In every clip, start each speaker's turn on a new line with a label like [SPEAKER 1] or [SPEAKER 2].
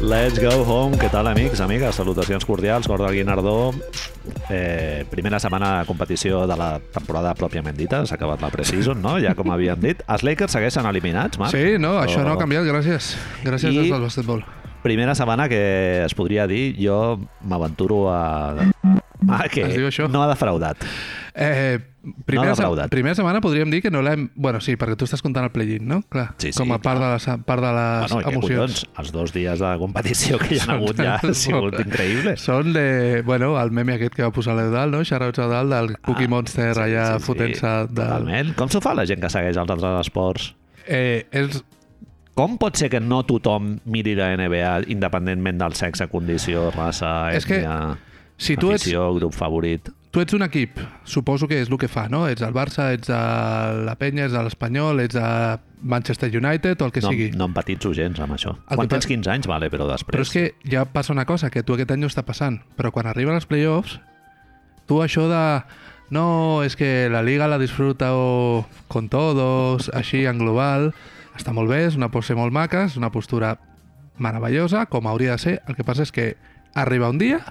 [SPEAKER 1] Let's go home. Què tal, amics, amigues? Salutacions cordials. Gordo Guinardó. Eh, primera setmana de competició de la temporada pròpiament dita. S'ha acabat la preseason, no? Ja com havíem dit. Els Lakers segueixen eliminats, Marc.
[SPEAKER 2] Sí, no, això no
[SPEAKER 1] Oh.
[SPEAKER 2] ha canviat, gràcies. Gràcies
[SPEAKER 1] I-
[SPEAKER 2] I... des del bàsquetbol.
[SPEAKER 1] Primera setmana que es podria dir, jo m'aventuro a... Ah, que
[SPEAKER 2] Es diu això?
[SPEAKER 1] no ha defraudat.
[SPEAKER 2] Eh,
[SPEAKER 1] No
[SPEAKER 2] primera,
[SPEAKER 1] l'ha
[SPEAKER 2] se
[SPEAKER 1] fraudat.
[SPEAKER 2] primera setmana podríem dir que no l'hem... Bueno, sí, perquè tu estàs comptant el play-in, no? Clar,
[SPEAKER 1] Sí, sí,
[SPEAKER 2] com a part,
[SPEAKER 1] clar.
[SPEAKER 2] de les, part de les
[SPEAKER 1] Bueno, i què
[SPEAKER 2] emocions.
[SPEAKER 1] collons, els dos dies de competició que hi ha hagut ja ha sigut increïble.
[SPEAKER 2] Són de... Bueno, el meme aquest que va posar l'Eudal, no? Xarauts Eudal, del
[SPEAKER 1] Ah,
[SPEAKER 2] Cookie Monster allà fotent-se... Del...
[SPEAKER 1] Totalment. Com s'ho fa la gent que segueix els altres esports?
[SPEAKER 2] Eh, és,
[SPEAKER 1] Com pot ser que no tothom miri la NBA independentment del sexe, condició, raça,
[SPEAKER 2] És que
[SPEAKER 1] ètnia,
[SPEAKER 2] si tu ets,
[SPEAKER 1] afició, grup favorit...
[SPEAKER 2] tu ets un equip, suposo que és el que fa, no? Ets el Barça, ets el- la Penya, ets l'Espanyol, ets el Manchester United o el que
[SPEAKER 1] No,
[SPEAKER 2] sigui.
[SPEAKER 1] no empatitzo gens amb això.
[SPEAKER 2] El
[SPEAKER 1] Quan
[SPEAKER 2] que pa-
[SPEAKER 1] tens 15 anys, vale, però després...
[SPEAKER 2] Però és que ja passa una cosa, que tu aquest any ho està passant, però quan arriben els playoffs, tu això de... No, és que la Liga la disfruta o con todos, així en global, està molt bé, és una pose molt maca, és una postura meravellosa, com hauria de ser. El que passa és que arriba un dia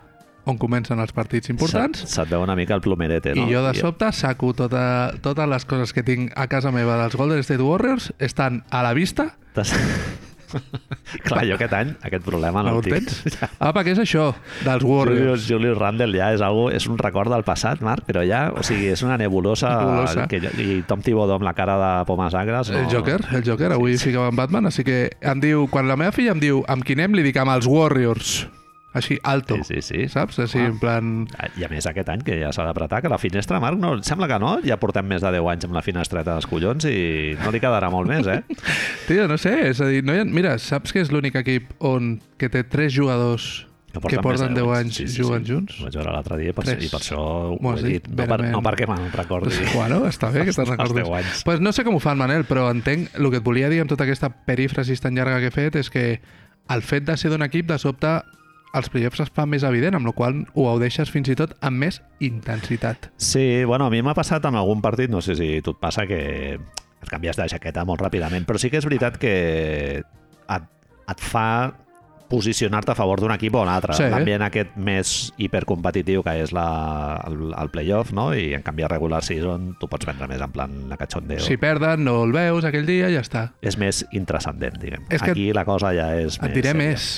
[SPEAKER 2] on comencen els partits importants
[SPEAKER 1] Se't, se't veu una mica el plomerete,
[SPEAKER 2] i
[SPEAKER 1] no?
[SPEAKER 2] jo de sobte saco tota, totes les coses que tinc a casa meva dels Golden State Warriors estan a la vista
[SPEAKER 1] T'has- Clar, jo aquest any, aquest problema
[SPEAKER 2] no
[SPEAKER 1] no
[SPEAKER 2] ho
[SPEAKER 1] el tinc.
[SPEAKER 2] tens? Papa, què és això dels Warriors?
[SPEAKER 1] Julius, Julius Randle ja és, algo, és un record del passat, Marc, però ja, o sigui, és una nebulosa,
[SPEAKER 2] Nebulosa.
[SPEAKER 1] Que, ja- i Tom Thibodeau amb la cara de pomes agres... No,
[SPEAKER 2] El Joker, el Joker, avui sí, ficava en Batman, així que em diu, quan la meva filla em diu amb quin em, li dic amb els Warriors. Així, alto.
[SPEAKER 1] Sí, sí, sí.
[SPEAKER 2] Saps? Així,
[SPEAKER 1] Ah.
[SPEAKER 2] en plan...
[SPEAKER 1] I a més aquest any, que ja s'ha d'apretar, que la finestra, Marc, no, sembla que no, ja portem més de 10 anys amb la finestreta dels collons i no li quedarà molt més, eh?
[SPEAKER 2] Tio, no sé, és a dir, no hi ha... mira, saps que és l'únic equip on que té tres jugadors que porten
[SPEAKER 1] més de
[SPEAKER 2] 10 anys juguen junts?
[SPEAKER 1] Ho vaig veure l'altre dia i per,
[SPEAKER 2] Tres.
[SPEAKER 1] i per això ho
[SPEAKER 2] M'ho has
[SPEAKER 1] he
[SPEAKER 2] dit,
[SPEAKER 1] dit. No, per, no
[SPEAKER 2] verament.
[SPEAKER 1] perquè me'n recordi.
[SPEAKER 2] Bueno, està bé que te'n
[SPEAKER 1] Els
[SPEAKER 2] recordes.
[SPEAKER 1] 10 anys.
[SPEAKER 2] Pues no sé com ho fan, Manel, però entenc... El que et volia dir amb tota aquesta perífrasis tan llarga que he fet és que el fet de ser d'un equip, de sobte, els playoffs es fa més evident, amb la qual cosa ho gaudeixes fins i tot amb més intensitat.
[SPEAKER 1] Sí, bueno, a mi m'ha passat en algun partit, no sé si a tu et passa que et canvies de jaqueta molt ràpidament, però sí que és veritat que et, et fa posicionar-te a favor d'un equip o un altre.
[SPEAKER 2] Sí.
[SPEAKER 1] L'ambient aquest més hipercompetitiu que és la, el, el playoff, no? I en canvi a regular season tu pots vendre més en plan la cachondeo.
[SPEAKER 2] Si perden, no el veus aquell dia i ja està.
[SPEAKER 1] És més intrascendent, diguem.
[SPEAKER 2] És que-
[SPEAKER 1] Aquí la cosa ja és
[SPEAKER 2] Et diré
[SPEAKER 1] sèria.
[SPEAKER 2] més.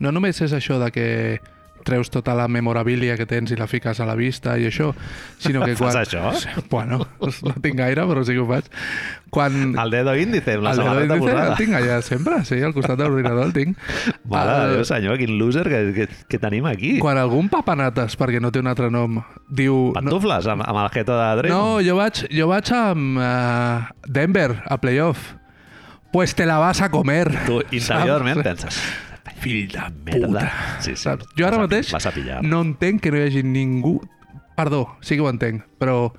[SPEAKER 2] No només és això de que treus tota la memorabilia que tens i la fiques a la vista i això, sinó que quan...
[SPEAKER 1] Fas això?
[SPEAKER 2] Bueno, no tinc gaire, però sí que ho faig. Quan,
[SPEAKER 1] El dedo índice, amb la
[SPEAKER 2] El dedo
[SPEAKER 1] samarreta
[SPEAKER 2] índice
[SPEAKER 1] posada.
[SPEAKER 2] el tinc allà sempre, sí, al costat de l'ordinador el tinc.
[SPEAKER 1] Mare
[SPEAKER 2] El-
[SPEAKER 1] de Déu, senyor, quin loser que, que, que tenim aquí.
[SPEAKER 2] Quan algun papanates, perquè no té un altre nom, diu... No,
[SPEAKER 1] Pantufles, amb, amb el jeta de Draymond.
[SPEAKER 2] no jo, vaig, jo vaig amb uh, Denver, a playoff. Pues te la vas a comer.
[SPEAKER 1] Tu interiorment
[SPEAKER 2] Saps?
[SPEAKER 1] penses...
[SPEAKER 2] Fill de
[SPEAKER 1] Merda.
[SPEAKER 2] puta.
[SPEAKER 1] Sí, sí.
[SPEAKER 2] Saps? Jo ara
[SPEAKER 1] Vas a-
[SPEAKER 2] mateix
[SPEAKER 1] Vas a pillar.
[SPEAKER 2] No entenc que no hi hagi ningú... Perdó, sí que ho entenc, però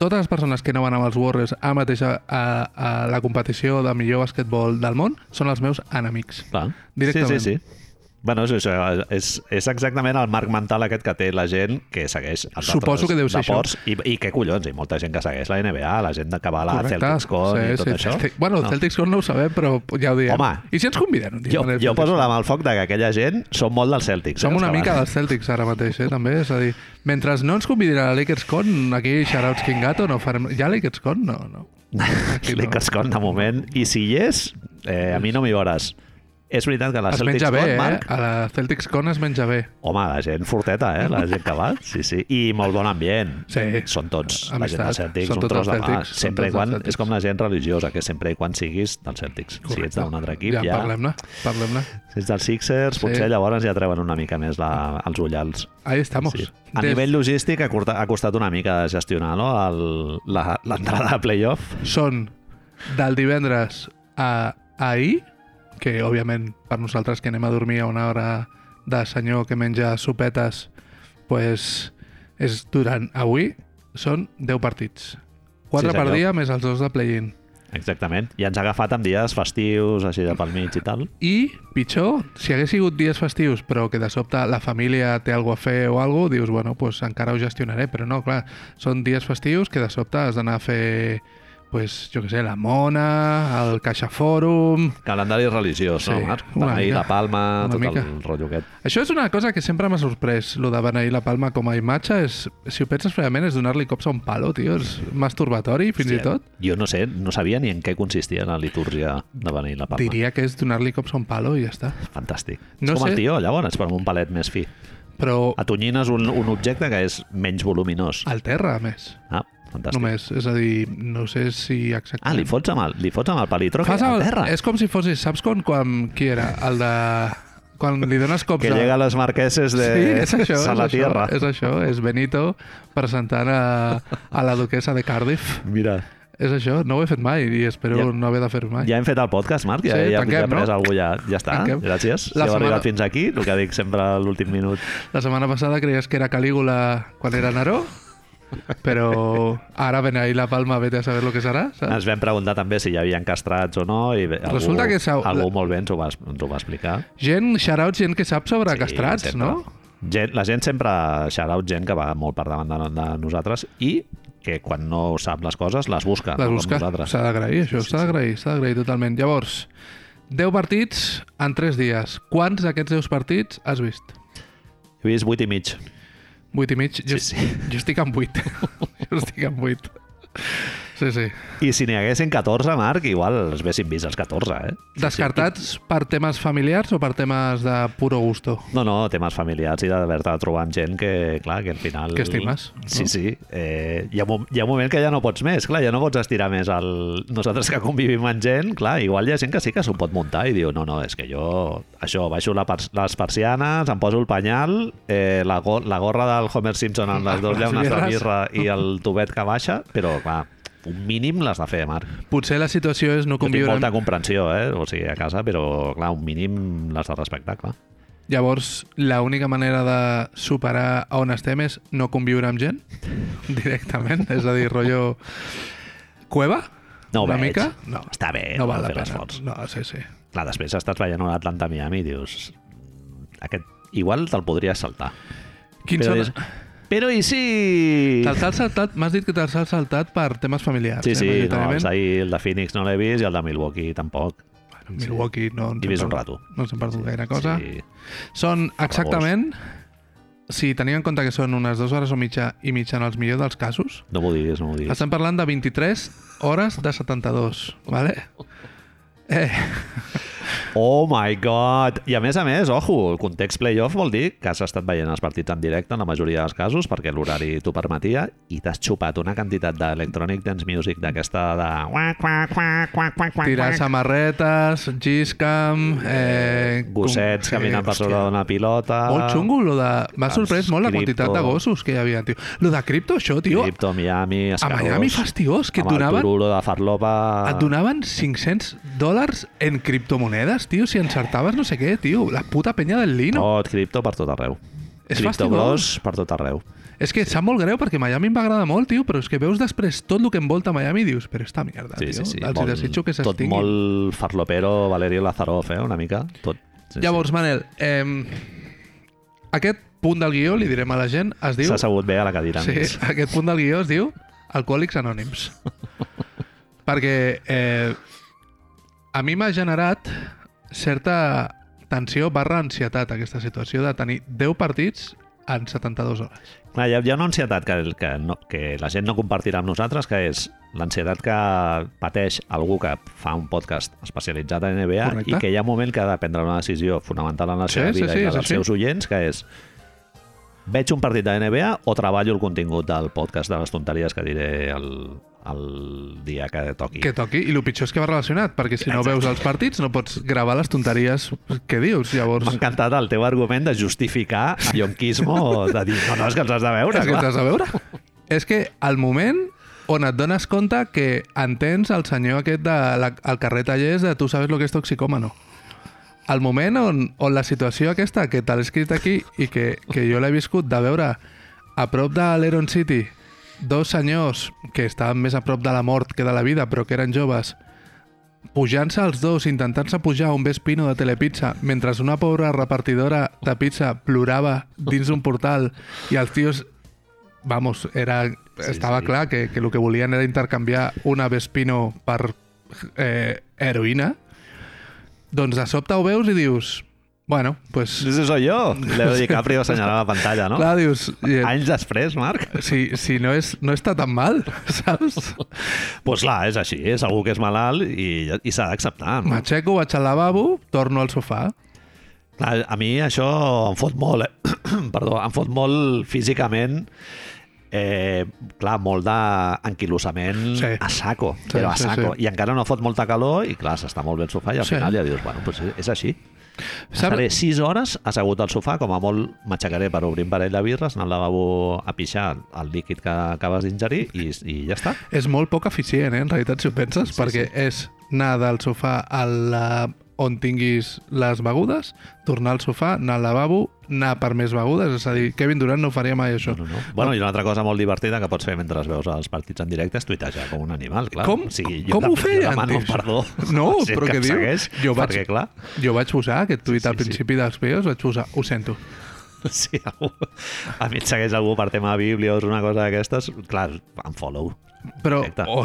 [SPEAKER 2] totes les persones que no van amb els Warriors ara mateix a, a, a la competició de millor basquetbol del món són els meus enemics.
[SPEAKER 1] Clar.
[SPEAKER 2] Directament.
[SPEAKER 1] Sí, sí, sí. Bueno, és, això, és, és exactament el marc mental aquest que té la gent que segueix els
[SPEAKER 2] Suposo
[SPEAKER 1] altres
[SPEAKER 2] que deu ser
[SPEAKER 1] deports. I, I què collons, hi ha molta gent que segueix la NBA, la gent que va a la
[SPEAKER 2] Correcte.
[SPEAKER 1] Celtics Con i tot això.
[SPEAKER 2] Celtic- Bueno, no. Celtics Con no ho sabem, però ja ho diem.
[SPEAKER 1] Home.
[SPEAKER 2] I si ens conviden un dia?
[SPEAKER 1] Jo,
[SPEAKER 2] Manel,
[SPEAKER 1] jo
[SPEAKER 2] Celtics
[SPEAKER 1] poso
[SPEAKER 2] Con?
[SPEAKER 1] la mà al foc de que aquella gent són molt dels Celtics.
[SPEAKER 2] Som
[SPEAKER 1] eh, els
[SPEAKER 2] una
[SPEAKER 1] que
[SPEAKER 2] mica
[SPEAKER 1] van.
[SPEAKER 2] dels Celtics ara mateix, eh, també. És a dir, mentre no ens convidin a la Lakers Con, aquí, shoutouts King Gato, no farem... Hi ha Lakers Con? No, no. Aquí no.
[SPEAKER 1] Lakers Con, de moment. I si hi és, eh, a mi no m'hi veuràs. És veritat que la
[SPEAKER 2] Es
[SPEAKER 1] Celtics
[SPEAKER 2] menja bé,
[SPEAKER 1] Con,
[SPEAKER 2] eh?
[SPEAKER 1] Marc,
[SPEAKER 2] A la Celtics Con es menja bé.
[SPEAKER 1] Home, la gent forteta, eh? La gent que va, sí, sí. I molt bon ambient.
[SPEAKER 2] Sí.
[SPEAKER 1] Són tots, la gent
[SPEAKER 2] Amistat.
[SPEAKER 1] dels Celtics,
[SPEAKER 2] Són
[SPEAKER 1] són
[SPEAKER 2] tots
[SPEAKER 1] tots
[SPEAKER 2] dels
[SPEAKER 1] de mà.
[SPEAKER 2] Celtics, són
[SPEAKER 1] Sempre
[SPEAKER 2] tots
[SPEAKER 1] i quan,
[SPEAKER 2] dels Celtics.
[SPEAKER 1] és com la gent religiosa, que sempre i quan siguis dels Celtics. Si ets d'un altre equip,
[SPEAKER 2] ja...
[SPEAKER 1] ja...
[SPEAKER 2] Ja, parlem-ne, parlem-ne.
[SPEAKER 1] Si ets dels Sixers,
[SPEAKER 2] Sí.
[SPEAKER 1] potser llavors ja treuen una mica més la, els ullals.
[SPEAKER 2] Ahí estamos.
[SPEAKER 1] Sí. A nivell logístic ha, curta, ha costat una mica de gestionar no? El- la- l'entrada a playoff.
[SPEAKER 2] són del divendres a ahir, que òbviament per nosaltres que anem a dormir a una hora de senyor que menja sopetes, pues, és durant avui, són 10 partits. 4
[SPEAKER 1] Sí,
[SPEAKER 2] per
[SPEAKER 1] senyor.
[SPEAKER 2] dia més els dos de play-in.
[SPEAKER 1] Exactament. I ens ha agafat amb dies festius, així de pel mig i tal.
[SPEAKER 2] I, pitjor, si hagués sigut dies festius però que de sobte la família té alguna a fer o alguna dius, bueno, pues encara ho gestionaré, però no, clar, són dies festius que de sobte has d'anar a fer pues, jo que sé, la Mona, el Caixa Fòrum...
[SPEAKER 1] Calendari religiós,
[SPEAKER 2] Sí,
[SPEAKER 1] no, Marc?
[SPEAKER 2] una
[SPEAKER 1] Beneir
[SPEAKER 2] mica.
[SPEAKER 1] la Palma,
[SPEAKER 2] Una
[SPEAKER 1] tot
[SPEAKER 2] mica.
[SPEAKER 1] el rotllo aquest.
[SPEAKER 2] Això és una cosa que sempre m'ha sorprès, lo de beneir la palma com a imatge. És, si ho penses fredament, és donar-li cops a un palo, tio. És masturbatori, fins i tot.
[SPEAKER 1] Jo no sé, no sabia ni en què consistia la litúrgia de Beneir la Palma.
[SPEAKER 2] Diria que és donar-li cops a un palo i ja està.
[SPEAKER 1] Fantàstic. No
[SPEAKER 2] No
[SPEAKER 1] és com
[SPEAKER 2] sé.
[SPEAKER 1] el tió, llavors, però amb un palet més fi.
[SPEAKER 2] Però
[SPEAKER 1] Atonyines un, un objecte que és menys voluminós.
[SPEAKER 2] al terra, a més.
[SPEAKER 1] Ah, fantàstic.
[SPEAKER 2] Només. És a dir, no sé si exactament...
[SPEAKER 1] Ah, li fots amb el, li fots amb el palitroque
[SPEAKER 2] Fas
[SPEAKER 1] a
[SPEAKER 2] el-
[SPEAKER 1] terra.
[SPEAKER 2] És com si fossis, saps quan, quan qui era? El de... Quan li dones cops
[SPEAKER 1] Que
[SPEAKER 2] a...
[SPEAKER 1] llega a les marqueses de
[SPEAKER 2] Sí, és això,
[SPEAKER 1] a
[SPEAKER 2] és
[SPEAKER 1] la
[SPEAKER 2] això,
[SPEAKER 1] tierra.
[SPEAKER 2] és això, és Benito presentant a, a la duquesa de Cardiff.
[SPEAKER 1] Mira,
[SPEAKER 2] És això, no ho he fet mai i espero
[SPEAKER 1] Ja.
[SPEAKER 2] no haver de fer-ho mai.
[SPEAKER 1] ja hem fet el podcast, Marc, ja,
[SPEAKER 2] Sí,
[SPEAKER 1] ja,
[SPEAKER 2] tanquem,
[SPEAKER 1] ja pres
[SPEAKER 2] no?
[SPEAKER 1] algú ja. Ja està,
[SPEAKER 2] Tanquem.
[SPEAKER 1] gràcies.
[SPEAKER 2] La
[SPEAKER 1] si heu
[SPEAKER 2] setmana-
[SPEAKER 1] arribat fins aquí, el que dic sempre a l'últim minut.
[SPEAKER 2] La setmana passada creies que era Calígula quan era Neró, però ara ven ahir la palma, vete a saber lo que serà, saps?
[SPEAKER 1] Ens vam preguntar també si hi havia encastrats o no i bé, algú,
[SPEAKER 2] Ah. Resulta que s'ha-
[SPEAKER 1] algú molt bé ens ho va, ens ho va explicar.
[SPEAKER 2] Gent, xarauts, gent que sap sobre
[SPEAKER 1] Sí,
[SPEAKER 2] castrats,
[SPEAKER 1] sempre.
[SPEAKER 2] no?
[SPEAKER 1] Gent, la gent sempre xarau gent que va molt per davant de, de nosaltres i que quan no sap les coses les busca,
[SPEAKER 2] Les
[SPEAKER 1] Ah, no com
[SPEAKER 2] busca.
[SPEAKER 1] nosaltres.
[SPEAKER 2] S'ha d'agrair, això, s'ha d'agrair, s'ha d'agrair totalment. Llavors, 10 partits en 3 dies. Quants d'aquests 10 partits has vist?
[SPEAKER 1] He vist 8 i mig.
[SPEAKER 2] 8 i mig? Jo,
[SPEAKER 1] Sí, sí.
[SPEAKER 2] jo estic amb 8. jo estic amb 8. Sí, sí.
[SPEAKER 1] I si n'hi haguessin 14, Marc, igual els haguessin vist els 14, eh?
[SPEAKER 2] Descartats per temes familiars o per temes de puro gusto?
[SPEAKER 1] No, no, temes familiars i d'haver-te trobat gent que, clar, que al final...
[SPEAKER 2] Que estimes,
[SPEAKER 1] Sí,
[SPEAKER 2] no?
[SPEAKER 1] sí. Eh, hi, ha, mo- hi ha un moment que ja no pots més, clar, ja no pots estirar més el... Nosaltres que convivim amb gent, clar, igual hi ha gent que sí que s'ho pot muntar i diu, no, no, és que jo, això, baixo la pers- les persianes, em poso el panyal, eh, la, go la gorra del Homer Simpson amb les dues
[SPEAKER 2] Les
[SPEAKER 1] llaunes de
[SPEAKER 2] birres.
[SPEAKER 1] birra i el tubet que baixa, però, clar, un mínim l'has de fer, Marc.
[SPEAKER 2] Potser la situació és no
[SPEAKER 1] Jo tinc
[SPEAKER 2] conviure... amb-
[SPEAKER 1] molta comprensió, eh? O sigui, a casa, però, clar, un mínim l'has de respectar, clar.
[SPEAKER 2] Llavors, l'única manera de superar on estem és no conviure amb gent directament, és a dir, rotllo cueva,
[SPEAKER 1] No ho
[SPEAKER 2] una
[SPEAKER 1] veig.
[SPEAKER 2] mica. No,
[SPEAKER 1] Està bé,
[SPEAKER 2] no val
[SPEAKER 1] cal Eh,
[SPEAKER 2] la
[SPEAKER 1] fer
[SPEAKER 2] pena.
[SPEAKER 1] l'esforç.
[SPEAKER 2] No, sí, sí.
[SPEAKER 1] Clar, després estàs veient un Atlanta Miami i dius... Aquest igual te'l podries saltar.
[SPEAKER 2] Quins
[SPEAKER 1] però,
[SPEAKER 2] són...
[SPEAKER 1] dius, però i si...
[SPEAKER 2] Te'ls has saltat, m'has dit que te'ls has saltat per temes familiars.
[SPEAKER 1] Sí,
[SPEAKER 2] eh,
[SPEAKER 1] sí, no,
[SPEAKER 2] majoritàriament.
[SPEAKER 1] els d'ahir, el de Phoenix no l'he vist i el de Milwaukee tampoc.
[SPEAKER 2] Bueno, Milwaukee no ens
[SPEAKER 1] He
[SPEAKER 2] hem
[SPEAKER 1] vist un
[SPEAKER 2] perdut-
[SPEAKER 1] rato.
[SPEAKER 2] No ens hem perdut gaire cosa.
[SPEAKER 1] Sí.
[SPEAKER 2] Són exactament, si tenim en compte que són unes dues hores o mitja i mitja en els millors dels casos,
[SPEAKER 1] No m'ho diguis, no m'ho diguis.
[SPEAKER 2] Estem parlant de 23 hores de 72, vale? Eh,
[SPEAKER 1] Oh my god! I a més a més, ojo, el context playoff vol dir que has estat veient els partits en directe en la majoria dels casos perquè l'horari t'ho permetia i t'has xupat una quantitat d'electronic dance music d'aquesta de... Quac, quac, quac, quac, quac, quac,
[SPEAKER 2] tirar
[SPEAKER 1] quac.
[SPEAKER 2] samarretes, giscam... Eh,
[SPEAKER 1] gossets
[SPEAKER 2] com-
[SPEAKER 1] caminant per
[SPEAKER 2] hòstia.
[SPEAKER 1] sobre d'una pilota...
[SPEAKER 2] Molt xungo, lo de... M'ha
[SPEAKER 1] Ah, Els
[SPEAKER 2] sorprès molt la
[SPEAKER 1] cripto.
[SPEAKER 2] quantitat de gossos que hi havia, tio. Lo de cripto, això, tio,
[SPEAKER 1] Cripto, Miami,
[SPEAKER 2] a
[SPEAKER 1] escarós.
[SPEAKER 2] Miami fastigós, que et
[SPEAKER 1] amb
[SPEAKER 2] donaven,
[SPEAKER 1] el tururo de Farlopa...
[SPEAKER 2] et donaven 500 dòlars en criptomonedes, tio, si encertaves no sé què, tio. La puta penya del Lino.
[SPEAKER 1] Tot, cripto per tot arreu. Oh,
[SPEAKER 2] És
[SPEAKER 1] cripto
[SPEAKER 2] fastigós.
[SPEAKER 1] Bros per tot arreu.
[SPEAKER 2] És que sap molt greu perquè Miami em va agradar molt, tio, però és que veus després tot el que envolta Miami i dius, però esta mierda,
[SPEAKER 1] Sí,
[SPEAKER 2] tio.
[SPEAKER 1] sí, sí.
[SPEAKER 2] Els
[SPEAKER 1] Molt-
[SPEAKER 2] desitjo que
[SPEAKER 1] tot
[SPEAKER 2] s'extinguin.
[SPEAKER 1] molt farlopero, Valerio Lazarov, eh? Una mica. Tot. Sí,
[SPEAKER 2] Llavors, Manel, eh, aquest punt del guió, li direm a la gent, es
[SPEAKER 1] sí.
[SPEAKER 2] diu...
[SPEAKER 1] S'ha assegut bé a la cadira.
[SPEAKER 2] Sí,
[SPEAKER 1] més.
[SPEAKER 2] aquest punt del guió es diu Alcohòlics Anònims. Perquè eh, a mi m'ha generat certa tensió barra ansietat aquesta situació de tenir 10 partits en 72 hores.
[SPEAKER 1] Clar, hi ha, hi ha una ansietat que, que, no, que la gent no compartirà amb nosaltres, que és l'ansietat que pateix algú que fa un podcast especialitzat en NBA
[SPEAKER 2] Correcte.
[SPEAKER 1] i que hi ha un moment que ha de prendre una decisió fonamental en la
[SPEAKER 2] Sí,
[SPEAKER 1] seva
[SPEAKER 2] sí,
[SPEAKER 1] vida
[SPEAKER 2] sí,
[SPEAKER 1] i la
[SPEAKER 2] és
[SPEAKER 1] dels
[SPEAKER 2] així.
[SPEAKER 1] seus oients, que és veig un partit de NBA o treballo el contingut del podcast de les tonteries que diré el, el dia que toqui.
[SPEAKER 2] Que toqui, i el pitjor és que va relacionat, perquè si no veus els partits no pots gravar les tonteries que dius, llavors...
[SPEAKER 1] M'ha encantat el teu argument de justificar el yonquismo, de dir, no, no, és que els has de veure.
[SPEAKER 2] És que
[SPEAKER 1] clar.
[SPEAKER 2] t'has de veure. És que al moment on et dones compte que entens el senyor aquest de la, al carrer Tallers de tu sabes lo que és toxicòmano. Al moment on, on la situació aquesta que te l'he escrit aquí i que, que jo l'he viscut de veure a prop de l'Eron City dos senyors que estaven més a prop de la mort que de la vida però que eren joves pujant-se els dos, intentant-se pujar un Vespino de Telepizza, mentre una pobra repartidora de pizza plorava dins d'un portal i els tios, vamos, era
[SPEAKER 1] Sí,
[SPEAKER 2] estava
[SPEAKER 1] sí.
[SPEAKER 2] clar que, que el que volien era intercanviar una Vespino per eh, heroïna, doncs de sobte ho veus i dius, bueno, pues,
[SPEAKER 1] Sí, sí, soy jo. Leo DiCaprio assenyalant la pantalla, no?
[SPEAKER 2] clar, dius, eh,
[SPEAKER 1] Anys després, Marc? Doncs
[SPEAKER 2] si, si no, és, no està tan mal, saps?
[SPEAKER 1] pues clar, és així. És algú que és malalt i, i s'ha d'acceptar. No?
[SPEAKER 2] M'aixeco, vaig al lavabo, torno al sofà.
[SPEAKER 1] Clar, a mi això em fot molt, eh? Perdó, em fot molt físicament Eh, clar, molt d'enquilosament
[SPEAKER 2] Sí.
[SPEAKER 1] a saco,
[SPEAKER 2] Sí,
[SPEAKER 1] però a
[SPEAKER 2] sí,
[SPEAKER 1] saco.
[SPEAKER 2] sí.
[SPEAKER 1] I encara no fot molta calor i clar, s'està molt bé al sofà i al
[SPEAKER 2] Sí.
[SPEAKER 1] final ja dius, bueno, doncs és així.
[SPEAKER 2] Saps-
[SPEAKER 1] Estaré 6 hores assegut al sofà, com a molt m'aixecaré per obrir un parell de birres, anar al lavabo a pixar el líquid que acabes d'ingerir i, i ja està.
[SPEAKER 2] És molt poc eficient, eh, en realitat, si ho penses,
[SPEAKER 1] Sí,
[SPEAKER 2] sí, perquè sí. és anar del sofà a la... on tinguis les begudes, tornar al sofà, anar al lavabo, anar per més begudes, és a dir, Kevin Durant no faria mai això.
[SPEAKER 1] No, no. Bueno, i una altra cosa molt divertida que pots fer mentre veus els partits en directe és tuitejar com un animal, clar.
[SPEAKER 2] Com-
[SPEAKER 1] o sigui,
[SPEAKER 2] com
[SPEAKER 1] de-
[SPEAKER 2] ho feien,
[SPEAKER 1] demano
[SPEAKER 2] dius?
[SPEAKER 1] perdó.
[SPEAKER 2] No,
[SPEAKER 1] Sí,
[SPEAKER 2] però
[SPEAKER 1] que
[SPEAKER 2] què
[SPEAKER 1] em
[SPEAKER 2] diu?
[SPEAKER 1] Segueix,
[SPEAKER 2] Jo
[SPEAKER 1] jo
[SPEAKER 2] vaig-
[SPEAKER 1] vaig... Perquè, clar,
[SPEAKER 2] Jo vaig posar aquest
[SPEAKER 1] Sí,
[SPEAKER 2] tuit sí,
[SPEAKER 1] sí,
[SPEAKER 2] al
[SPEAKER 1] sí.
[SPEAKER 2] principi dels vídeos, vaig posar, ho sento.
[SPEAKER 1] si algú, a mi et segueix algú per tema bíblios, una cosa d'aquestes, clar, em follow.
[SPEAKER 2] Però,
[SPEAKER 1] Perfecte.
[SPEAKER 2] o oh,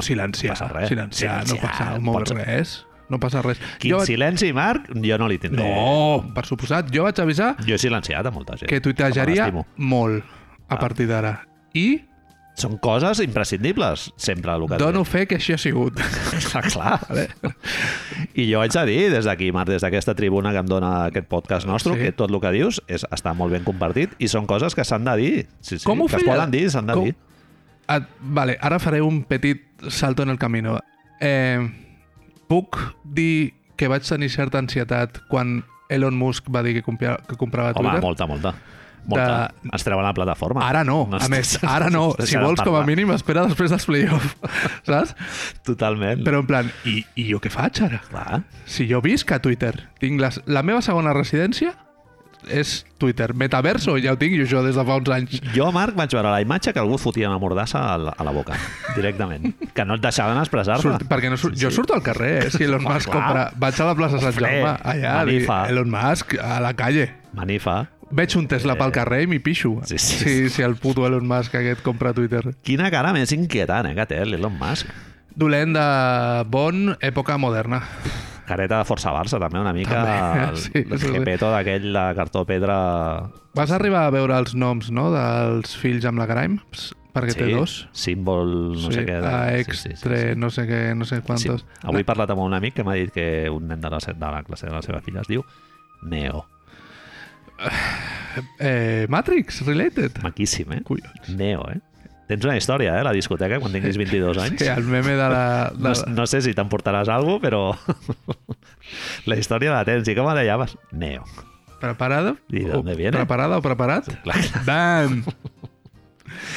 [SPEAKER 1] No
[SPEAKER 2] silenciar,
[SPEAKER 1] passa res.
[SPEAKER 2] silenciar, no
[SPEAKER 1] Silenciar,
[SPEAKER 2] passa,
[SPEAKER 1] no
[SPEAKER 2] no moure
[SPEAKER 1] pots-
[SPEAKER 2] res. No passa res.
[SPEAKER 1] Quin
[SPEAKER 2] vaig-
[SPEAKER 1] silenci, Marc, jo no li tindré.
[SPEAKER 2] No, per suposat. Jo vaig avisar
[SPEAKER 1] Jo he silenciat a molta gent.
[SPEAKER 2] que tuitejaria
[SPEAKER 1] me l'estimo.
[SPEAKER 2] molt a
[SPEAKER 1] Ah.
[SPEAKER 2] partir d'ara. I
[SPEAKER 1] Són coses imprescindibles, sempre, el que et
[SPEAKER 2] dono fe que així ha sigut.
[SPEAKER 1] Clar, clar. I jo haig de dir, des d'aquí, Marc, des d'aquesta tribuna que em dona aquest podcast nostre,
[SPEAKER 2] Ah, Sí.
[SPEAKER 1] sí. que tot el que dius és, està molt ben compartit i són coses que s'han de dir. Sí, sí,
[SPEAKER 2] Com ho
[SPEAKER 1] que es
[SPEAKER 2] feia?
[SPEAKER 1] poden dir, s'han de
[SPEAKER 2] Com-
[SPEAKER 1] dir.
[SPEAKER 2] Et, vale, ara faré un petit salto en el camino. Eh, puc dir que vaig tenir certa ansietat quan Elon Musk va dir que, compia, que comprava
[SPEAKER 1] Home,
[SPEAKER 2] Twitter?
[SPEAKER 1] molta, molta. molta. De... Ens treuen la plataforma.
[SPEAKER 2] Ara no, a
[SPEAKER 1] ens-
[SPEAKER 2] més, ara no.
[SPEAKER 1] ens deixaran
[SPEAKER 2] Si vols, com a
[SPEAKER 1] parlar.
[SPEAKER 2] mínim, espera després dels play-offs, saps?
[SPEAKER 1] Totalment. Però...
[SPEAKER 2] Però en plan, i, i jo què faig ara?
[SPEAKER 1] Clar.
[SPEAKER 2] Si jo visc a Twitter, tinc les, la meva segona residència és Twitter. Metaverso, ja ho tinc jo això des de fa uns anys.
[SPEAKER 1] Jo, Marc, vaig veure la imatge que algú et fotia una mordassa a la, a la boca, directament. Que no et deixaven expressar-la.
[SPEAKER 2] Surt, perquè no surt, jo surto al carrer, eh? si Elon
[SPEAKER 1] Home,
[SPEAKER 2] Musk
[SPEAKER 1] clar.
[SPEAKER 2] compra... Vaig a la plaça Sant
[SPEAKER 1] Fred,
[SPEAKER 2] Jaume, allà, a dir,
[SPEAKER 1] manifa.
[SPEAKER 2] Elon Musk, a la calle.
[SPEAKER 1] Manifa.
[SPEAKER 2] Veig un Tesla pel carrer i m'hi pixo.
[SPEAKER 1] Sí, sí,
[SPEAKER 2] si, si el puto Elon Musk aquest compra Twitter.
[SPEAKER 1] Quina cara més inquietant, eh, que té l'Elon Musk.
[SPEAKER 2] Dolent de bon època moderna.
[SPEAKER 1] Careta de Força Barça, també, una mica
[SPEAKER 2] També,
[SPEAKER 1] el,
[SPEAKER 2] sí,
[SPEAKER 1] sí, el
[SPEAKER 2] sí, sí.
[SPEAKER 1] gepeto d'aquell de cartó pedra...
[SPEAKER 2] Vas arribar a veure els noms, no?, dels fills amb la Grimes? Perquè té dos.
[SPEAKER 1] Símbol, no sé què. De...
[SPEAKER 2] a extre, no sé què, no sé
[SPEAKER 1] Sí.
[SPEAKER 2] quantos.
[SPEAKER 1] Avui he parlat amb un amic que m'ha dit que un nen de la, se- de la classe de la seva filla es diu Neo.
[SPEAKER 2] Eh, Matrix related.
[SPEAKER 1] Maquíssim, eh?
[SPEAKER 2] Collons.
[SPEAKER 1] Neo, eh? Tens una història, eh? a La discoteca, quan tinguis 22 anys.
[SPEAKER 2] Sí, el meme de la... De...
[SPEAKER 1] No, no sé si t'emportaràs alguna cosa, però la història la tens. I com la llames? Neo.
[SPEAKER 2] Preparada?
[SPEAKER 1] I de dónde
[SPEAKER 2] O-
[SPEAKER 1] viene?
[SPEAKER 2] Preparada o preparat?
[SPEAKER 1] Clar, clar.
[SPEAKER 2] Bam!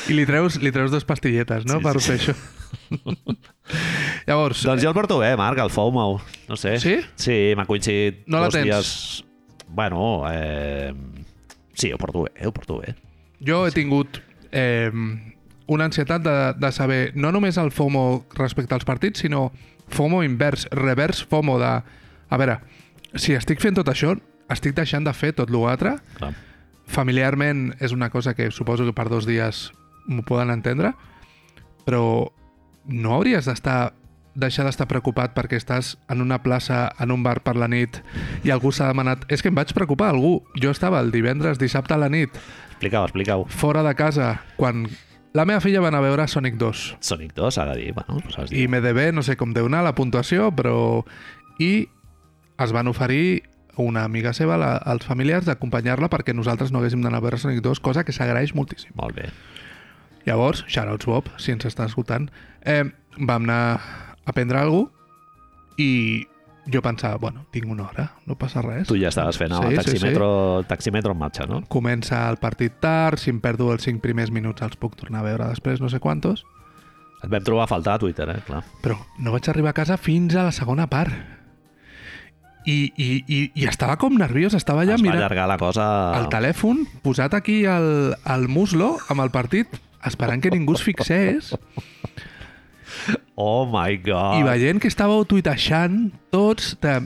[SPEAKER 2] I li treus, li treus dos pastilletes,
[SPEAKER 1] Sí,
[SPEAKER 2] no?, sí, per
[SPEAKER 1] sí,
[SPEAKER 2] fer això. Llavors,
[SPEAKER 1] Doncs jo el porto bé, Marc, el FOMO. No sé.
[SPEAKER 2] Sí?
[SPEAKER 1] Sí, m'ha coincidit
[SPEAKER 2] No la
[SPEAKER 1] dos
[SPEAKER 2] tens?
[SPEAKER 1] dies... Bueno, eh... sí, ho porto bé, ho porto bé.
[SPEAKER 2] jo he tingut eh, una ansietat de, de saber no només el FOMO respecte als partits, sinó FOMO invers, revers FOMO de... A veure, si estic fent tot això, estic deixant de fer tot l'altre
[SPEAKER 1] Clar.
[SPEAKER 2] familiarment és una cosa que suposo que per dos dies m'ho poden entendre, però no hauries d'estar deixar d'estar preocupat perquè estàs en una plaça, en un bar per la nit i algú s'ha demanat... És que em vaig preocupar, algú. Jo estava el divendres, dissabte a la nit,
[SPEAKER 1] Explica-ho, explica-ho.
[SPEAKER 2] fora de casa, quan la meva filla va anar a veure Sonic 2
[SPEAKER 1] Sonic 2 s'ha de dir, bueno, doncs has
[SPEAKER 2] i
[SPEAKER 1] dit.
[SPEAKER 2] MDB, no sé com deu anar la puntuació, però... I es van oferir una amiga seva, la, els familiars, d'acompanyar-la perquè nosaltres no haguéssim d'anar a veure Sonic 2, cosa que s'agraeix moltíssim.
[SPEAKER 1] Molt bé.
[SPEAKER 2] Llavors, shoutouts Bob, si ens està escoltant, eh, vam anar a prendre alguna cosa i jo pensava, bueno, tinc una hora, no passa res.
[SPEAKER 1] Tu ja estaves fent el
[SPEAKER 2] Sí, sí,
[SPEAKER 1] taximetro, taximetro en marxa, no?
[SPEAKER 2] Comença el partit tard, si em perdo els 5 primers minuts els puc tornar a veure després, no sé quantos,
[SPEAKER 1] Et vam trobar a faltar a Twitter, eh? Clar.
[SPEAKER 2] però no vaig arribar a casa fins a la segona part. I, i, i, i estava com nerviós, estava allà
[SPEAKER 1] es va
[SPEAKER 2] mirant
[SPEAKER 1] allargar la cosa...
[SPEAKER 2] el telèfon, posat aquí al, al muslo amb el partit, esperant que ningú es fixés.
[SPEAKER 1] Oh my God. Oh Ah.
[SPEAKER 2] i veient que estàveu tuitejant tots de...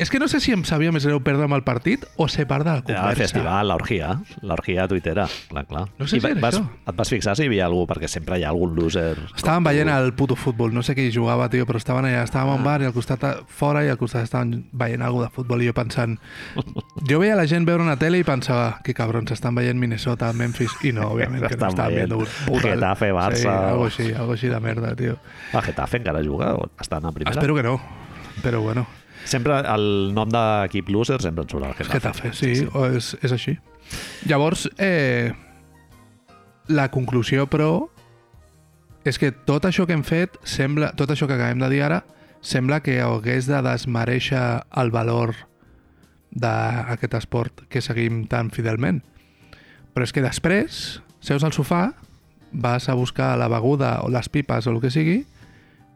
[SPEAKER 2] És que no sé si em sabia més greu perdre amb el partit o ser part de la
[SPEAKER 1] Ja, Ah, el
[SPEAKER 2] conversa.
[SPEAKER 1] festival, l'orgia, l'orgia tuitera, clar, clar.
[SPEAKER 2] No sé
[SPEAKER 1] I
[SPEAKER 2] si era
[SPEAKER 1] vas,
[SPEAKER 2] això.
[SPEAKER 1] Et vas fixar si hi havia algú, perquè sempre hi ha algun loser...
[SPEAKER 2] Estàvem veient el puto futbol, no sé qui jugava, tio, però estaven allà, estàvem
[SPEAKER 1] Ah.
[SPEAKER 2] a un bar i al costat a- fora i al costat estaven veient alguna de futbol i jo pensant... Jo veia la gent veure una tele i pensava que cabrons, estan veient Minnesota, Memphis, i no, òbviament, que no
[SPEAKER 1] Estan
[SPEAKER 2] estan
[SPEAKER 1] veient
[SPEAKER 2] veient un puto...
[SPEAKER 1] Getafe, Barça.
[SPEAKER 2] Sí, algo així, algo així de merda, tio.
[SPEAKER 1] El Getafe encara juga o estan a primera?
[SPEAKER 2] Espero que no, però bueno,
[SPEAKER 1] Sempre el nom d'equip loser sempre en surt al
[SPEAKER 2] és
[SPEAKER 1] Getafe.
[SPEAKER 2] Getafe, sí, o és, és així. Llavors, eh, la conclusió, però, és que tot això que hem fet, sembla, tot això que acabem de dir ara, sembla que hagués de desmereixer el valor d'aquest esport que seguim tan fidelment. Però és que després, seus al sofà, vas a buscar la beguda o les pipes o el que sigui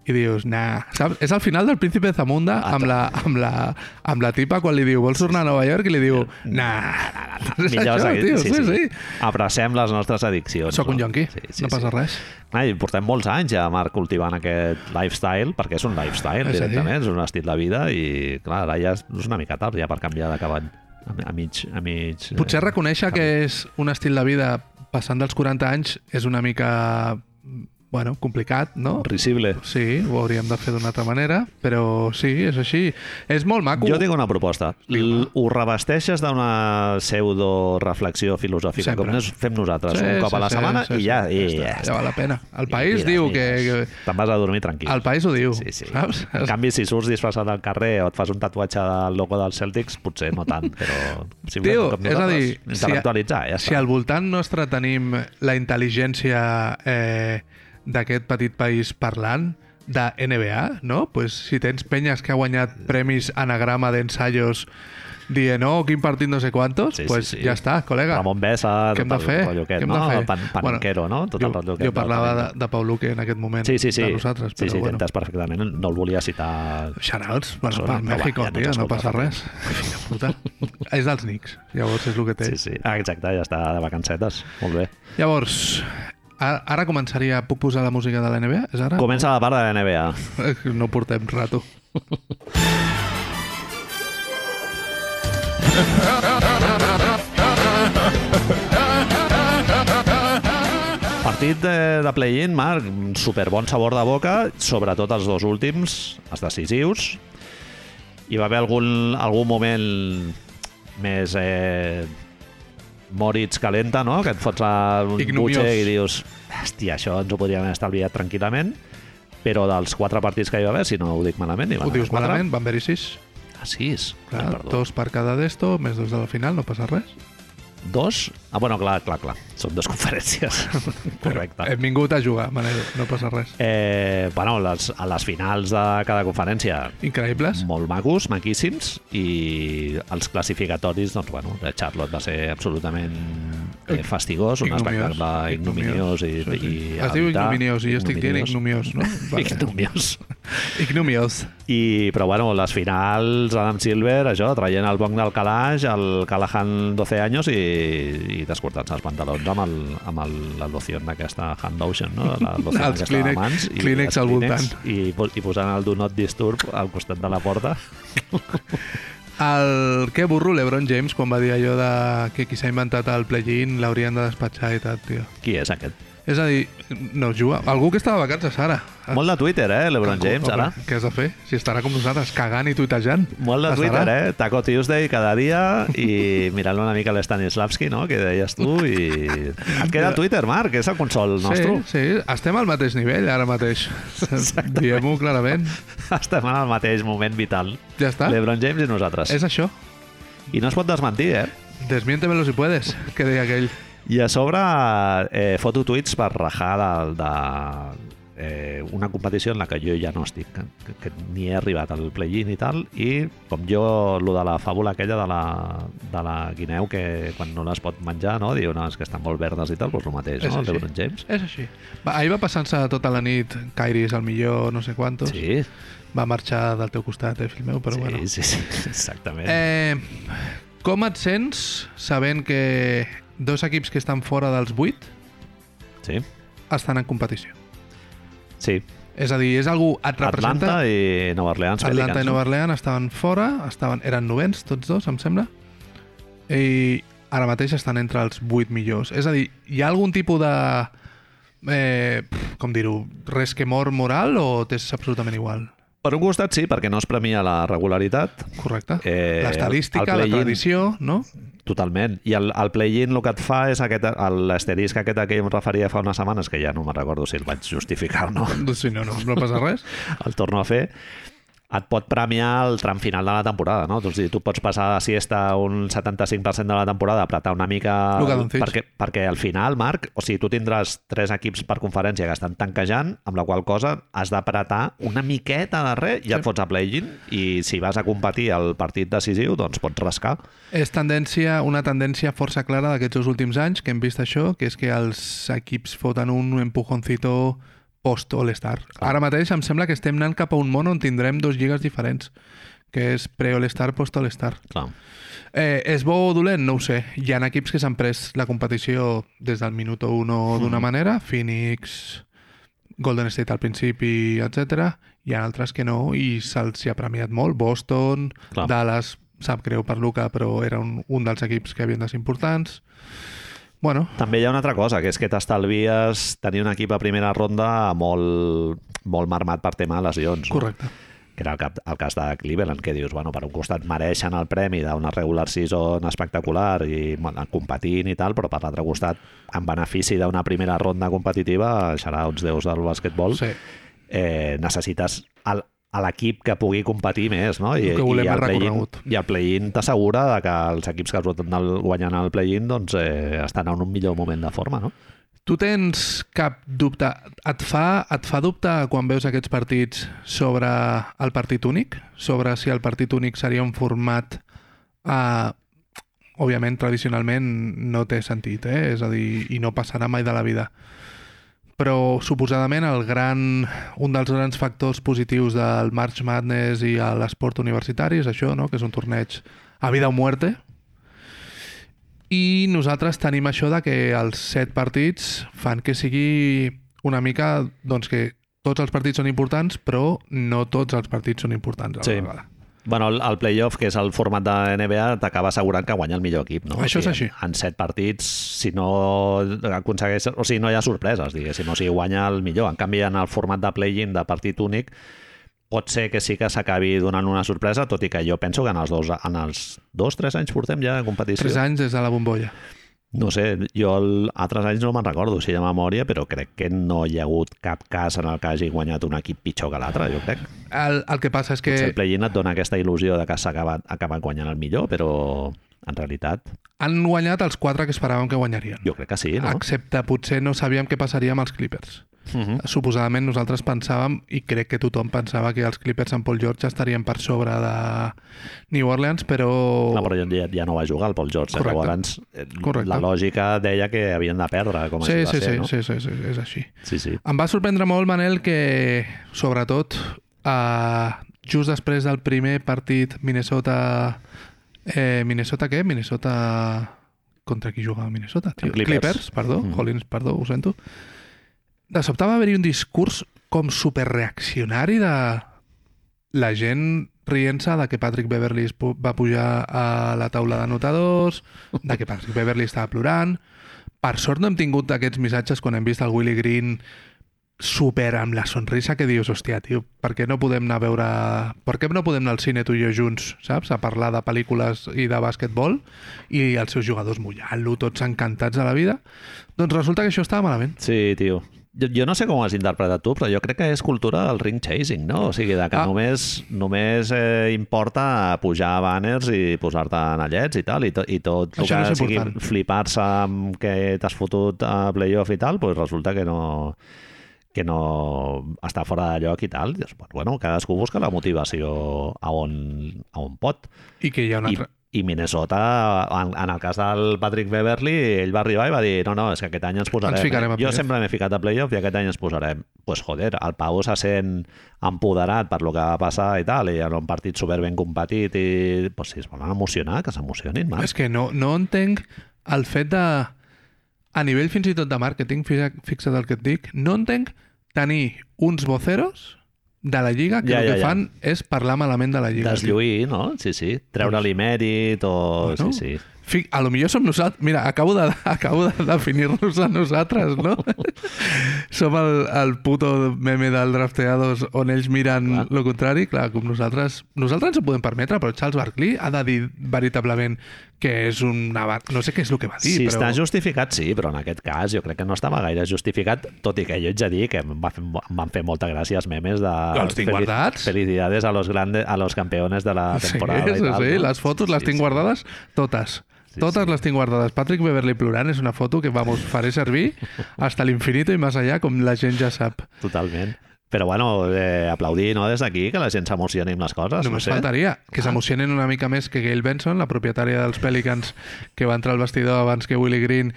[SPEAKER 2] i dius, nah, saps? És al final del Príncipe Zamunda
[SPEAKER 1] Ah,
[SPEAKER 2] amb la, amb, la, amb la tipa quan li diu, vols tornar a Nova York? I li diu, nah, és
[SPEAKER 1] Millor
[SPEAKER 2] això,
[SPEAKER 1] és
[SPEAKER 2] tio,
[SPEAKER 1] aquest-
[SPEAKER 2] sí, sí. sí.
[SPEAKER 1] Abracem les nostres addiccions.
[SPEAKER 2] Sóc un yonqui,
[SPEAKER 1] Sí, sí,
[SPEAKER 2] no passa
[SPEAKER 1] sí.
[SPEAKER 2] res.
[SPEAKER 1] Clar, i portem molts anys ja, Marc, cultivant aquest lifestyle, perquè és un lifestyle,
[SPEAKER 2] És a dir.
[SPEAKER 1] directament, és un estil de vida, i clar, ara ja és és una mica tard ja per canviar de cavall a, a mig... A mig eh,
[SPEAKER 2] Potser reconèixer que és un estil de vida passant dels 40 anys és una mica, bueno, complicat, no?
[SPEAKER 1] Risible.
[SPEAKER 2] Sí, ho hauríem de fer d'una altra manera, però sí, és així. És molt maco.
[SPEAKER 1] Jo tinc una proposta. L ho revesteixes d'una pseudo-reflexió filosòfica,
[SPEAKER 2] Sempre.
[SPEAKER 1] com nos fem nosaltres,
[SPEAKER 2] Sí,
[SPEAKER 1] un cop
[SPEAKER 2] sí,
[SPEAKER 1] a la
[SPEAKER 2] sí,
[SPEAKER 1] setmana,
[SPEAKER 2] sí,
[SPEAKER 1] i
[SPEAKER 2] sí,
[SPEAKER 1] ja...
[SPEAKER 2] ja
[SPEAKER 1] I,
[SPEAKER 2] està,
[SPEAKER 1] ja
[SPEAKER 2] ja
[SPEAKER 1] està.
[SPEAKER 2] val la pena. El
[SPEAKER 1] I
[SPEAKER 2] País
[SPEAKER 1] mires,
[SPEAKER 2] diu
[SPEAKER 1] mires.
[SPEAKER 2] que-
[SPEAKER 1] Te'n vas a dormir tranquil.
[SPEAKER 2] El País ho diu,
[SPEAKER 1] Sí, sí.
[SPEAKER 2] saps?
[SPEAKER 1] En canvi, si surts disfressat al carrer o et fas un tatuatge del logo dels Celtics, potser no tant, però... Si
[SPEAKER 2] Tio,
[SPEAKER 1] com
[SPEAKER 2] és a
[SPEAKER 1] nosaltres,
[SPEAKER 2] dir, si,
[SPEAKER 1] Intel·lectualitzar, ja
[SPEAKER 2] si
[SPEAKER 1] està.
[SPEAKER 2] al voltant nostre tenim la intel·ligència eh, d'aquest petit país parlant, de NBA, no? Pues si tens penyes que ha guanyat premis anagrama d'ensayos dient, oh, quin partit no sé quantos,
[SPEAKER 1] Sí, sí,
[SPEAKER 2] pues
[SPEAKER 1] sí.
[SPEAKER 2] ja està, col·lega.
[SPEAKER 1] Ramon Besa,
[SPEAKER 2] Què hem de
[SPEAKER 1] tot el
[SPEAKER 2] fer?
[SPEAKER 1] rotllo
[SPEAKER 2] Què
[SPEAKER 1] aquest,
[SPEAKER 2] hem
[SPEAKER 1] no?
[SPEAKER 2] de fer?
[SPEAKER 1] El pan, panquero, bueno, no? Tot el rotllo
[SPEAKER 2] jo,
[SPEAKER 1] aquest
[SPEAKER 2] jo
[SPEAKER 1] del
[SPEAKER 2] parlava de,
[SPEAKER 1] panquero.
[SPEAKER 2] de Pau Luque en aquest moment,
[SPEAKER 1] Sí, sí, sí.
[SPEAKER 2] de nosaltres,
[SPEAKER 1] sí,
[SPEAKER 2] però
[SPEAKER 1] sí,
[SPEAKER 2] bueno.
[SPEAKER 1] t'entens perfectament. No el volia citar...
[SPEAKER 2] Xarals, per,
[SPEAKER 1] Són-
[SPEAKER 2] per
[SPEAKER 1] no, va,
[SPEAKER 2] Mèxic,
[SPEAKER 1] ja no
[SPEAKER 2] tio,
[SPEAKER 1] ens
[SPEAKER 2] no
[SPEAKER 1] escolta,
[SPEAKER 2] passa res. Filla puta. és dels Knicks, llavors és el que té.
[SPEAKER 1] Sí, sí. Ah, exacte, ja està de vacancetes. Molt bé.
[SPEAKER 2] Llavors, ara, ara començaria... Puc posar la música de la NBA? És ara? Eh,
[SPEAKER 1] Comença la part de la NBA.
[SPEAKER 2] No portem rato.
[SPEAKER 1] Partit de, de play-in, Marc, super bon sabor de boca, sobretot els dos últims, els decisius. Hi va haver algun, algun moment més eh, Moritz calenta, no? Que et fots a un
[SPEAKER 2] Ignomiós.
[SPEAKER 1] butxe i dius hòstia, això ens ho podríem haver estalviat tranquil·lament però dels quatre partits que hi va haver, si no ho dic malament, hi van
[SPEAKER 2] Ho dius
[SPEAKER 1] haver quatre.
[SPEAKER 2] malament, van haver-hi sis.
[SPEAKER 1] Ah, sis.
[SPEAKER 2] Clar,
[SPEAKER 1] Ai, perdó.
[SPEAKER 2] dos per cada d'esto, més dos de la final, no passa res.
[SPEAKER 1] Dos? Ah, bueno, clar, clar, clar. Són dues conferències. Correcte.
[SPEAKER 2] Hem vingut a jugar, Manel, no passa res.
[SPEAKER 1] Eh, bueno, les, a les finals de cada conferència
[SPEAKER 2] Increïbles.
[SPEAKER 1] molt macos, maquíssims i els classificatoris, doncs bueno de Charlotte va ser absolutament eh, fastigós, un
[SPEAKER 2] Ignomiós.
[SPEAKER 1] espectacle ignominiós i,
[SPEAKER 2] Sí, sí.
[SPEAKER 1] i
[SPEAKER 2] Es diu
[SPEAKER 1] evitar-
[SPEAKER 2] ignominiós i jo estic dient ignomiós, no? Vale.
[SPEAKER 1] ignominiós.
[SPEAKER 2] Ignomiós.
[SPEAKER 1] I, però bueno, les finals, Adam Silver, això, traient el bonc del calaix, el Callahan 12 anys i, i descortant-se els pantalons amb, el, amb el, la loció aquesta hand lotion, no? La loció
[SPEAKER 2] Els
[SPEAKER 1] aquesta
[SPEAKER 2] Kleenex-
[SPEAKER 1] de mans. i
[SPEAKER 2] Kleenex
[SPEAKER 1] els
[SPEAKER 2] al
[SPEAKER 1] Kleenex,
[SPEAKER 2] voltant.
[SPEAKER 1] I, po- I posant el do not disturb al costat de la porta.
[SPEAKER 2] El que burro LeBron James quan va dir allò de que qui s'ha inventat el play-in l'haurien de despatxar i tal, tio.
[SPEAKER 1] Qui és aquest?
[SPEAKER 2] És a dir, no juga. Algú que està de vacances ara.
[SPEAKER 1] Molt de Twitter, eh, LeBron James, ara.
[SPEAKER 2] Ah. Home, Què has de fer? Si estarà com nosaltres, cagant i tuitejant.
[SPEAKER 1] Molt de
[SPEAKER 2] Estarà.
[SPEAKER 1] Twitter, eh? Taco Tuesday cada dia i mirant una mica l'Stanislavski, no?, que deies tu i... Et queda Twitter, Marc, és el consol nostre.
[SPEAKER 2] Sí, sí, estem al mateix nivell ara mateix. Diem-ho clarament.
[SPEAKER 1] Estem en el mateix moment vital.
[SPEAKER 2] Ja està.
[SPEAKER 1] LeBron James i nosaltres.
[SPEAKER 2] És això.
[SPEAKER 1] I no es pot desmentir, eh?
[SPEAKER 2] Desmiéntemelo si puedes, que deia aquell.
[SPEAKER 1] I a sobre eh, foto tuits per rajar de, de eh, una competició en la que jo ja no estic, que, que ni he arribat al play-in i tal, i com jo, lo de la fàbula aquella de la, de la guineu, que quan no les pot menjar, no? diu, no, és que estan molt verdes i tal, doncs el mateix,
[SPEAKER 2] És
[SPEAKER 1] no?
[SPEAKER 2] així.
[SPEAKER 1] El LeBron James.
[SPEAKER 2] És així. Va, ahir va passant-se tota la nit, Kairi és el millor, no sé quantos.
[SPEAKER 1] Sí,
[SPEAKER 2] Va marxar del teu costat, eh, fill meu, però
[SPEAKER 1] sí,
[SPEAKER 2] bueno.
[SPEAKER 1] sí, sí, exactament.
[SPEAKER 2] Eh, com et sents sabent que dos equips que estan fora dels vuit
[SPEAKER 1] Sí,
[SPEAKER 2] estan en competició?
[SPEAKER 1] sí.
[SPEAKER 2] És a dir, és algú et
[SPEAKER 1] Atlanta
[SPEAKER 2] representa...
[SPEAKER 1] i Nova Orleans.
[SPEAKER 2] Atlanta i
[SPEAKER 1] Pelicans,
[SPEAKER 2] Nova Orleans estaven fora, estaven, eren novens tots dos, em sembla, i ara mateix estan entre els 8 millors. És a dir, hi ha algun tipus de... Eh, pf, com dir-ho, res que mor moral o t'és absolutament igual?
[SPEAKER 1] Per un costat sí, perquè no es premia la regularitat,
[SPEAKER 2] Correcte?
[SPEAKER 1] Eh,
[SPEAKER 2] L'estadística,
[SPEAKER 1] el
[SPEAKER 2] la
[SPEAKER 1] play-in.
[SPEAKER 2] tradició, no?
[SPEAKER 1] totalment. I el, el play-in el que et fa és aquest, l'asterisc aquest a què em referia fa unes setmanes, que ja no me'n recordo si el vaig justificar o no,
[SPEAKER 2] Doncs si no, no, no passa res.
[SPEAKER 1] el torno a fer, et pot premiar el tram final de la temporada, no? Doncs dir, tu pots passar de siesta un 75% de la temporada, apretar una mica...
[SPEAKER 2] Luka Doncic.
[SPEAKER 1] perquè, perquè al final, Marc, o sigui, tu tindràs tres equips per conferència que estan tanquejant, amb la qual cosa has d'apretar una miqueta de res i
[SPEAKER 2] Sí.
[SPEAKER 1] et fots a play-in i si vas a competir al partit decisiu, doncs pots rascar.
[SPEAKER 2] És tendència, una tendència força clara d'aquests dos últims anys que hem vist això, que és que els equips foten un empujoncito post All-Star. Ara mateix em sembla que estem anant cap a un món on tindrem dos lligues diferents, que és pre-All-Star, post-All-Star.
[SPEAKER 1] Clar.
[SPEAKER 2] Eh, és bo o dolent? No ho sé. Hi ha equips que s'han pres la competició des del minut 1 d'una manera, Phoenix, Golden State al principi, etc. Hi ha altres que no i se'ls hi ha premiat molt. Boston,
[SPEAKER 1] Clar.
[SPEAKER 2] Dallas, sap greu per Luca, però era un, un dels equips que havien de ser importants. Bueno,
[SPEAKER 1] També hi ha una altra cosa, que és que t'estalvies tenir un equip a primera ronda molt, molt marmat per tema de lesions. no?
[SPEAKER 2] correcte.
[SPEAKER 1] que era el, cap, el cas de Cleveland, que dius, bueno, per un costat mereixen el premi d'una regular season espectacular i bueno, competint i tal, però per l'altre costat, en benefici d'una primera ronda competitiva, serà uns déus del basquetbol,
[SPEAKER 2] Sí.
[SPEAKER 1] eh, necessites el, a l'equip que pugui competir més, no? I,
[SPEAKER 2] El que volem
[SPEAKER 1] i
[SPEAKER 2] és
[SPEAKER 1] el play-in
[SPEAKER 2] recorregut.
[SPEAKER 1] i el play-in t'assegura de que els equips que surten del, guanyant el play-in doncs, eh, estan en un millor moment de forma, no?
[SPEAKER 2] Tu tens cap dubte? Et fa, et fa dubte quan veus aquests partits sobre el partit únic? Sobre si el partit únic seria un format... Eh, òbviament, tradicionalment no té sentit, eh? És a dir, i no passarà mai de la vida. Però, suposadament, el gran, un dels grans factors positius del March Madness i a l'esport universitari és això, no? que és un torneig a vida o muerte, i nosaltres tenim això de que els set partits fan que sigui una mica, doncs que tots els partits són importants, però no tots els partits són importants a la
[SPEAKER 1] Sí.
[SPEAKER 2] sí. vegada.
[SPEAKER 1] Bueno, el, el playoff, que és el format de NBA, t'acaba assegurant que guanya el millor equip, no?
[SPEAKER 2] Això
[SPEAKER 1] o sigui,
[SPEAKER 2] és així.
[SPEAKER 1] En, en set partits, si no aconsegueix... O sigui, no hi ha sorpreses, diguéssim. O sigui, guanya el millor. En canvi, en el format de play-in de partit únic, pot ser que sí que s'acabi donant una sorpresa, tot i que jo penso que en els dos, en els dos tres anys portem ja de competició.
[SPEAKER 2] Tres anys des de la bombolla.
[SPEAKER 1] No sé, jo el, altres anys no me'n recordo, si de memòria, però crec que no hi ha hagut cap cas en el que hagi guanyat un equip pitjor que l'altre, jo crec.
[SPEAKER 2] El, el que passa és que
[SPEAKER 1] Potser el play-in et dona aquesta il·lusió de que s'ha acabat, acabat guanyant el millor, però en realitat
[SPEAKER 2] han guanyat els quatre que esperàvem que guanyarien.
[SPEAKER 1] jo crec que sí, no?
[SPEAKER 2] Excepte potser no sabíem què passaria amb els Clippers.
[SPEAKER 1] Uh -huh.
[SPEAKER 2] Suposadament nosaltres pensàvem, i crec que tothom pensava que els Clippers amb Paul George estarien per sobre de New Orleans, però...
[SPEAKER 1] No, però ja, ja no va jugar el Paul George, eh?
[SPEAKER 2] Correcte.
[SPEAKER 1] llavors eh,
[SPEAKER 2] Correcte.
[SPEAKER 1] la lògica deia que havien de perdre, com
[SPEAKER 2] sí,
[SPEAKER 1] així va
[SPEAKER 2] sí,
[SPEAKER 1] ser,
[SPEAKER 2] sí,
[SPEAKER 1] no?
[SPEAKER 2] sí, sí, sí, és així.
[SPEAKER 1] sí, sí.
[SPEAKER 2] Em va sorprendre molt, Manel, que sobretot eh, just després del primer partit Minnesota... Eh, Minnesota què? Minnesota... Contra qui jugava Minnesota? Tio?
[SPEAKER 1] Amb Clippers.
[SPEAKER 2] perdó.
[SPEAKER 1] Mhm.
[SPEAKER 2] Collins, perdó, ho sento. De sobte va haver-hi un discurs com superreaccionari de la gent rient-se de que Patrick Beverly es pu- va pujar a la taula d'anotadors, de que Patrick Beverly estava plorant. Per sort no hem tingut aquests missatges quan hem vist el Willy Green super amb la sonrisa que dius, hòstia, tio, per què no podem anar a veure... Per què no podem anar al cine tu i jo junts, saps? A parlar de pel·lícules i de bàsquetbol i els seus jugadors mullant-lo, tots encantats de la vida. Doncs resulta que això estava malament.
[SPEAKER 1] Sí, tio. Jo, jo no sé com ho has interpretat tu, però jo crec que és cultura del ring chasing, no? O sigui, de que
[SPEAKER 2] Ah.
[SPEAKER 1] ah. només, només eh, importa pujar banners i posar-te anellets i tal, i, to, i tot el
[SPEAKER 2] Això
[SPEAKER 1] que
[SPEAKER 2] no és
[SPEAKER 1] sigui
[SPEAKER 2] important.
[SPEAKER 1] flipar-se amb que t'has fotut a playoff i tal, doncs resulta que no que no està fora de lloc i tal. Dius, bueno, cadascú busca la motivació a on, a on pot.
[SPEAKER 2] I que hi ha una
[SPEAKER 1] I,
[SPEAKER 2] altra...
[SPEAKER 1] i Minnesota, en, en el cas del Patrick Beverly, ell va arribar i va dir no, no, és que aquest any ens posarem.
[SPEAKER 2] Ens ficarem a
[SPEAKER 1] jo
[SPEAKER 2] playoff."
[SPEAKER 1] sempre m'he ficat a playoff i aquest any ens posarem. pues, joder, el Pau se sent empoderat per lo que va passar i tal, i en un partit superben competit i pues, si es volen emocionar, que s'emocionin, Marc.
[SPEAKER 2] És que no, no entenc el fet de... A nivell fins i tot de màrqueting, fi- fixa't el que et dic, no entenc tenir uns voceros de la Lliga que
[SPEAKER 1] Ja,
[SPEAKER 2] el
[SPEAKER 1] ja,
[SPEAKER 2] que
[SPEAKER 1] ja.
[SPEAKER 2] fan és parlar malament de la Lliga.
[SPEAKER 1] Deslluir, no? Sí, sí. Treure-li mèrit o...
[SPEAKER 2] Bueno.
[SPEAKER 1] Sí, sí.
[SPEAKER 2] Fic, a lo millor som nosaltres... Mira, acabo de, acabo de definir-nos a nosaltres, no? som el, el puto meme del drafteados on ells miren
[SPEAKER 1] Clar.
[SPEAKER 2] Clar. lo contrari. Clar, com nosaltres... Nosaltres ens ho podem permetre, però Charles Barkley ha de dir veritablement que és una... va- No sé què és el que va dir,
[SPEAKER 1] Sí, si
[SPEAKER 2] però...
[SPEAKER 1] està justificat, sí, però en aquest cas jo crec que no estava gaire justificat, tot i que jo ets a dir que em, va fer, em van fer molta gràcia els memes de...
[SPEAKER 2] Els tinc guardats.
[SPEAKER 1] Felicidades a los, grandes, a los campeones de la temporada.
[SPEAKER 2] Sí,
[SPEAKER 1] i
[SPEAKER 2] sí,
[SPEAKER 1] tal,
[SPEAKER 2] sí,
[SPEAKER 1] no?
[SPEAKER 2] les fotos les
[SPEAKER 1] Sí,
[SPEAKER 2] tinc
[SPEAKER 1] sí.
[SPEAKER 2] guardades totes.
[SPEAKER 1] Sí,
[SPEAKER 2] totes
[SPEAKER 1] sí.
[SPEAKER 2] les tinc guardades. Patrick Beverly plorant és una foto que, vamos, faré servir hasta l'infinito i més allà, com la gent ja sap.
[SPEAKER 1] Totalment. Però bueno, eh, aplaudir no, des d'aquí, que la gent s'emocioni amb les coses.
[SPEAKER 2] Només
[SPEAKER 1] no sé.
[SPEAKER 2] faltaria que s'emocionen una mica més que Gail Benson, la propietària dels Pelicans, que va entrar al vestidor abans que Willie Green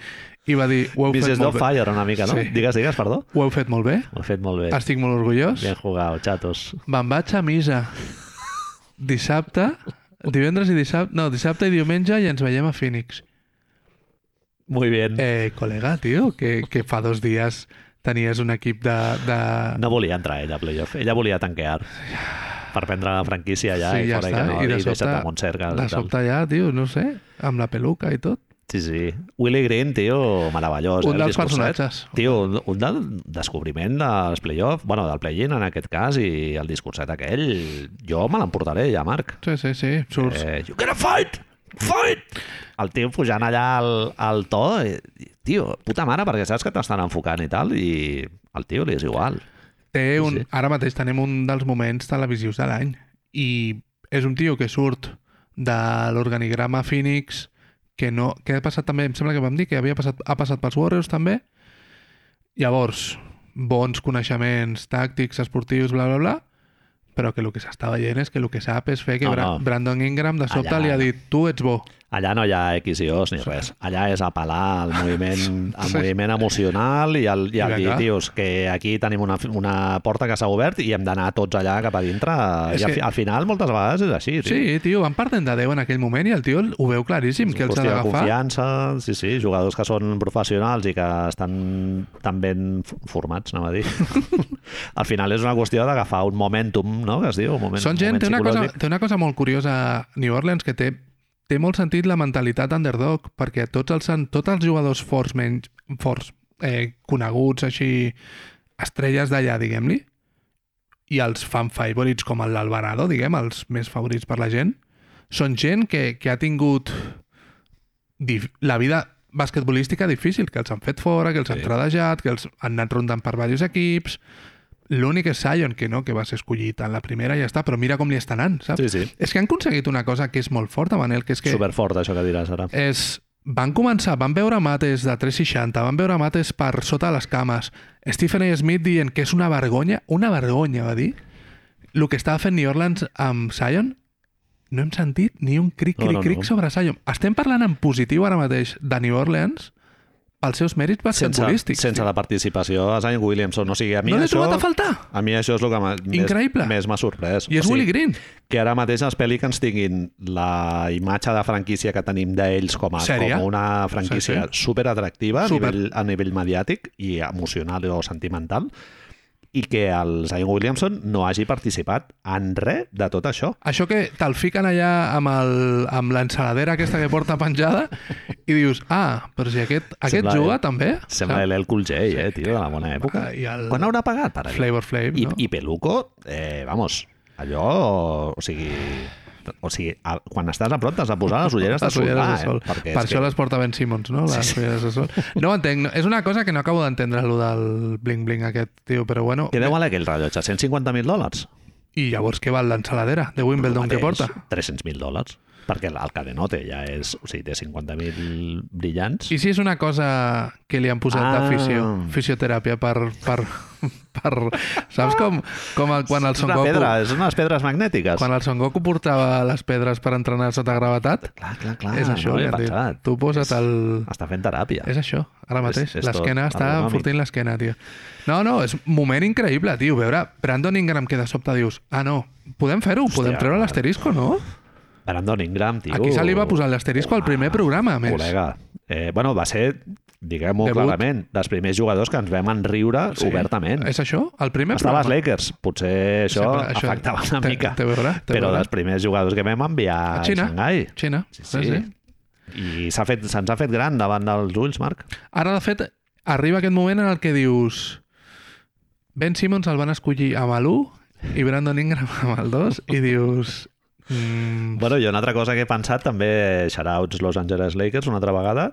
[SPEAKER 2] i va dir ho heu
[SPEAKER 1] This
[SPEAKER 2] fet
[SPEAKER 1] is no
[SPEAKER 2] molt bé.
[SPEAKER 1] fire una mica, no?
[SPEAKER 2] Sí.
[SPEAKER 1] Digues, digues, perdó.
[SPEAKER 2] Ho heu fet molt bé,
[SPEAKER 1] Ho he fet molt bé.
[SPEAKER 2] estic molt orgullós.
[SPEAKER 1] Bien jugado, chatos.
[SPEAKER 2] Me'n vaig a missa dissabte, divendres i dissabte, no, dissabte i diumenge i ens veiem a Phoenix.
[SPEAKER 1] Muy bien.
[SPEAKER 2] Eh, col·lega, tio, que, que fa dos dies tenies un equip de... de...
[SPEAKER 1] No volia entrar ella a playoff. Ella volia tanquear per prendre la franquícia ja i fora que no, i, deixa't a Montserrat.
[SPEAKER 2] de
[SPEAKER 1] i tal.
[SPEAKER 2] sobte ja, tio, no sé, amb la peluca i tot.
[SPEAKER 1] Sí, sí. Willy Green, tio, meravellós.
[SPEAKER 2] Un
[SPEAKER 1] eh, el
[SPEAKER 2] dels
[SPEAKER 1] discurset.
[SPEAKER 2] personatges.
[SPEAKER 1] Tio, un, un del descobriment dels play-off, bueno, del play-in en aquest cas, i el discurset aquell, jo me l'emportaré ja, Marc.
[SPEAKER 2] Sí, sí, sí, surts. Eh...
[SPEAKER 1] Eh, you gotta fight! Fight! El tio pujant allà al, al to, i, i, tio, puta mare, perquè saps que t'estan enfocant i tal, i al tio li és igual.
[SPEAKER 2] Té un...
[SPEAKER 1] sí.
[SPEAKER 2] Ara mateix tenim un dels moments televisius de l'any i és un tio que surt de l'organigrama Phoenix que no... que ha passat també, em sembla que vam dir que havia passat, ha passat pels Warriors també. Llavors, bons coneixements tàctics, esportius, bla, bla, bla, però que el que s'està veient és que el que sap és fer que
[SPEAKER 1] No,
[SPEAKER 2] Bra
[SPEAKER 1] no.
[SPEAKER 2] Brandon Ingram de sobte
[SPEAKER 1] Allà.
[SPEAKER 2] li ha dit tu ets bo.
[SPEAKER 1] Allà no hi ha X i O's ni res. Allà és apel·lar al moviment, al
[SPEAKER 2] Sí.
[SPEAKER 1] moviment emocional i al, i al
[SPEAKER 2] I
[SPEAKER 1] dir,
[SPEAKER 2] vinga.
[SPEAKER 1] tios, que aquí tenim una, una porta que s'ha obert i hem d'anar tots allà cap a dintre.
[SPEAKER 2] És
[SPEAKER 1] I al,
[SPEAKER 2] que-
[SPEAKER 1] fi- al final, moltes vegades és així. Tio.
[SPEAKER 2] Sí, tio, van perdent de 10 en aquell moment i el tio ho veu claríssim, que els ha
[SPEAKER 1] Qüestió de
[SPEAKER 2] d'agafar.
[SPEAKER 1] confiança, sí, sí, jugadors que són professionals i que estan tan ben f- formats, anava a dir. Al final és una qüestió d'agafar un momentum, no?, que es diu, un moment,
[SPEAKER 2] Són gent,
[SPEAKER 1] moment
[SPEAKER 2] té una, cosa,
[SPEAKER 1] psicològic.
[SPEAKER 2] té una cosa molt curiosa a New Orleans que té, té molt sentit la mentalitat underdog, perquè tots els, han- tots els jugadors forts menys forts, eh, coneguts, així, estrelles d'allà, diguem-li, i els fan favorites com el l'Alvarado, diguem, els més favorits per la gent, són gent que, que ha tingut dif- la vida basquetbolística difícil, que els han fet fora, que els han
[SPEAKER 1] Sí.
[SPEAKER 2] tradejat, que els han anat rondant per diversos equips... L'únic és Sion, que no, que va ser escollit en la primera i ja està, però mira com li està anant, saps?
[SPEAKER 1] Sí, sí,
[SPEAKER 2] És que han aconseguit una cosa que és molt forta, Manel, que és que
[SPEAKER 1] superfort, això que diràs ara.
[SPEAKER 2] és... van començar, van veure mates de 360, van veure mates per sota les cames, Stephen A. Smith dient que és una vergonya, una vergonya, va dir, el que estava fent New Orleans amb Sion, no hem sentit ni un cric,
[SPEAKER 1] No,
[SPEAKER 2] cric,
[SPEAKER 1] no, no.
[SPEAKER 2] cric sobre Sion. Estem parlant en positiu ara mateix de New Orleans pels seus mèrits
[SPEAKER 1] Sense,
[SPEAKER 2] basquetbolístics.
[SPEAKER 1] sense
[SPEAKER 2] tio.
[SPEAKER 1] la participació de Zion Williamson. O sigui, a mi
[SPEAKER 2] No l'he
[SPEAKER 1] això...
[SPEAKER 2] trobat a faltar.
[SPEAKER 1] A mi això és el que m'ha-
[SPEAKER 2] Increïble.
[SPEAKER 1] més, més m'ha sorprès.
[SPEAKER 2] I és
[SPEAKER 1] O sigui,
[SPEAKER 2] Willie Green.
[SPEAKER 1] que ara mateix els Pelicans tinguin la imatge de franquícia que tenim d'ells com a,
[SPEAKER 2] Sèria.
[SPEAKER 1] com una franquícia
[SPEAKER 2] Sí,
[SPEAKER 1] sí, superatractiva a,
[SPEAKER 2] Super.
[SPEAKER 1] nivell, a nivell mediàtic i emocional o sentimental i que el Zion Williamson no hagi participat en res de tot això.
[SPEAKER 2] Això que te'l fiquen allà amb el- amb l'ensaladera aquesta que porta penjada i dius, ah, però si aquest, aquest
[SPEAKER 1] Sembla
[SPEAKER 2] juga
[SPEAKER 1] el-
[SPEAKER 2] també.
[SPEAKER 1] Sembla
[SPEAKER 2] saps?
[SPEAKER 1] l'El Cool J, eh, tio, de la bona època.
[SPEAKER 2] Ah, I el
[SPEAKER 1] Quan haurà pagat per allò?
[SPEAKER 2] Flavor Flav,
[SPEAKER 1] I,
[SPEAKER 2] no?
[SPEAKER 1] I Peluco, eh, vamos, allò, o sigui... O sigui, a, quan estàs a prop t'has de posar les ulleres de
[SPEAKER 2] Les
[SPEAKER 1] sol.
[SPEAKER 2] ulleres
[SPEAKER 1] clar,
[SPEAKER 2] de sol.
[SPEAKER 1] Eh? Perquè
[SPEAKER 2] Per
[SPEAKER 1] és
[SPEAKER 2] això les porta Ben Simmons, no? Les ulleres de sol. No ho entenc. No. És una cosa que no acabo d'entendre, allò del bling-bling aquest, tio, però bueno...
[SPEAKER 1] que, que deu valer aquell rellotge, 150.000 dòlars.
[SPEAKER 2] I llavors què val l'ensaladera de Wimbledon que
[SPEAKER 1] Mateix,
[SPEAKER 2] porta?
[SPEAKER 1] 300.000 dòlars. Perquè el cadenote ja és... O sigui, té 50.000 brillants.
[SPEAKER 2] I si és una cosa que li han posat ah.
[SPEAKER 1] Ah.
[SPEAKER 2] de fisio, fisioteràpia per... per, per saps com, com el, quan el
[SPEAKER 1] és
[SPEAKER 2] Son
[SPEAKER 1] una
[SPEAKER 2] Goku...
[SPEAKER 1] pedra, és unes pedres magnètiques.
[SPEAKER 2] Quan el Son Goku portava les pedres per entrenar sota gravetat,
[SPEAKER 1] Clar, clar, clar.
[SPEAKER 2] és això
[SPEAKER 1] no
[SPEAKER 2] que
[SPEAKER 1] l'he
[SPEAKER 2] han dit.
[SPEAKER 1] pensat.
[SPEAKER 2] Tu posa't
[SPEAKER 1] És-
[SPEAKER 2] el...
[SPEAKER 1] Està fent teràpia.
[SPEAKER 2] És això, ara
[SPEAKER 1] És-
[SPEAKER 2] mateix.
[SPEAKER 1] és tot
[SPEAKER 2] L'esquena està
[SPEAKER 1] ergonòmic.
[SPEAKER 2] enfortint l'esquena, tio. No, no, és un moment increïble, tio. Veure Brandon Ingram que de sobte dius, ah, no, podem fer-ho, podem treure l'asterisco, no?
[SPEAKER 1] Brandon Ingram, tio... Ah,
[SPEAKER 2] Aquí se li va posar l'asterisco al primer programa, a més.
[SPEAKER 1] Col·lega. Eh, bueno, va ser, diguem-ho
[SPEAKER 2] Debut.
[SPEAKER 1] clarament, dels primers jugadors que ens vam enriure sí. obertament.
[SPEAKER 2] És això? El primer
[SPEAKER 1] Estava als
[SPEAKER 2] programa?
[SPEAKER 1] Lakers, potser això,
[SPEAKER 2] Sempre, això
[SPEAKER 1] afectava una
[SPEAKER 2] te-
[SPEAKER 1] mica.
[SPEAKER 2] te veurà, te
[SPEAKER 1] però
[SPEAKER 2] veurà.
[SPEAKER 1] dels primers jugadors que vam enviar
[SPEAKER 2] A
[SPEAKER 1] a,
[SPEAKER 2] Xina.
[SPEAKER 1] Xangai.
[SPEAKER 2] Xina.
[SPEAKER 1] Sí, sí. I s'ha fet- se'ns ha fet gran davant dels ulls, Marc.
[SPEAKER 2] Ara, de fet, arriba aquest moment en el que dius Ben Simmons el van escollir amb l'1 i Brandon Ingram amb el 2 i dius... Mm,
[SPEAKER 1] Bueno, i una altra cosa que he pensat, també, shoutouts Los Angeles Lakers una altra vegada.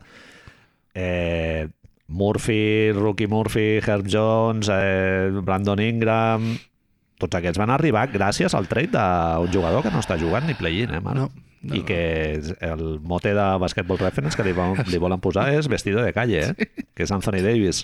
[SPEAKER 1] Eh, Murphy, Rookie Murphy, Herb Jones, eh, Brandon Ingram... Tots aquests van arribar gràcies al trade d'un jugador que no està jugant ni play-in, eh, Marc?
[SPEAKER 2] no, no,
[SPEAKER 1] I que és- el mote de Basketball Reference que li, vo- li volen posar és vestido de calle, eh? que és Anthony Davis.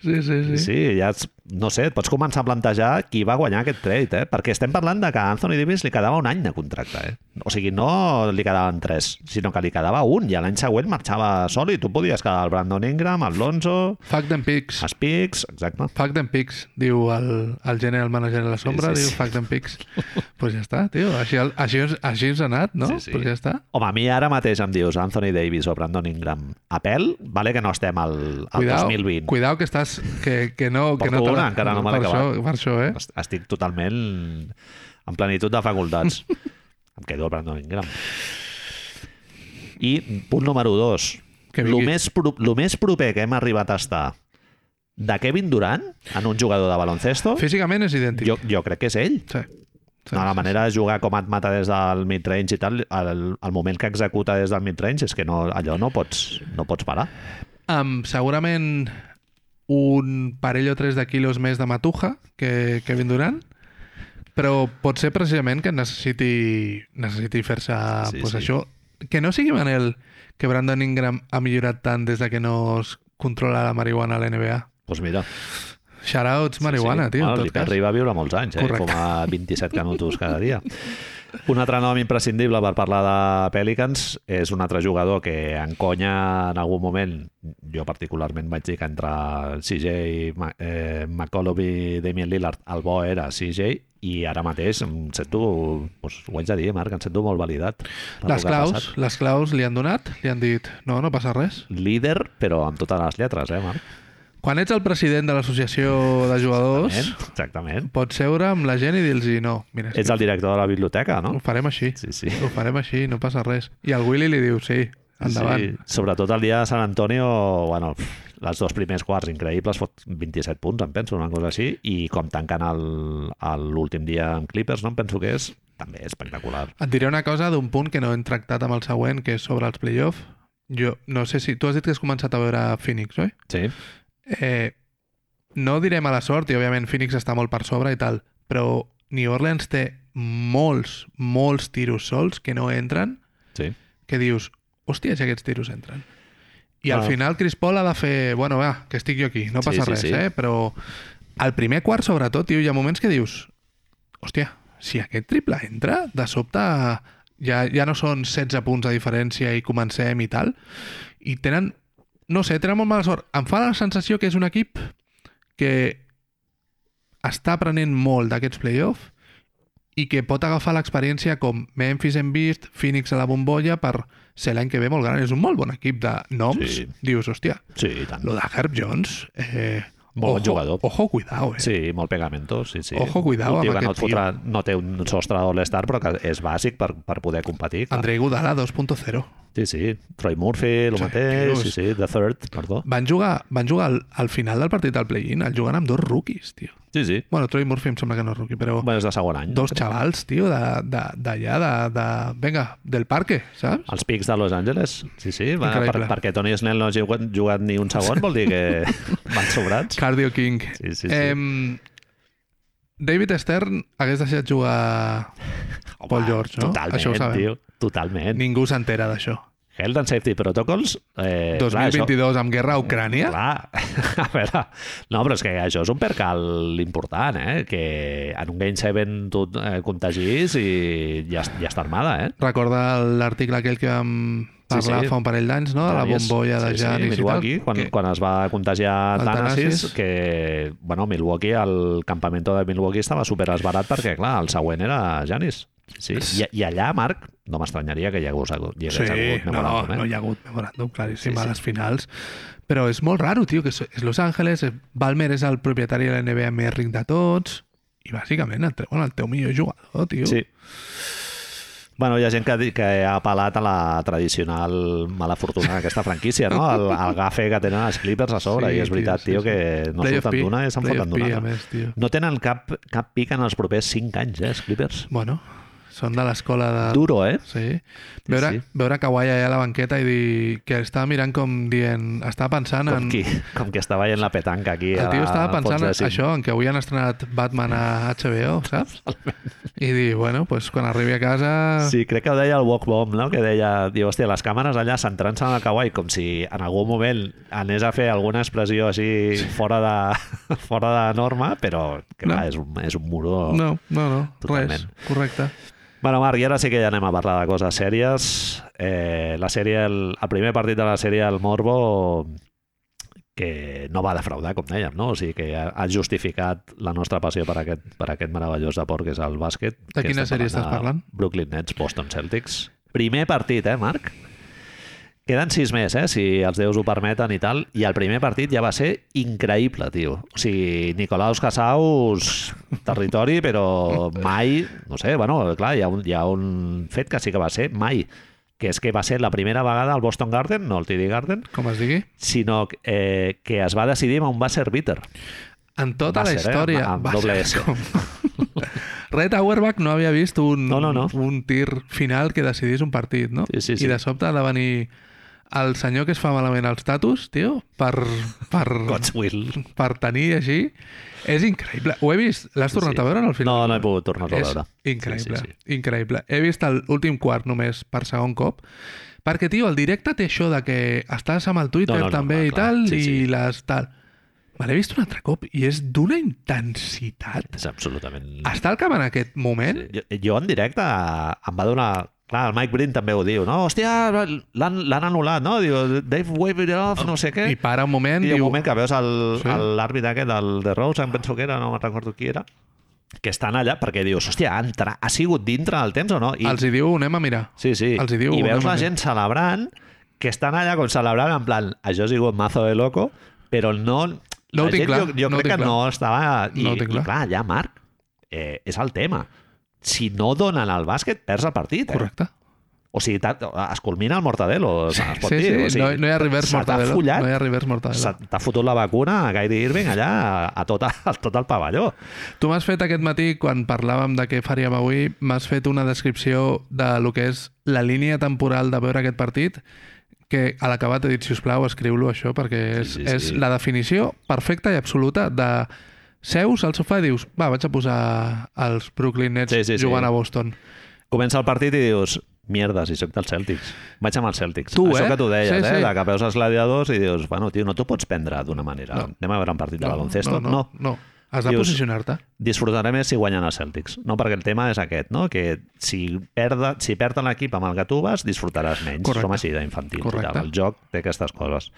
[SPEAKER 2] Sí, sí, sí.
[SPEAKER 1] Sí, sí ja és, no sé, et pots començar a plantejar qui va guanyar aquest trade, eh? perquè estem parlant de que a Anthony Davis li quedava un any de contracte. Eh? O sigui, no li quedaven tres, sinó que li quedava un, i l'any següent marxava sol i tu podies quedar el Brandon Ingram, el Lonzo,
[SPEAKER 2] Fuck them pigs.
[SPEAKER 1] els Pics, exacte.
[SPEAKER 2] Fuck them pigs, diu el, el general manager a la sombra,
[SPEAKER 1] sí,
[SPEAKER 2] diu
[SPEAKER 1] sí.
[SPEAKER 2] fuck them pigs. Doncs pues ja està, tio, així, el- així, ens- així ens ha anat, no?
[SPEAKER 1] Sí, sí.
[SPEAKER 2] Pues ja està.
[SPEAKER 1] Home, a mi ara mateix em dius Anthony Davis o Brandon Ingram a pèl, vale que no estem al, al 2020.
[SPEAKER 2] cuidao que estàs... Que, que no, que no
[SPEAKER 1] Porto
[SPEAKER 2] te la-
[SPEAKER 1] una, encara no me l'he
[SPEAKER 2] per això,
[SPEAKER 1] acabat.
[SPEAKER 2] per això, eh?
[SPEAKER 1] Est- Estic totalment en plenitud de facultats. em quedo el Brandon Ingram. I punt número dos.
[SPEAKER 2] Que
[SPEAKER 1] El
[SPEAKER 2] vingui.
[SPEAKER 1] més, pro, lo més proper que hem arribat a estar de Kevin Durant en un jugador de baloncesto,
[SPEAKER 2] Físicament és idèntic.
[SPEAKER 1] jo, jo crec que és ell.
[SPEAKER 2] Sí. sí.
[SPEAKER 1] No, la manera de jugar com et mata des del midrange i tal, el, el moment que executa des del midrange és que no, allò no pots, no pots parar.
[SPEAKER 2] Amb segurament un parell o tres de quilos més de matuja que Kevin Durant, però pot ser precisament que necessiti, necessiti fer-se
[SPEAKER 1] Sí,
[SPEAKER 2] sí, pues
[SPEAKER 1] sí.
[SPEAKER 2] això. Que no sigui Manel que Brandon Ingram ha millorat tant des de que no es controla la marihuana a l'NBA.
[SPEAKER 1] Doncs pues mira,
[SPEAKER 2] Shoutouts marihuana, tio,
[SPEAKER 1] Bueno,
[SPEAKER 2] en
[SPEAKER 1] li
[SPEAKER 2] tot cas.
[SPEAKER 1] arriba a viure molts anys, eh?
[SPEAKER 2] Correcte.
[SPEAKER 1] Fumar 27 canutos cada dia. Un altre nom imprescindible per parlar de Pelicans és un altre jugador que en conya en algun moment, jo particularment vaig dir que entre CJ, Ma- eh, McCollum i Damien Lillard el bo era CJ i ara mateix em sento, doncs, ho haig de dir, Marc, em sento molt validat. per
[SPEAKER 2] Les
[SPEAKER 1] lo que ha
[SPEAKER 2] claus,
[SPEAKER 1] passat.
[SPEAKER 2] les claus li han donat, li han dit no, no passa res.
[SPEAKER 1] Líder, però amb totes les lletres, eh, Marc?
[SPEAKER 2] Quan ets el president de l'associació de jugadors,
[SPEAKER 1] Exactament.
[SPEAKER 2] pots seure amb la gent i dir-los no, mira, és
[SPEAKER 1] Ets el director de la biblioteca,
[SPEAKER 2] que
[SPEAKER 1] no?
[SPEAKER 2] ho farem així,
[SPEAKER 1] Sí, sí.
[SPEAKER 2] ho farem així, no passa res. I al Willy li diu sí, endavant.
[SPEAKER 1] Sí, sobretot el dia de Sant Antonio, bueno, pff, els dos primers quarts increïbles, fot 27 punts, em penso, una cosa així, i com tanquen el- el- l'últim dia amb Clippers, no em penso que és, també espectacular.
[SPEAKER 2] Et diré una cosa d'un punt que no hem tractat amb el següent, que és sobre els play-off. Jo no sé si... Tu has dit que has començat a veure Phoenix, oi?
[SPEAKER 1] Sí,
[SPEAKER 2] Eh, no diré mala sort, i òbviament Phoenix està molt per sobre i tal, però New Orleans té molts, molts tiros sols que no entren,
[SPEAKER 1] sí.
[SPEAKER 2] que dius, hòstia, si aquests tiros entren. I
[SPEAKER 1] Ah.
[SPEAKER 2] al final Chris Paul ha de fer, bueno, va, que estic jo aquí, no
[SPEAKER 1] Sí,
[SPEAKER 2] passa
[SPEAKER 1] sí,
[SPEAKER 2] res,
[SPEAKER 1] sí.
[SPEAKER 2] eh? Però al primer quart, sobretot, tio, hi ha moments que dius, hòstia, si aquest triple entra, de sobte ja, ja no són 16 punts de diferència i comencem i tal. I tenen, no sé, tenen molt mala sort. Em fa la sensació que és un equip que està aprenent molt d'aquests play-off i que pot agafar l'experiència com Memphis hem vist, Phoenix a la bombolla per ser l'any que ve molt gran. És un molt bon equip de noms.
[SPEAKER 1] Sí.
[SPEAKER 2] Dius, hòstia,
[SPEAKER 1] Sí, i tant.
[SPEAKER 2] lo de Herb Jones... Eh,
[SPEAKER 1] Molt bon jugador.
[SPEAKER 2] Ojo, cuidao, eh?
[SPEAKER 1] Sí, molt pegamento, sí, sí.
[SPEAKER 2] Ojo, cuidao
[SPEAKER 1] Un tio
[SPEAKER 2] amb
[SPEAKER 1] que no,
[SPEAKER 2] aquest
[SPEAKER 1] fotrà, no té un sostre d'all-star, però que és bàsic per, per poder competir. clar.
[SPEAKER 2] Andrei Godala 2.0.
[SPEAKER 1] Sí, sí. Troy Murphy, el
[SPEAKER 2] Sí,
[SPEAKER 1] mateix,
[SPEAKER 2] tios.
[SPEAKER 1] sí, sí. The Third, perdó.
[SPEAKER 2] Van jugar, van jugar al, al final del partit del play-in, el jugant amb dos rookies, tio.
[SPEAKER 1] Sí, sí.
[SPEAKER 2] Bueno, Troy Murphy em sembla que no és rookie, però
[SPEAKER 1] Bueno, és de segon any.
[SPEAKER 2] dos xavals, tio, de- de- d'allà, de, de, Venga, del parque, saps?
[SPEAKER 1] Els pics de Los Angeles? Sí, sí. Va, per,
[SPEAKER 2] Increïble.
[SPEAKER 1] perquè Tony Snell no ha jugat, jugat ni un segon, vol dir que van sobrats.
[SPEAKER 2] Cardio King.
[SPEAKER 1] Sí, sí, sí.
[SPEAKER 2] Em, David Stern hagués deixat jugar... Paul George, no?
[SPEAKER 1] Totalment,
[SPEAKER 2] Això ho sabem.
[SPEAKER 1] tio. Totalment.
[SPEAKER 2] Ningú s'entera d'això.
[SPEAKER 1] Health and Safety Protocols... Eh, clar, això- Eh,
[SPEAKER 2] 2022, amb guerra a Ucrània,
[SPEAKER 1] Clar, a veure, no, però és que això és un percal important, eh? Que en un Game 7 tu et eh, contagis i ja, ja està armada, eh?
[SPEAKER 2] recorda l'article aquell que vam parlar
[SPEAKER 1] Sí, sí.
[SPEAKER 2] fa un parell d'anys, no? De Ah, la
[SPEAKER 1] Giannis.
[SPEAKER 2] bombolla de
[SPEAKER 1] sí, sí,
[SPEAKER 2] Giannis
[SPEAKER 1] Milwaukee,
[SPEAKER 2] i tal.
[SPEAKER 1] quan,
[SPEAKER 2] que-
[SPEAKER 1] quan es va contagiar
[SPEAKER 2] El
[SPEAKER 1] Tanasis,
[SPEAKER 2] Thanasis.
[SPEAKER 1] que, bueno, Milwaukee, el campamento de Milwaukee estava super esbarat perquè, clar, el següent era Janis. Sí. I, I allà, Marc, no m'estranyaria que hi hagués hagut, hi hagués
[SPEAKER 2] Sí,
[SPEAKER 1] hagut
[SPEAKER 2] no,
[SPEAKER 1] memoràndum, eh?
[SPEAKER 2] no hi ha hagut memoràndum,
[SPEAKER 1] Sí,
[SPEAKER 2] claríssim, sí,
[SPEAKER 1] sí.
[SPEAKER 2] a les finals. Però és molt raro, tio, que és és Los Angeles, eh, Balmer és el propietari de la NBA més ric de tots, i bàsicament et treuen el teu millor jugador, tio.
[SPEAKER 1] Sí. Bueno, hi ha gent que, di- que ha apel·lat a la tradicional mala fortuna d'aquesta franquícia, no? El, el gafe que tenen els Clippers a sobre,
[SPEAKER 2] Sí,
[SPEAKER 1] sí, i és
[SPEAKER 2] tio,
[SPEAKER 1] veritat,
[SPEAKER 2] sí,
[SPEAKER 1] tio,
[SPEAKER 2] sí.
[SPEAKER 1] que no
[SPEAKER 2] Playoff
[SPEAKER 1] surten
[SPEAKER 2] P,
[SPEAKER 1] d'una i se'n
[SPEAKER 2] Playoff
[SPEAKER 1] foten
[SPEAKER 2] P,
[SPEAKER 1] d'una.
[SPEAKER 2] a més, tio.
[SPEAKER 1] No tenen cap, cap pic en els propers 5 anys, eh, els Clippers.
[SPEAKER 2] Bueno, són de l'escola de...
[SPEAKER 1] Duro, eh?
[SPEAKER 2] Sí. Veure,
[SPEAKER 1] sí.
[SPEAKER 2] sí. veure Kawhi allà a la banqueta i dir que estava mirant com dient... Estava pensant
[SPEAKER 1] Com,
[SPEAKER 2] en...
[SPEAKER 1] qui, com que està veient la petanca aquí. a
[SPEAKER 2] El tio
[SPEAKER 1] la-
[SPEAKER 2] estava
[SPEAKER 1] al fons
[SPEAKER 2] pensant
[SPEAKER 1] de
[SPEAKER 2] en
[SPEAKER 1] cinc.
[SPEAKER 2] això, en que avui han estrenat Batman a HBO, saps? I dir, bueno, pues quan arribi a casa...
[SPEAKER 1] Sí, crec que ho deia el Walk Bomb, no? que deia, diu, hòstia, les càmeres allà centrant-se en el kawaii, com si en algun moment anés a fer alguna expressió així fora de, fora de norma, però que
[SPEAKER 2] No.
[SPEAKER 1] no. és, un, és un muro...
[SPEAKER 2] No, no, no,
[SPEAKER 1] Totalment.
[SPEAKER 2] res, correcte.
[SPEAKER 1] Bueno, Marc, i ara sí que ja anem a parlar de coses sèries. Eh, la sèrie, el, el primer partit de la sèrie, el Morbo, que no va defraudar, com dèiem, no? O sigui que ha, ha justificat la nostra passió per aquest, per aquest meravellós esport que és el bàsquet.
[SPEAKER 2] De
[SPEAKER 1] Que
[SPEAKER 2] quina
[SPEAKER 1] estem
[SPEAKER 2] sèrie estàs
[SPEAKER 1] de
[SPEAKER 2] parlant?
[SPEAKER 1] Brooklyn Nets, Boston Celtics. Primer partit, eh, Marc? Queden sis més, eh, si els déus ho permeten i tal. I el primer partit ja va ser increïble, tio. O sigui, Nicolaus Casaus, territori, però mai... No sé, bueno, clar, hi ha, un, hi ha un fet que sí que va ser mai, que és que va ser la primera vegada al Boston Garden, no al TD Garden,
[SPEAKER 2] Com es digui?
[SPEAKER 1] sinó eh, que es va decidir amb un buzzer beater.
[SPEAKER 2] En
[SPEAKER 1] Va
[SPEAKER 2] tota la
[SPEAKER 1] ser, eh?
[SPEAKER 2] història...
[SPEAKER 1] Amb- amb
[SPEAKER 2] va
[SPEAKER 1] doble
[SPEAKER 2] ser
[SPEAKER 1] S.
[SPEAKER 2] com- Red Auerbach no havia vist un,
[SPEAKER 1] No, no, no.
[SPEAKER 2] un tir final que decidís un partit, no?
[SPEAKER 1] Sí, sí, sí.
[SPEAKER 2] I de sobte ha de venir el senyor que es fa malament als tatus, tio, per, per,
[SPEAKER 1] God's will.
[SPEAKER 2] per tenir així. És increïble. Ho he vist. L'has tornat
[SPEAKER 1] Sí.
[SPEAKER 2] a veure en el final?
[SPEAKER 1] No, no he pogut tornar-lo a
[SPEAKER 2] És
[SPEAKER 1] veure.
[SPEAKER 2] Increïble,
[SPEAKER 1] Sí, sí,
[SPEAKER 2] increïble. He vist l'últim quart només per segon cop, perquè, tio, el directe té això de que estàs amb el Twitter
[SPEAKER 1] No, no, no,
[SPEAKER 2] també
[SPEAKER 1] clar,
[SPEAKER 2] i
[SPEAKER 1] clar.
[SPEAKER 2] tal,
[SPEAKER 1] Sí, sí.
[SPEAKER 2] i les tal... Me l'he vist un altre cop i és d'una intensitat.
[SPEAKER 1] És absolutament...
[SPEAKER 2] Està al camp en aquest moment?
[SPEAKER 1] Eh, jo, jo en directe eh, em va donar... Clar, el Mike Breen també ho diu, no? Hòstia, l'han l'han anul·lat, no? Diu, Dave Waveroff, no sé què.
[SPEAKER 2] I para un moment,
[SPEAKER 1] Eh? I
[SPEAKER 2] diu...
[SPEAKER 1] un moment que veus el-
[SPEAKER 2] Sí.
[SPEAKER 1] el- l'àrbit sí. aquest, el de Rose, em penso que era, no me'n recordo qui era, que estan allà perquè dius, hòstia, ha, entrat, ha sigut dintre del temps o no? I,
[SPEAKER 2] Els hi diu, anem a mirar.
[SPEAKER 1] sí, sí.
[SPEAKER 2] els hi diu
[SPEAKER 1] I veus
[SPEAKER 2] una
[SPEAKER 1] la
[SPEAKER 2] mica.
[SPEAKER 1] gent celebrant, que estan allà com celebrant, en plan, això ha sigut mazo de loco, però no...
[SPEAKER 2] No ho
[SPEAKER 1] la gent,
[SPEAKER 2] tinc clar,
[SPEAKER 1] Jo, jo
[SPEAKER 2] no ho
[SPEAKER 1] crec
[SPEAKER 2] tinc
[SPEAKER 1] que
[SPEAKER 2] clar.
[SPEAKER 1] no estava... I,
[SPEAKER 2] No ho tinc
[SPEAKER 1] i
[SPEAKER 2] clar.
[SPEAKER 1] clar, ja, Marc, eh, és el tema. Si no donen el bàsquet, perds el partit. Eh?
[SPEAKER 2] Correcte.
[SPEAKER 1] O sigui, ta- es culmina el mortadelo, es pot
[SPEAKER 2] Sí,
[SPEAKER 1] dir.
[SPEAKER 2] sí,
[SPEAKER 1] o sigui,
[SPEAKER 2] no, no hi ha reverse
[SPEAKER 1] se t'ha
[SPEAKER 2] mortadelo.
[SPEAKER 1] Follat,
[SPEAKER 2] No hi ha reverse mortadelo.
[SPEAKER 1] Se T'ha fotut la vacuna a Kyrie Irving allà a, a, tot, a tot el pavelló.
[SPEAKER 2] Tu m'has fet aquest matí, quan parlàvem de què faríem avui, m'has fet una descripció de lo que és la línia temporal de veure aquest partit, que a l'acabat he dit, si us plau, escriu-lo això, perquè és,
[SPEAKER 1] Sí,
[SPEAKER 2] sí,
[SPEAKER 1] sí,
[SPEAKER 2] sí, és
[SPEAKER 1] sí.
[SPEAKER 2] la definició perfecta i absoluta de seus al sofà i dius, va, vaig a posar els Brooklyn Nets
[SPEAKER 1] Sí,
[SPEAKER 2] sí,
[SPEAKER 1] sí,
[SPEAKER 2] sí,
[SPEAKER 1] sí.
[SPEAKER 2] jugant a Boston.
[SPEAKER 1] Comença el partit i dius, mierda, si sóc dels Celtics. Vaig amb els Celtics.
[SPEAKER 2] Tu,
[SPEAKER 1] Això
[SPEAKER 2] eh?
[SPEAKER 1] que tu deies,
[SPEAKER 2] Sí,
[SPEAKER 1] eh?
[SPEAKER 2] sí.
[SPEAKER 1] De que veus els gladiadors i dius, bueno, tio, no t'ho pots prendre d'una manera.
[SPEAKER 2] No.
[SPEAKER 1] Anem a veure un partit de baloncesto.
[SPEAKER 2] no, no, no. Has de
[SPEAKER 1] Dius-
[SPEAKER 2] posicionar-te.
[SPEAKER 1] disfrutaré més si guanyen els Celtics, no? Perquè el tema és aquest, no? Que si, perda, si perden l'equip amb el que tu vas, disfrutaràs menys.
[SPEAKER 2] Correcte.
[SPEAKER 1] Som així d'infantil.
[SPEAKER 2] Correcte.
[SPEAKER 1] El joc té aquestes coses.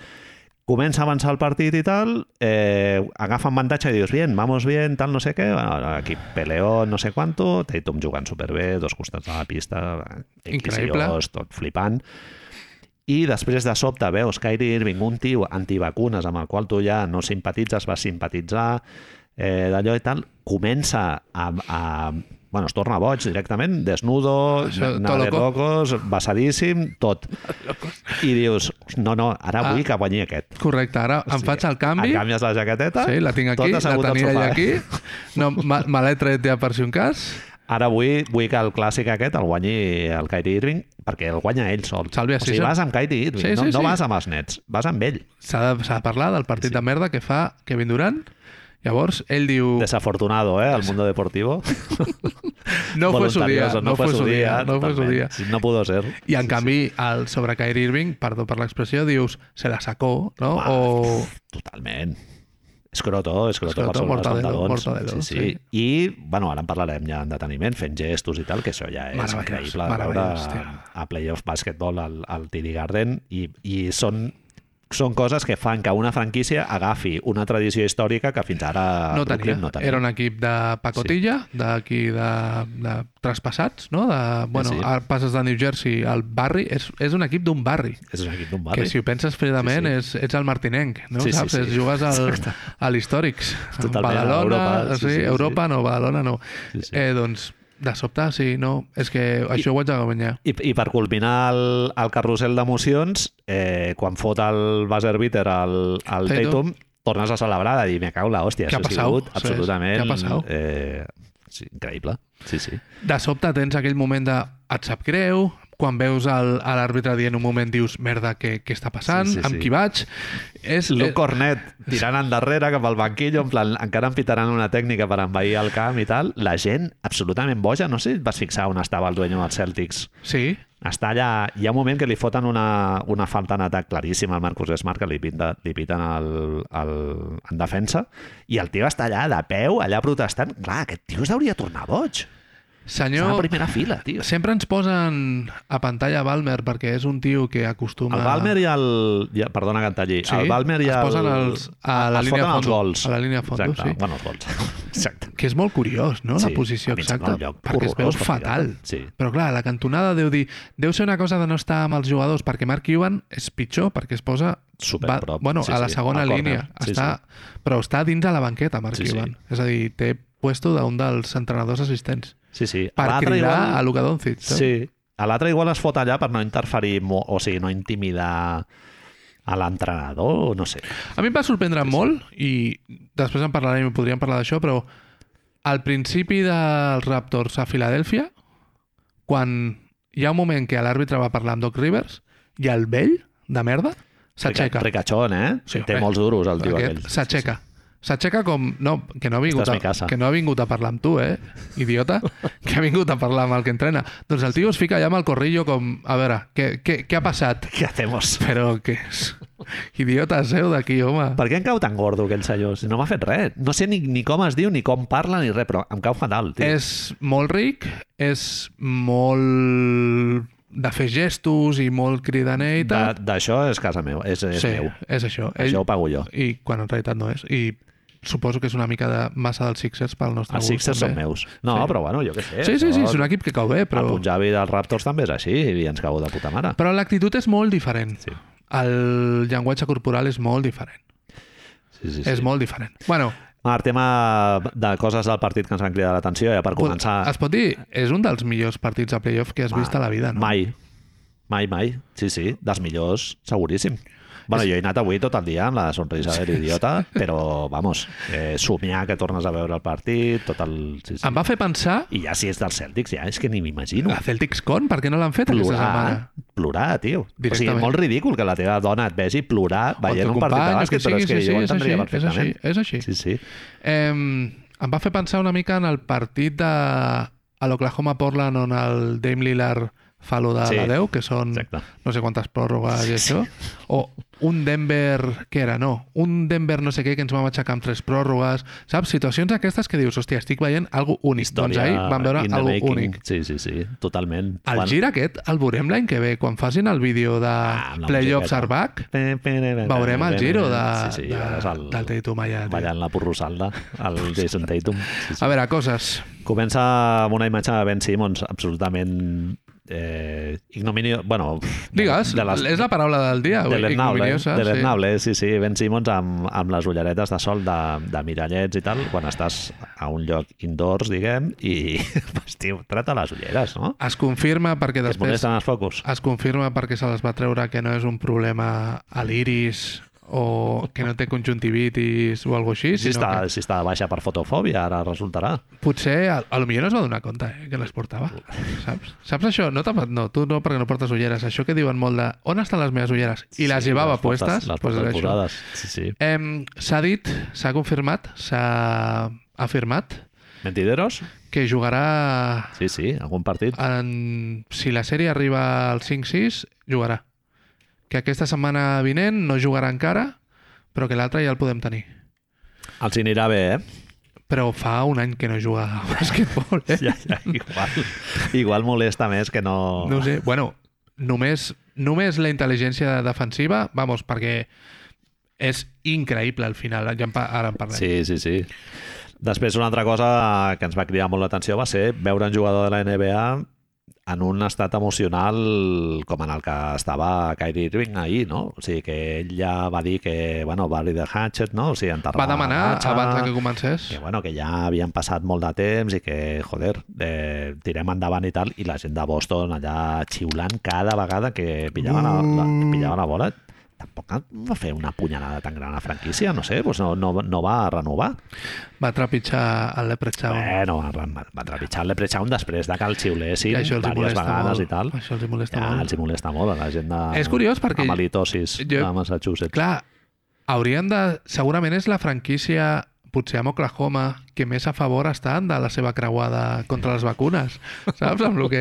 [SPEAKER 1] Comença a avançar el partit i tal, eh, agafa un avantatge i dius, bien, vamos bien, tal, no sé què, bueno, equip peleó, no sé quanto, Tatum jugant superbé, dos costats de la pista,
[SPEAKER 2] Increïble.
[SPEAKER 1] inquisiós, tot flipant. I després de sobte veus Kyrie Irving, un tio antivacunes amb el qual tu ja no simpatitzes, vas simpatitzar, eh, d'allò i tal, comença a, a... Bueno, es torna boig directament, desnudo,
[SPEAKER 2] Això,
[SPEAKER 1] nada de
[SPEAKER 2] todo
[SPEAKER 1] locos, basadíssim, tot. I dius, no, no, ara
[SPEAKER 2] Ah.
[SPEAKER 1] vull que guanyi aquest.
[SPEAKER 2] Correcte, ara em faig el canvi.
[SPEAKER 1] Et canvies la jaqueteta,
[SPEAKER 2] Sí, la tinc aquí,
[SPEAKER 1] tot
[SPEAKER 2] la
[SPEAKER 1] assegut al
[SPEAKER 2] tenia
[SPEAKER 1] sofà. eh?
[SPEAKER 2] allà aquí. No, me me l'he tret ja per si un cas.
[SPEAKER 1] Ara vull, vull que el clàssic aquest el guanyi el Kyrie Irving, perquè el guanya ell sol.
[SPEAKER 2] Salve a
[SPEAKER 1] o sigui,
[SPEAKER 2] Sisa.
[SPEAKER 1] vas amb Kyrie Irving,
[SPEAKER 2] Sí,
[SPEAKER 1] no,
[SPEAKER 2] sí,
[SPEAKER 1] no
[SPEAKER 2] sí.
[SPEAKER 1] vas amb els nets, vas amb ell.
[SPEAKER 2] s'ha de, s'ha de parlar del partit sí. de merda que fa Kevin Durant. Llavors, ell diu...
[SPEAKER 1] Desafortunado, eh, el mundo deportivo.
[SPEAKER 2] No fue su día,
[SPEAKER 1] Voluntarioso,
[SPEAKER 2] no fue su día, no fue su
[SPEAKER 1] totalment.
[SPEAKER 2] día.
[SPEAKER 1] Sí, No pudo ser.
[SPEAKER 2] I, en canvi, el, sobre Kyrie Irving, perdó per l'expressió, dius, se la sacó, no?
[SPEAKER 1] Home,
[SPEAKER 2] o...
[SPEAKER 1] Totalment. Escroto, escroto,
[SPEAKER 2] Escroto,
[SPEAKER 1] per sobre els
[SPEAKER 2] mortadelo,
[SPEAKER 1] pantalons. sí,
[SPEAKER 2] mortadelo,
[SPEAKER 1] sí.
[SPEAKER 2] sí.
[SPEAKER 1] I, bueno, ara en parlarem ja en deteniment, fent gestos i tal, que això ja és
[SPEAKER 2] Meravellós,
[SPEAKER 1] increïble de
[SPEAKER 2] meravellós,
[SPEAKER 1] veure a playoff bàsquetbol al, al TD Garden i, i són són coses que fan que una franquícia agafi una tradició històrica que fins ara
[SPEAKER 2] no tenia.
[SPEAKER 1] Brooklyn no tenia.
[SPEAKER 2] Era un equip de pacotilla, d'aquí de, de traspassats, no? De, bueno,
[SPEAKER 1] Sí,
[SPEAKER 2] sí,
[SPEAKER 1] sí.
[SPEAKER 2] passes de New Jersey al barri. És, és un equip d'un barri.
[SPEAKER 1] És un equip d'un
[SPEAKER 2] Que
[SPEAKER 1] barri.
[SPEAKER 2] si ho penses fredament
[SPEAKER 1] Sí,
[SPEAKER 2] sí, sí. És, ets el martinenc, no?
[SPEAKER 1] Sí, sí,
[SPEAKER 2] Saps?
[SPEAKER 1] sí.
[SPEAKER 2] És, jugues al, a l'històrics.
[SPEAKER 1] Totalment, a
[SPEAKER 2] Badalona,
[SPEAKER 1] Europa, sí,
[SPEAKER 2] sí,
[SPEAKER 1] sí, sí.
[SPEAKER 2] Europa no, Badalona no.
[SPEAKER 1] Sí, sí.
[SPEAKER 2] Eh, doncs, de sobte, sí, no. És que això ho haig de guanyar.
[SPEAKER 1] I, I per culminar el, el carrusel d'emocions, eh, quan fot el buzzer beater al, al Tatum,
[SPEAKER 2] Tatum.
[SPEAKER 1] tornes a celebrar de dir, me cago en la hòstia,
[SPEAKER 2] Què ha
[SPEAKER 1] això ha
[SPEAKER 2] passau?
[SPEAKER 1] sigut
[SPEAKER 2] Això és,
[SPEAKER 1] absolutament...
[SPEAKER 2] què ha passau?
[SPEAKER 1] Eh, sí, increïble. Sí, sí.
[SPEAKER 2] de sobte tens aquell moment de et sap greu, quan veus el- a l'àrbitre dient un moment dius merda, què, què està passant?
[SPEAKER 1] Sí, sí, sí.
[SPEAKER 2] Amb qui vaig? És, eh,
[SPEAKER 1] Luke Cornet tirant endarrere cap al banquillo, en plan, encara empitaran una tècnica per envair el camp i tal. La gent absolutament boja, no sé si et vas fixar on estava el dueño dels Celtics.
[SPEAKER 2] eh, sí,
[SPEAKER 1] Està allà, hi ha un moment que li foten una, una falta en atac claríssima al Marcus Smart, que li, pinta, li piten el, el, en defensa, i el tio està allà de peu, allà protestant. Clar, aquest tio es hauria de tornar boig. Està a la
[SPEAKER 2] senyor...
[SPEAKER 1] primera fila, tio.
[SPEAKER 2] Sempre ens posen a pantalla Balmer perquè és un tio que acostuma...
[SPEAKER 1] El Balmer i el... I, perdona que em talli.
[SPEAKER 2] Sí,
[SPEAKER 1] el Balmer i
[SPEAKER 2] es
[SPEAKER 1] el...
[SPEAKER 2] posen els- a la
[SPEAKER 1] es
[SPEAKER 2] línia
[SPEAKER 1] foten els
[SPEAKER 2] de fondo.
[SPEAKER 1] gols.
[SPEAKER 2] A la línia de fondo,
[SPEAKER 1] Exacte.
[SPEAKER 2] sí.
[SPEAKER 1] Bueno, els gols. Exacte.
[SPEAKER 2] Que és molt curiós, no?, la
[SPEAKER 1] Sí,
[SPEAKER 2] posició
[SPEAKER 1] a mi em sembla
[SPEAKER 2] exacta,
[SPEAKER 1] un lloc
[SPEAKER 2] perquè es veu
[SPEAKER 1] horrorós per eh?
[SPEAKER 2] fatal.
[SPEAKER 1] ficar-la. Sí.
[SPEAKER 2] Però clar, la cantonada deu dir... Deu ser una cosa de no estar amb els jugadors, perquè Mark Cuban és pitjor, perquè es posa...
[SPEAKER 1] Superprop.
[SPEAKER 2] bueno,
[SPEAKER 1] Sí,
[SPEAKER 2] a la
[SPEAKER 1] sí,
[SPEAKER 2] segona
[SPEAKER 1] al córner.
[SPEAKER 2] línia.
[SPEAKER 1] Sí,
[SPEAKER 2] està, Però està dins de la banqueta, Mark
[SPEAKER 1] Sí, sí.
[SPEAKER 2] Cuban. És a dir, té puesto d'un dels entrenadors assistents.
[SPEAKER 1] Sí, sí. A
[SPEAKER 2] Per
[SPEAKER 1] l'altre
[SPEAKER 2] cridar
[SPEAKER 1] igual-
[SPEAKER 2] a Luka Doncic. saps?
[SPEAKER 1] Sí. A l'altre igual es fot allà per no interferir, mo- o sigui, no intimidar a l'entrenador, no sé.
[SPEAKER 2] A mi em va sorprendre molt, i després en parlarem i podríem parlar d'això, però al principi dels Raptors a Filadèlfia, quan hi ha un moment que l'àrbitre va parlar amb Doc Rivers, i el vell, de merda, s'aixeca.
[SPEAKER 1] Rica- Ricachón, eh?
[SPEAKER 2] Sí,
[SPEAKER 1] Té
[SPEAKER 2] home.
[SPEAKER 1] molts duros el tio
[SPEAKER 2] Aquest
[SPEAKER 1] aquell.
[SPEAKER 2] S'aixeca. S'aixeca com... No, que no, ha vingut
[SPEAKER 1] Esta és mi
[SPEAKER 2] a,
[SPEAKER 1] casa.
[SPEAKER 2] que no ha vingut a parlar amb tu, eh? Idiota. que ha vingut a parlar amb el que entrena. Doncs el tio es fica allà amb el corrillo com... A veure, què, què, què ha passat?
[SPEAKER 1] Què hacemos?
[SPEAKER 2] Però que és... Idiota seu d'aquí, home.
[SPEAKER 1] Per què em cau tan gordo aquell senyor? Si No m'ha fet res. No sé ni, ni com es diu, ni com parla, ni res, però em cau fatal, tio.
[SPEAKER 2] És molt ric, és molt de fer gestos i molt cridaneïtat.
[SPEAKER 1] De- D'això és casa meva, és, és
[SPEAKER 2] sí,
[SPEAKER 1] meu.
[SPEAKER 2] és això. Ell,
[SPEAKER 1] Això ho pago jo.
[SPEAKER 2] I quan en realitat no és. I suposo que és una mica de massa dels Sixers pel nostre
[SPEAKER 1] Els
[SPEAKER 2] gust.
[SPEAKER 1] Sixers són
[SPEAKER 2] també.
[SPEAKER 1] meus. eh? No,
[SPEAKER 2] Sí.
[SPEAKER 1] però bueno, jo què sé.
[SPEAKER 2] Sí, sí, sí,
[SPEAKER 1] això-
[SPEAKER 2] és un equip que cau bé, però,
[SPEAKER 1] El Punjabi dels Raptors també és així i ens cau de puta mare.
[SPEAKER 2] però l'actitud és molt diferent.
[SPEAKER 1] Sí.
[SPEAKER 2] El llenguatge corporal és molt diferent.
[SPEAKER 1] Sí, sí,
[SPEAKER 2] Sí,
[SPEAKER 1] sí.
[SPEAKER 2] sí. És molt diferent. Bueno,
[SPEAKER 1] Marc, tema de coses del partit que ens van cridar l'atenció, ja per
[SPEAKER 2] pot-
[SPEAKER 1] començar...
[SPEAKER 2] es pot dir, és un dels millors partits de playoff que has vist a la vida, no?
[SPEAKER 1] Mai. Mai, mai. Sí, sí, dels millors, seguríssim. Bueno, jo he anat avui tot el dia amb la sonrisa de l'idiota, però, vamos, eh, somiar que tornes a veure el partit, tot el... Sí, sí.
[SPEAKER 2] Em va fer pensar
[SPEAKER 1] I ja si és dels Celtics, ja és que ni m'imagino.
[SPEAKER 2] a Celtics Con, per què no l'han fet aquesta setmana?
[SPEAKER 1] Plorar, plorar, tio. O sigui,
[SPEAKER 2] Directament.
[SPEAKER 1] és molt ridícul que la teva dona et vegi plorar
[SPEAKER 2] O el
[SPEAKER 1] veient
[SPEAKER 2] teu
[SPEAKER 1] un partit de
[SPEAKER 2] company, o
[SPEAKER 1] bàsquet,
[SPEAKER 2] que
[SPEAKER 1] però
[SPEAKER 2] sigui,
[SPEAKER 1] és que jo
[SPEAKER 2] sí, sí,
[SPEAKER 1] ho
[SPEAKER 2] és
[SPEAKER 1] entendria
[SPEAKER 2] així, és
[SPEAKER 1] perfectament.
[SPEAKER 2] així, és així.
[SPEAKER 1] Sí, sí.
[SPEAKER 2] Em, em va fer pensar una mica en el partit de a l'Oklahoma Portland on el Dame Lillard fa lo de
[SPEAKER 1] Sí,
[SPEAKER 2] la 10, que són
[SPEAKER 1] exacte.
[SPEAKER 2] no sé quantes pròrrogues i això. O un Denver, què era? No, un Denver no sé què que ens vam aixecar amb tres pròrrogues. Saps? Situacions aquestes que dius, hòstia, estic veient algo únic. Doncs
[SPEAKER 1] Història
[SPEAKER 2] ahir vam veure
[SPEAKER 1] in the
[SPEAKER 2] algo
[SPEAKER 1] making.
[SPEAKER 2] únic.
[SPEAKER 1] Sí, sí, sí, totalment.
[SPEAKER 2] El
[SPEAKER 1] Quan-
[SPEAKER 2] gir aquest el veurem l'any que ve, quan facin el vídeo de
[SPEAKER 1] Ah, amb la
[SPEAKER 2] Playoffs
[SPEAKER 1] musiqueta.
[SPEAKER 2] are back,
[SPEAKER 1] Pe, pe, pe, pe,
[SPEAKER 2] veurem
[SPEAKER 1] pe,
[SPEAKER 2] el
[SPEAKER 1] pe,
[SPEAKER 2] giro
[SPEAKER 1] pe.
[SPEAKER 2] de,
[SPEAKER 1] sí, sí,
[SPEAKER 2] de,
[SPEAKER 1] veuràs el,
[SPEAKER 2] del Tatum allà. tio. Ah.
[SPEAKER 1] ballant la porrosalda, el Jason Tatum. Sí, sí.
[SPEAKER 2] A veure, coses.
[SPEAKER 1] Comença amb una imatge de Ben Simmons absolutament eh, ignominio... Bueno,
[SPEAKER 2] Digues,
[SPEAKER 1] de les,
[SPEAKER 2] és la paraula del dia.
[SPEAKER 1] de
[SPEAKER 2] avui,
[SPEAKER 1] l'Etnable, eh?
[SPEAKER 2] ignominiosa,
[SPEAKER 1] de l'Etnable, sí. sí, Ben Simmons amb, amb les ulleretes de sol de, de mirallets i tal, quan estàs a un lloc indoors, diguem, i, hòstia, trata les ulleres, no?
[SPEAKER 2] Sí. Es confirma perquè
[SPEAKER 1] Que es
[SPEAKER 2] després...
[SPEAKER 1] molesten els focus.
[SPEAKER 2] Es confirma perquè se les va treure que no és un problema a l'iris o que no té conjuntivitis o alguna així,
[SPEAKER 1] Si
[SPEAKER 2] sinó
[SPEAKER 1] està, si està baixa per fotofòbia, ara resultarà.
[SPEAKER 2] que potser a, a lo millor no es va donar compte eh, que les portava, saps? Saps això? No, t'ha- no, tu no, perquè no portes ulleres. Això que diuen molt de on estan les meves ulleres? I les llevava
[SPEAKER 1] les portes-
[SPEAKER 2] puestes.
[SPEAKER 1] Les
[SPEAKER 2] doncs
[SPEAKER 1] portes
[SPEAKER 2] era això.
[SPEAKER 1] posades. Sí, sí.
[SPEAKER 2] Em, S'ha dit, s'ha confirmat, s'ha afirmat
[SPEAKER 1] Mentideros?
[SPEAKER 2] que jugarà
[SPEAKER 1] Sí, sí, algun partit.
[SPEAKER 2] en, si la sèrie arriba al 5-6, jugarà. Que aquesta setmana vinent no jugarà encara, però que l'altre ja el podem tenir.
[SPEAKER 1] Els anirà bé, eh?
[SPEAKER 2] Però fa un any que no juga a basquetbol, eh?
[SPEAKER 1] Ja, ja, igual, igual molesta més que no...
[SPEAKER 2] No ho sé. Bueno, només només la intel·ligència defensiva, vamos, perquè és increïble al final, ja en pa- ara en parlem.
[SPEAKER 1] Sí, sí, sí. Després, una altra cosa que ens va cridar molt l'atenció va ser veure un jugador de la NBA en un estat emocional com en el que estava Kyrie Irving ahir, no? O sigui, que ell ja va dir que, bueno, Barry the Hatchet, no? O sigui, enterrar
[SPEAKER 2] Va demanar
[SPEAKER 1] la Hatchet,
[SPEAKER 2] abans de que comencés.
[SPEAKER 1] que, bueno, que ja havien passat molt de temps i que, joder, eh, tirem endavant i tal, i la gent de Boston allà xiulant cada vegada que pillava, la, la, que pillava la bola, tampoc va fer una punyalada tan gran a la franquícia, no sé, doncs no, no, no va renovar.
[SPEAKER 2] Va trepitjar el Leprechaun.
[SPEAKER 1] Bueno, va, va, va trepitjar el Leprechaun després de que el xiulessin
[SPEAKER 2] Que això els hi
[SPEAKER 1] diverses
[SPEAKER 2] molesta
[SPEAKER 1] vegades
[SPEAKER 2] molt.
[SPEAKER 1] i tal.
[SPEAKER 2] Això els hi molesta
[SPEAKER 1] ja,
[SPEAKER 2] molt.
[SPEAKER 1] els hi molesta molt a la gent de...
[SPEAKER 2] És curiós perquè-
[SPEAKER 1] Amb halitosis
[SPEAKER 2] Jo-
[SPEAKER 1] jo... de Massachusetts.
[SPEAKER 2] Clar, haurien de... Segurament és la franquícia, potser amb Oklahoma, que més a favor estan de la seva creuada contra les vacunes. Saps? Amb el que...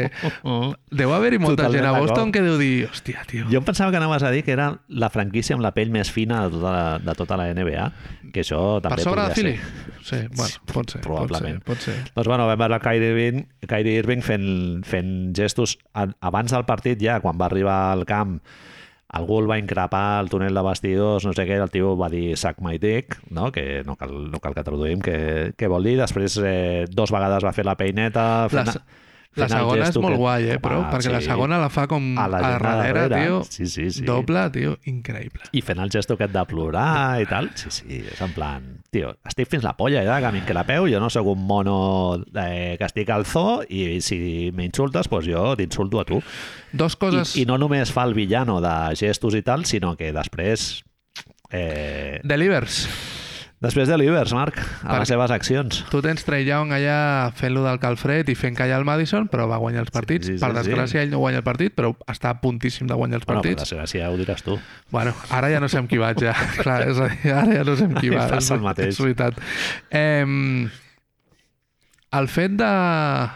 [SPEAKER 2] Deu haver-hi molta
[SPEAKER 1] Totalment
[SPEAKER 2] gent a Boston
[SPEAKER 1] d'acord.
[SPEAKER 2] que deu dir, hòstia, tio...
[SPEAKER 1] Jo em pensava que anaves a dir que era la franquícia amb la pell més fina de tota la, de tota la NBA, que això també
[SPEAKER 2] Per
[SPEAKER 1] podria
[SPEAKER 2] sobre de Philly?
[SPEAKER 1] ser.
[SPEAKER 2] Sí, bueno, pot ser.
[SPEAKER 1] probablement.
[SPEAKER 2] Pot ser, pot ser.
[SPEAKER 1] Doncs bueno, vam veure Kyrie Irving, Kyrie Irving fent, fent gestos a- abans del partit ja, quan va arribar al camp algú el va increpar al túnel de vestidors, no sé què, el tio va dir suck my dick, no? que no cal, no cal que traduïm què, què vol dir, després eh, dos vegades va fer la peineta
[SPEAKER 2] La,
[SPEAKER 1] fent,
[SPEAKER 2] la
[SPEAKER 1] fent el
[SPEAKER 2] segona és
[SPEAKER 1] gesto
[SPEAKER 2] molt
[SPEAKER 1] que-
[SPEAKER 2] guai, eh,
[SPEAKER 1] Home,
[SPEAKER 2] però, perquè la
[SPEAKER 1] sí.
[SPEAKER 2] segona la fa com a,
[SPEAKER 1] A la
[SPEAKER 2] la
[SPEAKER 1] gent de
[SPEAKER 2] darrere,
[SPEAKER 1] darrere.
[SPEAKER 2] tio,
[SPEAKER 1] Sí, sí, sí.
[SPEAKER 2] doble, tio, increïble.
[SPEAKER 1] i fent el gesto aquest de plorar i tal. Sí, sí, és en plan... Tio, estic fins la polla ja, que m'increpeu, jo no sóc un mono eh, que estic al zoo i si m'insultes, doncs jo t'insulto a tu.
[SPEAKER 2] Dos coses...
[SPEAKER 1] I, I no només fa el villano de gestos i tal, sinó que després... Eh,
[SPEAKER 2] Delivers.
[SPEAKER 1] després de l'Ivers, Marc, a
[SPEAKER 2] Per-
[SPEAKER 1] les seves accions.
[SPEAKER 2] Tu tens Trey Young allà fent-lo del Calfred i fent callar el Madison, però va guanyar els partits. Sí, sí, per
[SPEAKER 1] sí,
[SPEAKER 2] desgràcia, sí. ell no guanya el partit, però està a puntíssim de guanyar els
[SPEAKER 1] Bueno, per
[SPEAKER 2] partits.
[SPEAKER 1] desgràcia, ho diràs tu.
[SPEAKER 2] Bueno, ara ja no sé amb qui vaig, ja. Clar, és a dir, ara ja no sé amb qui
[SPEAKER 1] Em
[SPEAKER 2] vaig.
[SPEAKER 1] passa el mateix.
[SPEAKER 2] És veritat. Eh, el fet de...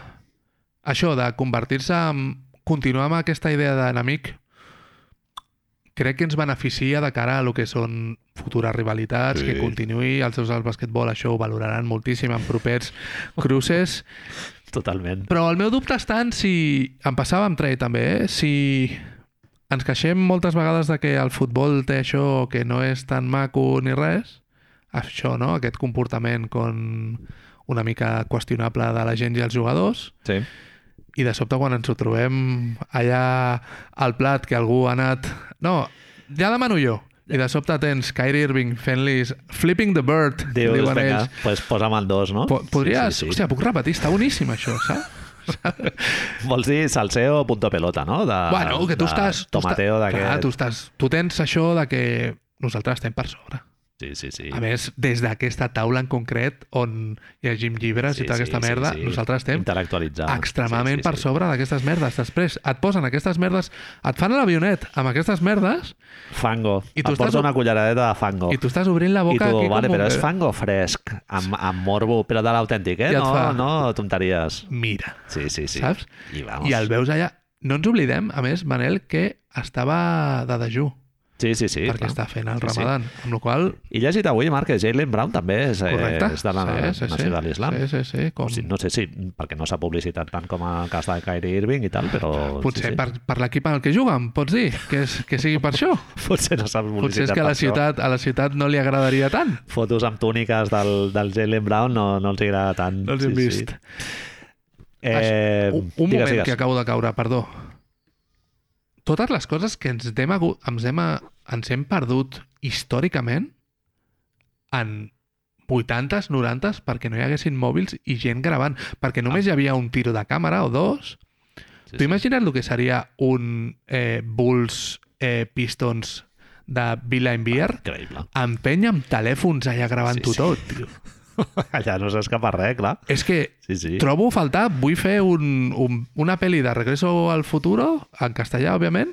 [SPEAKER 2] Això, de convertir-se en... Continuar amb aquesta idea d'enemic crec que ens beneficia de cara a lo que són futures rivalitats,
[SPEAKER 1] Sí.
[SPEAKER 2] que continuï els seus al basquetbol, això ho valoraran moltíssim en propers cruces.
[SPEAKER 1] Totalment.
[SPEAKER 2] Però el meu dubte està en si... Em passava amb Trey també, eh? Si ens queixem moltes vegades de que el futbol té això que no és tan maco ni res, això, no? Aquest comportament con una mica qüestionable de la gent i els jugadors,
[SPEAKER 1] Sí.
[SPEAKER 2] i de sobte quan ens ho trobem allà al plat que algú ha anat... No, ja demano jo. I de sobte tens Kyrie Irving fent-li flipping the bird,
[SPEAKER 1] Dius,
[SPEAKER 2] diuen
[SPEAKER 1] vinga,
[SPEAKER 2] ells.
[SPEAKER 1] pues posa'm el dos, no?
[SPEAKER 2] Po podries...
[SPEAKER 1] Sí, sí, sí.
[SPEAKER 2] Hòstia, puc repetir, està boníssim això, saps?
[SPEAKER 1] Vols dir salseo punto pelota, no? De,
[SPEAKER 2] Bueno, que tu
[SPEAKER 1] Ah, de
[SPEAKER 2] estàs... tu
[SPEAKER 1] Tomateo
[SPEAKER 2] estàs-
[SPEAKER 1] d'aquest...
[SPEAKER 2] Clar, tu, estàs, tu tens això de que nosaltres estem per sobre.
[SPEAKER 1] Sí, sí, sí.
[SPEAKER 2] A més, des d'aquesta taula en concret, on llegim llibres sí, i tota aquesta sí, merda, sí, sí. nosaltres estem
[SPEAKER 1] Intel·lectualitzar.
[SPEAKER 2] extremament sí, sí, per sobre d'aquestes merdes. Després et posen aquestes merdes, et fan l'avionet amb aquestes merdes
[SPEAKER 1] Fango. I
[SPEAKER 2] I tu
[SPEAKER 1] tu
[SPEAKER 2] estàs-
[SPEAKER 1] porta una culleradeta de fango.
[SPEAKER 2] i tu estàs obrint la
[SPEAKER 1] Oh. I
[SPEAKER 2] boca
[SPEAKER 1] tu,
[SPEAKER 2] aquí
[SPEAKER 1] vale,
[SPEAKER 2] com
[SPEAKER 1] però
[SPEAKER 2] un...
[SPEAKER 1] és fango fresc, amb, amb morbo, però de l'autèntic, eh?
[SPEAKER 2] I et
[SPEAKER 1] No,
[SPEAKER 2] fa-
[SPEAKER 1] no, tonteries.
[SPEAKER 2] Mira,
[SPEAKER 1] Sí, sí, sí.
[SPEAKER 2] Saps?
[SPEAKER 1] I, vamos.
[SPEAKER 2] i el veus allà... No ens oblidem, a més, Manel, que estava de dejú,
[SPEAKER 1] Sí, sí, sí.
[SPEAKER 2] perquè
[SPEAKER 1] clar.
[SPEAKER 2] està fent el
[SPEAKER 1] Sí, sí.
[SPEAKER 2] ramadan, amb la qual cosa,
[SPEAKER 1] I llegit avui, Marc, que Jalen Brown també és, eh,
[SPEAKER 2] correcte.
[SPEAKER 1] és de la Nació de l'Islam.
[SPEAKER 2] Sí, sí, sí, com...
[SPEAKER 1] O sigui, No sé si, perquè no s'ha publicitat tant com el cas de Kyrie Irving i tal, però...
[SPEAKER 2] Potser
[SPEAKER 1] sí, sí.
[SPEAKER 2] per, per l'equip en el que juguen, pots dir, que, és, que sigui per això.
[SPEAKER 1] Potser no s'ha publicitat
[SPEAKER 2] Potser és que a
[SPEAKER 1] per
[SPEAKER 2] la
[SPEAKER 1] això.
[SPEAKER 2] ciutat, a la ciutat no li agradaria tant.
[SPEAKER 1] fotos amb túniques del, del Jalen Brown no, no els agrada tant.
[SPEAKER 2] No els hem vist.
[SPEAKER 1] Eh,
[SPEAKER 2] un un
[SPEAKER 1] digues,
[SPEAKER 2] moment
[SPEAKER 1] digues.
[SPEAKER 2] que acabo de caure, perdó. Totes les coses que ens hem, hagut, ens hem, ens hem perdut històricament en 80s, 90s, perquè no hi haguessin mòbils i gent gravant, perquè només hi havia un tiro de càmera o dos.
[SPEAKER 1] Sí,
[SPEAKER 2] T'ho
[SPEAKER 1] sí.
[SPEAKER 2] imagines el que seria un eh, Bulls eh, Pistons de Vila en Bier?
[SPEAKER 1] Ah, Increïble.
[SPEAKER 2] amb penya amb telèfons allà gravant-ho
[SPEAKER 1] Sí, sí.
[SPEAKER 2] tot. Tio.
[SPEAKER 1] Allà no s'escapa res, clar.
[SPEAKER 2] És que
[SPEAKER 1] Sí, sí.
[SPEAKER 2] trobo a faltar, vull fer un, un, una pel·li de Regreso al Futuro, en castellà, òbviament,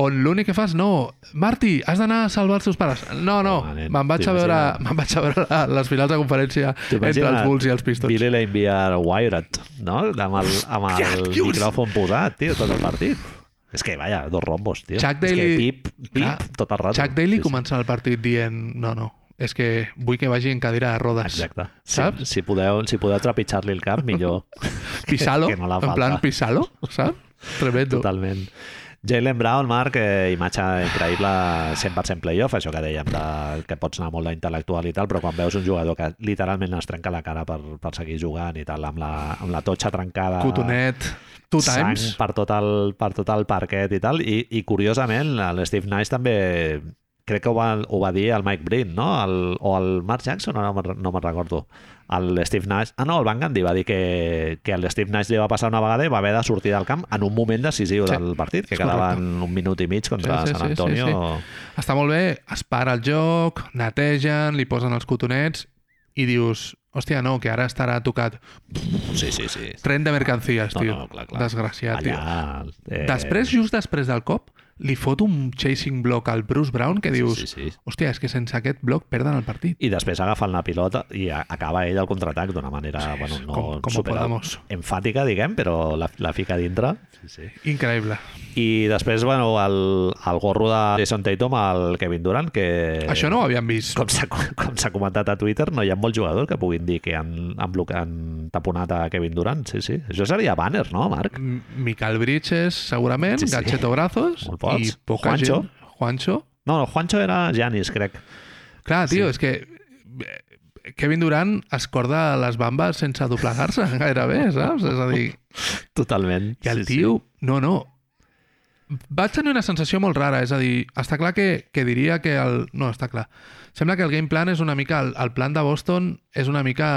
[SPEAKER 2] on l'únic que fas, no, Martí, has d'anar a salvar els teus pares. No, no,
[SPEAKER 1] Home, nen,
[SPEAKER 2] me'n vaig, a veure,
[SPEAKER 1] t'imagines-
[SPEAKER 2] me'n vaig a veure la- les finals de conferència entre els Bulls i els Pistons.
[SPEAKER 1] Billy Lane via Wired, no? Amb el, amb el
[SPEAKER 2] Hòstia, dius!
[SPEAKER 1] micròfon posat, tio, tot el partit. És que, vaja, dos rombos, tio.
[SPEAKER 2] Chuck
[SPEAKER 1] És
[SPEAKER 2] Daly-
[SPEAKER 1] que pip, pip,
[SPEAKER 2] Clar,
[SPEAKER 1] tot el rato.
[SPEAKER 2] Chuck Daly
[SPEAKER 1] Sí, sí.
[SPEAKER 2] comença el partit dient, no, no, és que vull que vagi en cadira de rodes.
[SPEAKER 1] Exacte.
[SPEAKER 2] Saps?
[SPEAKER 1] Si, si podeu, si podeu trepitjar-li el cap, millor.
[SPEAKER 2] Pisalo,
[SPEAKER 1] Que no la
[SPEAKER 2] en plan
[SPEAKER 1] falta. Tota
[SPEAKER 2] Pisalo, saps? Tremendo.
[SPEAKER 1] Totalment. Jalen Brown, Marc, eh, imatge increïble, 100% playoff, això que dèiem, de, que pots anar molt d'intel·lectual i tal, però quan veus un jugador que literalment es trenca la cara per, per seguir jugant i tal, amb la, amb la totxa trencada...
[SPEAKER 2] Cotonet, two
[SPEAKER 1] sang
[SPEAKER 2] times.
[SPEAKER 1] per tot, el, per tot el parquet i tal. I, i curiosament, l'Steve Nash també crec que ho va, ho va dir el Mike Breen, no? El, o el Mark Jackson, no, me'n- no me'n recordo. El Steve Nash... Ah, no, el Van Gundy va dir que, que el Steve Nash li va passar una vegada i va haver de sortir del camp en un moment decisiu
[SPEAKER 2] Sí,
[SPEAKER 1] sí. del partit, que
[SPEAKER 2] és
[SPEAKER 1] quedaven un minut i mig contra
[SPEAKER 2] Sí,
[SPEAKER 1] sí, sí,
[SPEAKER 2] sí, sí,
[SPEAKER 1] San
[SPEAKER 2] sí,
[SPEAKER 1] Antonio.
[SPEAKER 2] Està molt bé, es para el joc, netegen, li posen els cotonets i dius, hòstia, no, que ara estarà tocat.
[SPEAKER 1] Sí, sí, sí. sí.
[SPEAKER 2] Tren de mercancies,
[SPEAKER 1] No,
[SPEAKER 2] tio.
[SPEAKER 1] no, clar, clar.
[SPEAKER 2] Desgraciat, tio.
[SPEAKER 1] Allà... Eh,
[SPEAKER 2] Després, just després del cop, li fot un chasing block al Bruce Brown que dius,
[SPEAKER 1] Sí, sí, sí.
[SPEAKER 2] hòstia, és que sense aquest bloc perden el partit.
[SPEAKER 1] i després agafen la pilota i a- acaba ell el contraatac d'una manera sí, bueno, no
[SPEAKER 2] com- com
[SPEAKER 1] super
[SPEAKER 2] podamos.
[SPEAKER 1] enfàtica, diguem, però la, la fica a dintre. Sí, sí.
[SPEAKER 2] Increïble.
[SPEAKER 1] I després, bueno, el, el gorro de Jason Tatum al Kevin Durant, que...
[SPEAKER 2] Això no ho havíem vist.
[SPEAKER 1] Eh. Com s'ha com s'ha comentat a Twitter, no hi ha molts jugadors que puguin dir que han, han, bloc, han taponat a Kevin Durant. Sí, sí. Això seria banner, no, Marc?
[SPEAKER 2] M- Michael Bridges, segurament,
[SPEAKER 1] Sí,
[SPEAKER 2] sí,
[SPEAKER 1] sí.
[SPEAKER 2] sí. Gacheto Brazos
[SPEAKER 1] Molt pocs.
[SPEAKER 2] i poca
[SPEAKER 1] Juancho.
[SPEAKER 2] gent. Juancho.
[SPEAKER 1] No, no, Juancho era Giannis, crec.
[SPEAKER 2] Clar, tio, sí. és que eh, Kevin Durant es corda les bambes sense doblegar-se gairebé, saps? És a dir,
[SPEAKER 1] Totalment.
[SPEAKER 2] i el sí, tio... Sí. No, no. Vaig tenir una sensació molt rara, és a dir, està clar que, que diria que el... No, està clar. Sembla que el game plan és una mica... El, el plan de Boston és una mica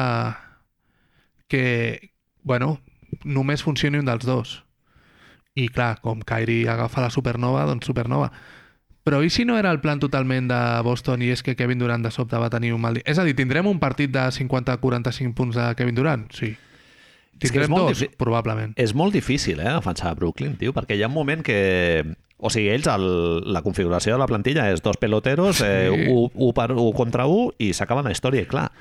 [SPEAKER 2] que, bueno, només funcioni un dels dos. I clar, com Kyrie agafa la supernova, doncs supernova. Però i si no era el plan totalment de Boston i és que Kevin Durant de sobte va tenir un mal dia? És a dir, tindrem un partit de 50-45 punts de Kevin Durant? Sí.
[SPEAKER 1] És que és
[SPEAKER 2] Tindrem
[SPEAKER 1] molt
[SPEAKER 2] dos,
[SPEAKER 1] difí-
[SPEAKER 2] probablement.
[SPEAKER 1] És molt difícil, eh, defensar a Brooklyn, tio, perquè hi ha un moment que... O sigui, ells, el, la configuració de la plantilla és dos peloteros, eh,
[SPEAKER 2] Sí.
[SPEAKER 1] un, un, per, un contra un, i s'acaba la història. I clar,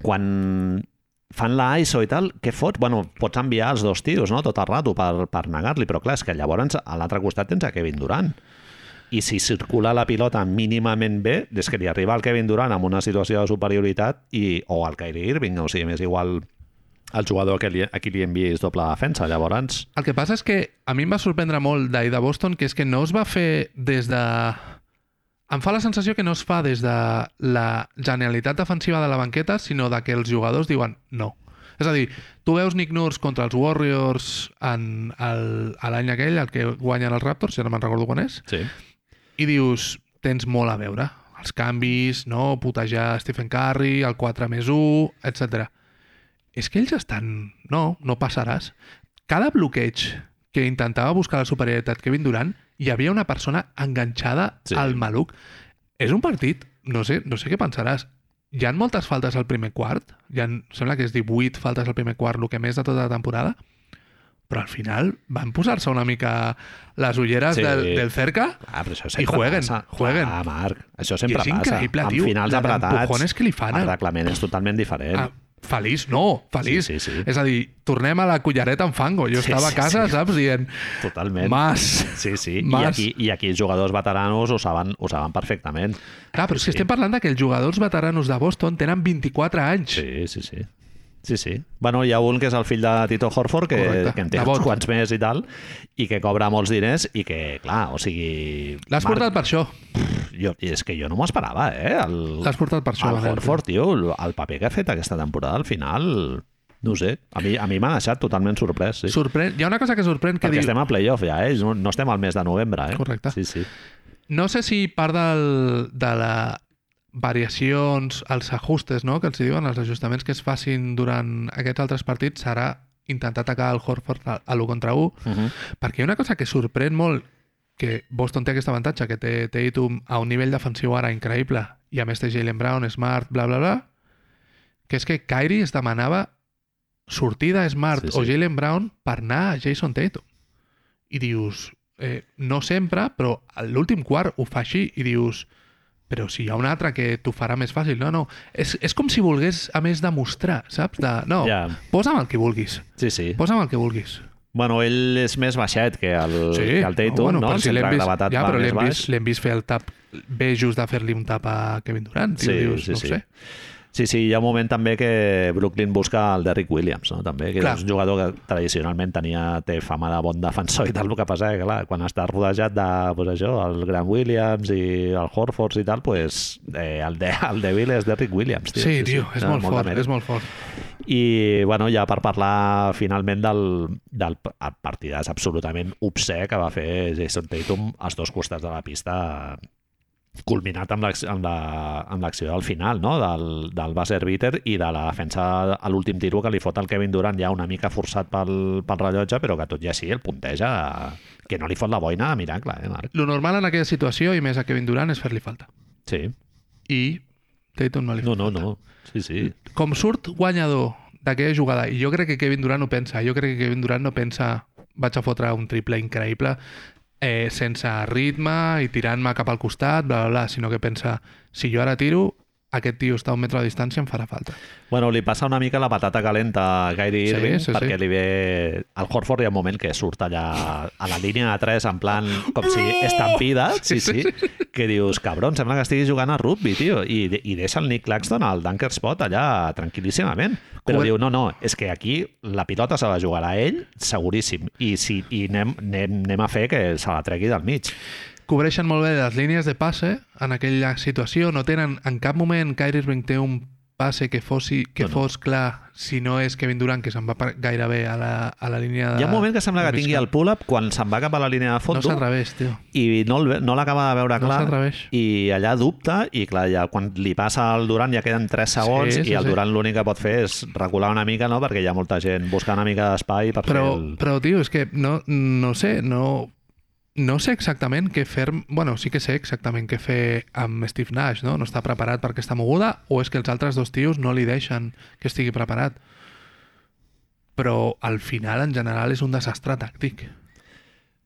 [SPEAKER 1] quan fan la ISO i tal, què fots? Bueno, pots enviar els dos tios, no?, tot el rato per, per negar-li, però clar, és que llavors a l'altre costat tens a Kevin Durant. I si circula la pilota mínimament bé, des que li arriba el Kevin Durant amb una situació de superioritat i, o al Kyrie Irving, o sigui, més igual el jugador que li, a qui li enviïs doble defensa. Llavors,
[SPEAKER 2] El que passa és que a mi em va sorprendre molt d'ahir de Boston, que és que no es va fer des de... Em fa la sensació que no es fa des de la genialitat defensiva de la banqueta, sinó de que els jugadors diuen no. És a dir, tu veus Nick Nurse contra els Warriors en el- a l'any aquell, el que guanyen els Raptors, ja no me'n recordo quan és,
[SPEAKER 1] sí.
[SPEAKER 2] i dius, tens molt a veure. Els canvis, no? Putejar Stephen Curry, el 4 més 1, etc. És que ells estan... No, no passaràs. Cada bloqueig que intentava buscar la superioritat Kevin Durant, hi havia una persona enganxada
[SPEAKER 1] Sí.
[SPEAKER 2] sí. al maluc. És un partit, no sé, no sé què pensaràs. Hi han moltes faltes al primer quart, hi han, sembla que és 18 faltes al primer quart, el que més de tota la temporada, però al final van posar-se una mica les ulleres
[SPEAKER 1] Sí.
[SPEAKER 2] sí. del, del cerca
[SPEAKER 1] Ah, però això sempre
[SPEAKER 2] jueguen,
[SPEAKER 1] passa.
[SPEAKER 2] jueguen.
[SPEAKER 1] Ah, Marc, això
[SPEAKER 2] I
[SPEAKER 1] sempre
[SPEAKER 2] és
[SPEAKER 1] passa.
[SPEAKER 2] increïble,
[SPEAKER 1] Amb
[SPEAKER 2] tio.
[SPEAKER 1] finals
[SPEAKER 2] la
[SPEAKER 1] apretats,
[SPEAKER 2] d'empujones que li fan. Ah,
[SPEAKER 1] el
[SPEAKER 2] al-
[SPEAKER 1] reglament és totalment diferent.
[SPEAKER 2] a... Feliç, no, feliç.
[SPEAKER 1] Eh? Sí, sí, sí.
[SPEAKER 2] És a dir, tornem a la cullereta amb fango. Jo
[SPEAKER 1] Sí,
[SPEAKER 2] estava
[SPEAKER 1] sí,
[SPEAKER 2] a casa,
[SPEAKER 1] sí. Eh?
[SPEAKER 2] saps, dient...
[SPEAKER 1] totalment.
[SPEAKER 2] Mas...
[SPEAKER 1] Sí, sí. I
[SPEAKER 2] Mas.
[SPEAKER 1] aquí, I aquí els jugadors veteranos ho saben, ho saben perfectament.
[SPEAKER 2] Clar, però és que estem parlant de que els jugadors veteranos de Boston tenen 24 anys.
[SPEAKER 1] Sí, sí, sí. Sí, sí. Bueno, hi ha un que és el fill de Tito Horford, que,
[SPEAKER 2] Correcte,
[SPEAKER 1] que en té
[SPEAKER 2] de
[SPEAKER 1] uns
[SPEAKER 2] Bot.
[SPEAKER 1] quants més i tal, i que cobra molts diners, i que, clar, o sigui...
[SPEAKER 2] L'has
[SPEAKER 1] Marc,
[SPEAKER 2] portat per això.
[SPEAKER 1] Jo, i és que jo no m'ho esperava, eh? El,
[SPEAKER 2] L'has portat per això,
[SPEAKER 1] El
[SPEAKER 2] Manel.
[SPEAKER 1] Horford, tio, el- el paper que ha fet aquesta temporada al final, no ho sé, a mi a mi m'ha deixat totalment sorprès, sí.
[SPEAKER 2] Sorprèn... Hi ha una cosa que sorprèn que
[SPEAKER 1] Perquè
[SPEAKER 2] diu...
[SPEAKER 1] estem a playoff ja, eh? No, no estem al mes de novembre, eh?
[SPEAKER 2] Correcte.
[SPEAKER 1] Sí, sí.
[SPEAKER 2] No sé si part del, de la variacions, els ajustes, no?, que els hi diuen, els ajustaments que es facin durant aquests altres partits serà intentar atacar el Horford a, a l'1 contra 1,
[SPEAKER 1] Uh -huh.
[SPEAKER 2] Perquè hi ha una cosa que sorprèn molt, que Boston té aquest avantatge, que té Tatum a un nivell defensiu ara increïble, i a més té Jalen Brown, Smart, bla, bla, bla, que és que Kyrie es demanava sortida Smart
[SPEAKER 1] Sí,
[SPEAKER 2] sí,
[SPEAKER 1] sí.
[SPEAKER 2] sí. o Jalen Brown per anar a Jason Tatum. I dius, eh, no sempre, però a l'últim quart ho fa així, i dius, però si hi ha un altre que t'ho farà més fàcil. No, no, és, és com si volgués, a més, demostrar, saps? De, no,
[SPEAKER 1] Ja.
[SPEAKER 2] yeah. posa'm el que vulguis,
[SPEAKER 1] Sí, sí.
[SPEAKER 2] posa'm el que vulguis.
[SPEAKER 1] Bueno, ell és més baixet que el, que el Tatum, no?
[SPEAKER 2] Oh, però
[SPEAKER 1] El centre
[SPEAKER 2] l'hem vist-
[SPEAKER 1] gravetat
[SPEAKER 2] ja,
[SPEAKER 1] va
[SPEAKER 2] però
[SPEAKER 1] més
[SPEAKER 2] l'hem
[SPEAKER 1] baix.
[SPEAKER 2] vist, l'hem vist fer el tap bé just de fer-li un tap a Kevin Durant. Tio,
[SPEAKER 1] Sí,
[SPEAKER 2] dius,
[SPEAKER 1] sí,
[SPEAKER 2] no ho
[SPEAKER 1] sí.
[SPEAKER 2] Sé.
[SPEAKER 1] Sí, sí, hi ha un moment també que Brooklyn busca el Derrick Williams, no? també, que
[SPEAKER 2] Clar.
[SPEAKER 1] és un jugador que tradicionalment tenia, té fama de bon defensor i tal, el que passa que, clar, quan està rodejat de, pues, això, el Grant Williams i el Horfords i tal, pues, eh, el, de, el dèbil és Derrick Williams. Tio.
[SPEAKER 2] Sí, tio, és
[SPEAKER 1] Té
[SPEAKER 2] molt
[SPEAKER 1] de
[SPEAKER 2] fort,
[SPEAKER 1] mèrit.
[SPEAKER 2] és molt fort.
[SPEAKER 1] I, bueno, ja per parlar finalment del, del p- el partidàs absolutament obscè que va fer Jason Tatum als dos costats de la pista culminat amb l'acc- amb la- amb l'acció del final, no? del, del buzzer beater i de la defensa a l'últim tiro que li fot el Kevin Durant ja una mica forçat pel, pel rellotge, però que tot i així el punteja que no li fot la boina a miracle, eh, Marc?
[SPEAKER 2] Lo normal en aquella situació, i més a Kevin Durant, és fer-li falta.
[SPEAKER 1] Sí.
[SPEAKER 2] I Tatum no li fa
[SPEAKER 1] No, no,
[SPEAKER 2] falta.
[SPEAKER 1] no. Sí, sí.
[SPEAKER 2] Com surt guanyador d'aquella jugada, i jo crec que Kevin Durant no pensa, jo crec que Kevin Durant no pensa vaig a fotre un triple increïble eh, sense ritme i tirant-me cap al costat, bla, bla, bla, sinó que pensa, si jo ara tiro, aquest tio està a un metre de distància, em farà falta.
[SPEAKER 1] Bueno, li passa una mica la patata calenta a Kyrie
[SPEAKER 2] Sí,
[SPEAKER 1] Irving
[SPEAKER 2] sí,
[SPEAKER 1] perquè
[SPEAKER 2] sí.
[SPEAKER 1] li ve... Al Horford hi ha un moment que surt allà a la línia de 3 en plan com si estampida, sí, sí, que dius, cabron, sembla que estiguis jugant a rugby, tio, i, i deixa el Nick Claxton al dunker spot allà tranquil·líssimament. Però
[SPEAKER 2] Comen-
[SPEAKER 1] diu, no, no, és que aquí la pilota se la jugarà ell, seguríssim, i, si, i anem, anem, anem a fer que se la tregui del mig.
[SPEAKER 2] cobreixen molt bé les línies de passe en aquella situació, no tenen en cap moment Kyrie Irving té un passe que, fossi, que
[SPEAKER 1] No,
[SPEAKER 2] no,
[SPEAKER 1] no.
[SPEAKER 2] no. fos clar si no és Kevin Durant que se'n va per- gairebé a la, a la línia de...
[SPEAKER 1] Hi ha un moment que sembla
[SPEAKER 2] de
[SPEAKER 1] que tingui
[SPEAKER 2] migdia.
[SPEAKER 1] el pull-up quan se'n va cap a la línia de
[SPEAKER 2] No
[SPEAKER 1] fondo,
[SPEAKER 2] s'atreveix, tio.
[SPEAKER 1] i no, el, ve- no l'acaba de veure
[SPEAKER 2] No
[SPEAKER 1] clar
[SPEAKER 2] s'atreveix.
[SPEAKER 1] i allà dubta i clar, ja quan li passa al Durant ja queden 3 segons sí,
[SPEAKER 2] Sí,
[SPEAKER 1] sí,
[SPEAKER 2] sí,
[SPEAKER 1] i el
[SPEAKER 2] sí.
[SPEAKER 1] Durant l'únic que pot fer és recular una mica no? perquè hi ha molta gent buscant una mica d'espai per
[SPEAKER 2] Però,
[SPEAKER 1] fer el...
[SPEAKER 2] però, tio, és que no, no sé, no... No sé exactament què fer... Bueno, sí que sé exactament què fer amb Steve Nash, no? No està preparat per aquesta moguda o és que els altres dos tios no li deixen que estigui preparat. Però al final, en general, és un desastre tàctic.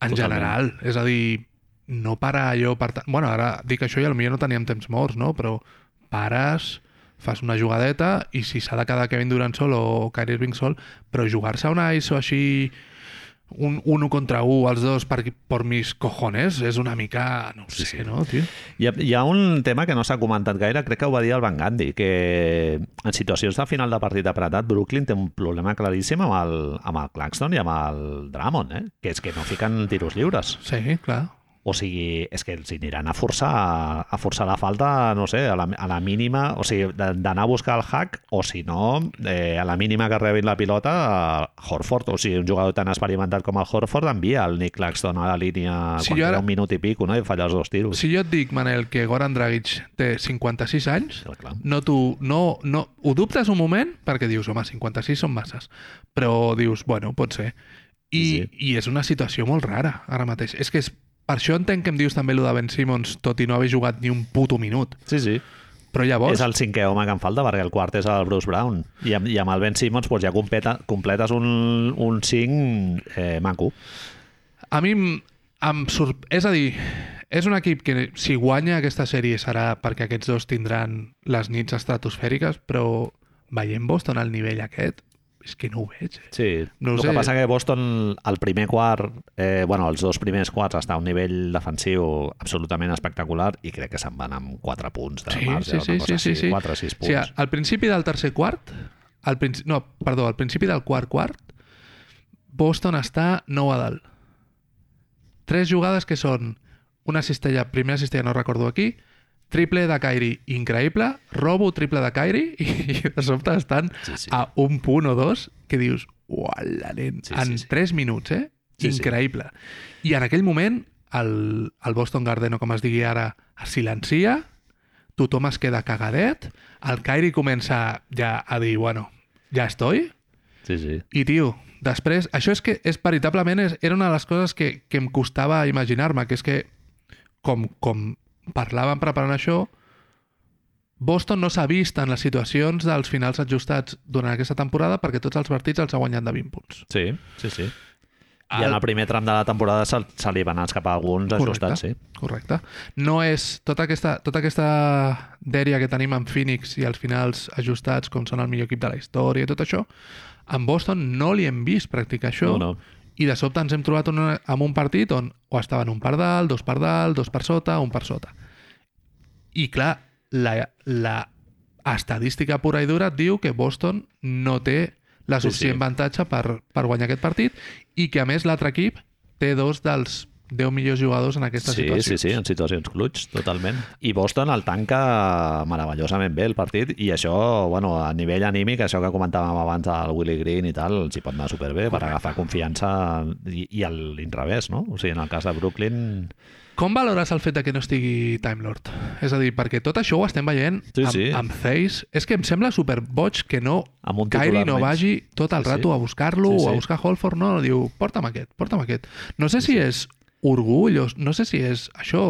[SPEAKER 2] En
[SPEAKER 1] Totalment.
[SPEAKER 2] general. És a dir, no para allò... Per ta- bueno, ara dic això i potser no teníem temps morts, no? Però pares, fas una jugadeta i si s'ha de quedar Kevin Durant sol o Kyrie Irving sol, però jugar-se una ISO així un, un un contra un els dos per, per mis cojones és una mica... no ho sé,
[SPEAKER 1] Sí, sí.
[SPEAKER 2] no, tio?
[SPEAKER 1] Hi ha, hi ha un tema que no s'ha comentat gaire, crec que ho va dir el Van Gandhi, que en situacions de final de partit apretat, Brooklyn té un problema claríssim amb el, amb el Claxton i amb el Drummond, eh? que és que no fiquen tiros lliures.
[SPEAKER 2] Sí, clar.
[SPEAKER 1] O sigui, és que els hi aniran a forçar, a forçar la falta, no sé, a la, a la mínima, o sigui, de- d'anar a buscar el hack, o si no, eh, a la mínima que rebin la pilota, eh, Horford, o sigui, un jugador tan experimentat com el Horford envia el Nick Claxton a la línia
[SPEAKER 2] Si
[SPEAKER 1] sí, quan
[SPEAKER 2] jo
[SPEAKER 1] queda
[SPEAKER 2] ara-
[SPEAKER 1] un minut i pico, no?, i falla els dos tiros.
[SPEAKER 2] Si jo et dic, Manel, que Goran Dragic té 56 anys,
[SPEAKER 1] Clar, clar.
[SPEAKER 2] no tu, no, no, ho dubtes un moment perquè dius, home, 56 són masses però dius, bueno, pot ser
[SPEAKER 1] Sí,
[SPEAKER 2] i, sí,
[SPEAKER 1] sí.
[SPEAKER 2] i és una situació molt rara ara mateix, és que és, per això entenc que em dius també el de Ben Simmons, tot i no haver jugat ni un puto minut,
[SPEAKER 1] Sí, sí.
[SPEAKER 2] però llavors
[SPEAKER 1] És el cinquè home que em falta, perquè el quart és el Bruce Brown. I amb, i amb el Ben Simmons doncs, ja completa, completes un, un cinc eh, maco.
[SPEAKER 2] a mi em, em sorp... és a dir, és un equip que si guanya aquesta sèrie serà perquè aquests dos tindran les nits estratosfèriques, però veient Boston al nivell aquest, és que no ho veig eh?
[SPEAKER 1] Sí, no
[SPEAKER 2] No ho
[SPEAKER 1] el que
[SPEAKER 2] sé.
[SPEAKER 1] passa que Boston al primer quart, eh, bueno, els dos primers quarts està a un nivell defensiu absolutament espectacular i crec que se'n van amb 4 punts de marge, una cosa així, 4 o 6 punts.
[SPEAKER 2] O sigui, al principi del tercer quart, al principi, no, perdó, al principi del quart quart, Boston està 9 a dalt. Tres jugades que són una cistella, primera cistella no recordo aquí, triple de Kairi increïble, robo triple de Kairi i, i de sobte estan
[SPEAKER 1] Sí, sí.
[SPEAKER 2] a un punt o dos que dius, uala, nen,
[SPEAKER 1] Sí,
[SPEAKER 2] sí,
[SPEAKER 1] sí,
[SPEAKER 2] en
[SPEAKER 1] sí.
[SPEAKER 2] 3 minuts, eh?
[SPEAKER 1] Sí, sí.
[SPEAKER 2] Increïble. I en aquell moment, el, el Boston Garden, o com es digui ara, es silencia, tothom es queda cagadet, el Kyrie comença ja a dir, bueno, ja estoy,
[SPEAKER 1] sí, sí.
[SPEAKER 2] i tio, després, això és que és veritablement és, era una de les coses que, que em costava imaginar-me, que és que com, com parlàvem preparant això, Boston no s'ha vist en les situacions dels finals ajustats durant aquesta temporada perquè tots els partits els ha guanyat de 20 punts. Ah,
[SPEAKER 1] Sí, sí, sí. I en el primer tram de la temporada se, se li van escapar alguns ajustats, sí.
[SPEAKER 2] Correcte. No és tota aquesta, tota aquesta dèria que tenim amb Phoenix i als finals ajustats com són el millor equip de la història i tot això, en Boston no li hem vist practicar això
[SPEAKER 1] No, no.
[SPEAKER 2] i de sobte ens hem trobat en, una- amb un partit on o estaven un per dalt, dos per dalt, dos per sota, un per sota. I clar, la, la estadística pura i dura et diu que Boston no té la
[SPEAKER 1] Sí,
[SPEAKER 2] suficient
[SPEAKER 1] sí.
[SPEAKER 2] sí, avantatge per, per guanyar aquest partit i que, a més, l'altre equip té dos dels 10 millors jugadors en aquesta
[SPEAKER 1] Sí,
[SPEAKER 2] situació.
[SPEAKER 1] sí, sí, en situacions clutch, totalment. I Boston el tanca meravellosament bé el partit i això, bueno, a nivell anímic, això que comentàvem abans del Willy Green i tal, els hi pot anar superbé per agafar confiança i, i a l'inrevés, no? O sigui, en el cas de Brooklyn...
[SPEAKER 2] Com valores el fet de que no estigui Time Lord? És a dir, perquè tot això ho estem veient
[SPEAKER 1] Sí,
[SPEAKER 2] amb,
[SPEAKER 1] sí.
[SPEAKER 2] amb Theis. És que em sembla superboig que no
[SPEAKER 1] Amb un
[SPEAKER 2] Kyrie
[SPEAKER 1] titular
[SPEAKER 2] no
[SPEAKER 1] menys.
[SPEAKER 2] vagi tot el
[SPEAKER 1] Sí,
[SPEAKER 2] rato
[SPEAKER 1] sí.
[SPEAKER 2] a buscar-lo
[SPEAKER 1] Sí,
[SPEAKER 2] o a
[SPEAKER 1] sí.
[SPEAKER 2] buscar Holford. No, diu, porta'm aquest, porta'm aquest. No sé si és orgull o no sé si és això...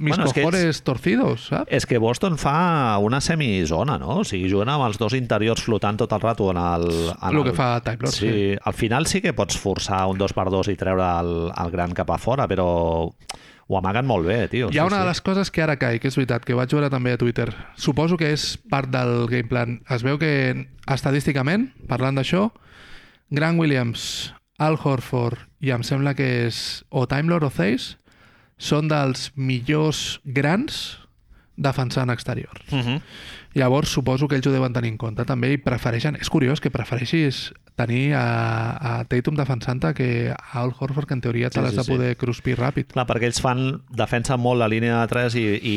[SPEAKER 2] Mis
[SPEAKER 1] Bueno, és que
[SPEAKER 2] cojones torcidos, saps?
[SPEAKER 1] És que Boston fa una semizona, no? O sigui, juguen amb els dos interiors flotant tot el rato en el... En
[SPEAKER 2] El que
[SPEAKER 1] el-
[SPEAKER 2] fa Time Lord, sí.
[SPEAKER 1] Sí, al final sí que pots forçar un 2 per 2 i treure el, el gran cap a fora, però ho amaguen molt bé, tio.
[SPEAKER 2] Hi
[SPEAKER 1] Oh, Sí,
[SPEAKER 2] ha una
[SPEAKER 1] sí.
[SPEAKER 2] de les coses que ara caic, és veritat, que vaig veure també a Twitter. Suposo que és part del game plan. Es veu que, estadísticament, parlant d'això, Grant Williams, Al Horford i em sembla que és o Time Lord o Thace són dels millors grans defensant exterior.
[SPEAKER 1] Mhm.
[SPEAKER 2] Llavors suposo que ells ho deuen tenir en compte també i prefereixen... És curiós que prefereixis tenir a, a Tatum defensant-te que a Al Horford que en teoria te
[SPEAKER 1] Sí,
[SPEAKER 2] l'has
[SPEAKER 1] sí,
[SPEAKER 2] de
[SPEAKER 1] sí.
[SPEAKER 2] poder cruspir ràpid.
[SPEAKER 1] Clar, perquè ells fan, defensen molt la línia de 3 i, i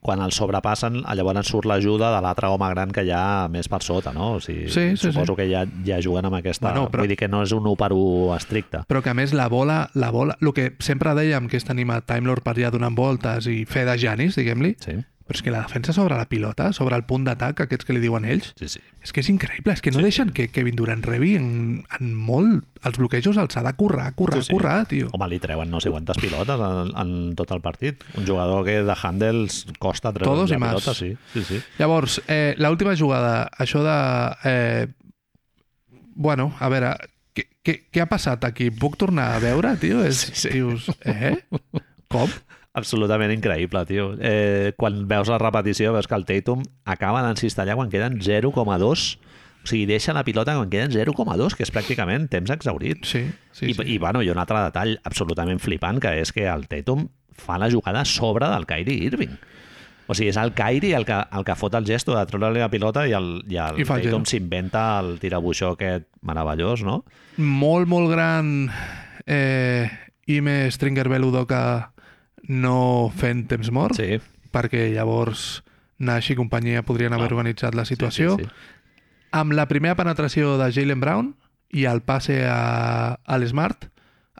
[SPEAKER 1] quan el sobrepassen llavors surt l'ajuda de l'altre home gran que hi ha més per sota, no? O sigui,
[SPEAKER 2] Sí, sí,
[SPEAKER 1] suposo
[SPEAKER 2] sí.
[SPEAKER 1] que ja, ja juguen amb aquesta...
[SPEAKER 2] Bueno,
[SPEAKER 1] Bueno,
[SPEAKER 2] però-
[SPEAKER 1] Vull dir que no és un 1 per 1 estricte.
[SPEAKER 2] però que a més la bola, la bola, el que sempre dèiem que és tenim a Time Lord per allà donant voltes i fer de Janis, diguem-li,
[SPEAKER 1] Sí,
[SPEAKER 2] però és que la defensa sobre la pilota, sobre el punt d'atac, aquests que li diuen ells,
[SPEAKER 1] sí, sí.
[SPEAKER 2] és que és increïble, és que no deixen que Kevin Durant rebi en, en molt els bloquejos, els ha de currar, currar,
[SPEAKER 1] Sí, sí.
[SPEAKER 2] currar, tio.
[SPEAKER 1] Home, li treuen no sé quantes pilotes en, en tot el partit. Un jugador que de handles costa treure
[SPEAKER 2] Todos
[SPEAKER 1] la
[SPEAKER 2] y más.
[SPEAKER 1] pilota, sí. sí, sí.
[SPEAKER 2] Llavors, eh, l'última jugada, això de... Eh, bueno, a veure, què, què, què ha passat aquí? Puc tornar a veure, tio? És, sí, sí. Dius, eh? Com?
[SPEAKER 1] Absolutament increïble, tio. Eh, quan veus la repetició, veus que el Tatum acaba d'encistellar quan queden 0,2 o sigui, deixa la pilota quan queden 0,2, que és pràcticament temps exhaurit.
[SPEAKER 2] Sí,
[SPEAKER 1] I,
[SPEAKER 2] sí, sí.
[SPEAKER 1] I, bueno, hi ha un altre detall absolutament flipant, que és que el Tatum fa la jugada a sobre del Kyrie Irving. O sigui, és el Kyrie el que, el que fot el gesto de treure-li la pilota i el, i el
[SPEAKER 2] I fa el
[SPEAKER 1] Tatum
[SPEAKER 2] gest.
[SPEAKER 1] s'inventa el tirabuixó aquest meravellós, no?
[SPEAKER 2] molt, molt gran eh, Ime Stringer Beludoka no fent temps mort,
[SPEAKER 1] Sí.
[SPEAKER 2] perquè llavors Nash i companyia podrien haver
[SPEAKER 1] Clar.
[SPEAKER 2] organitzat la situació.
[SPEAKER 1] Sí, sí,
[SPEAKER 2] Amb la primera penetració de Jalen Brown i el passe a, a l'Smart,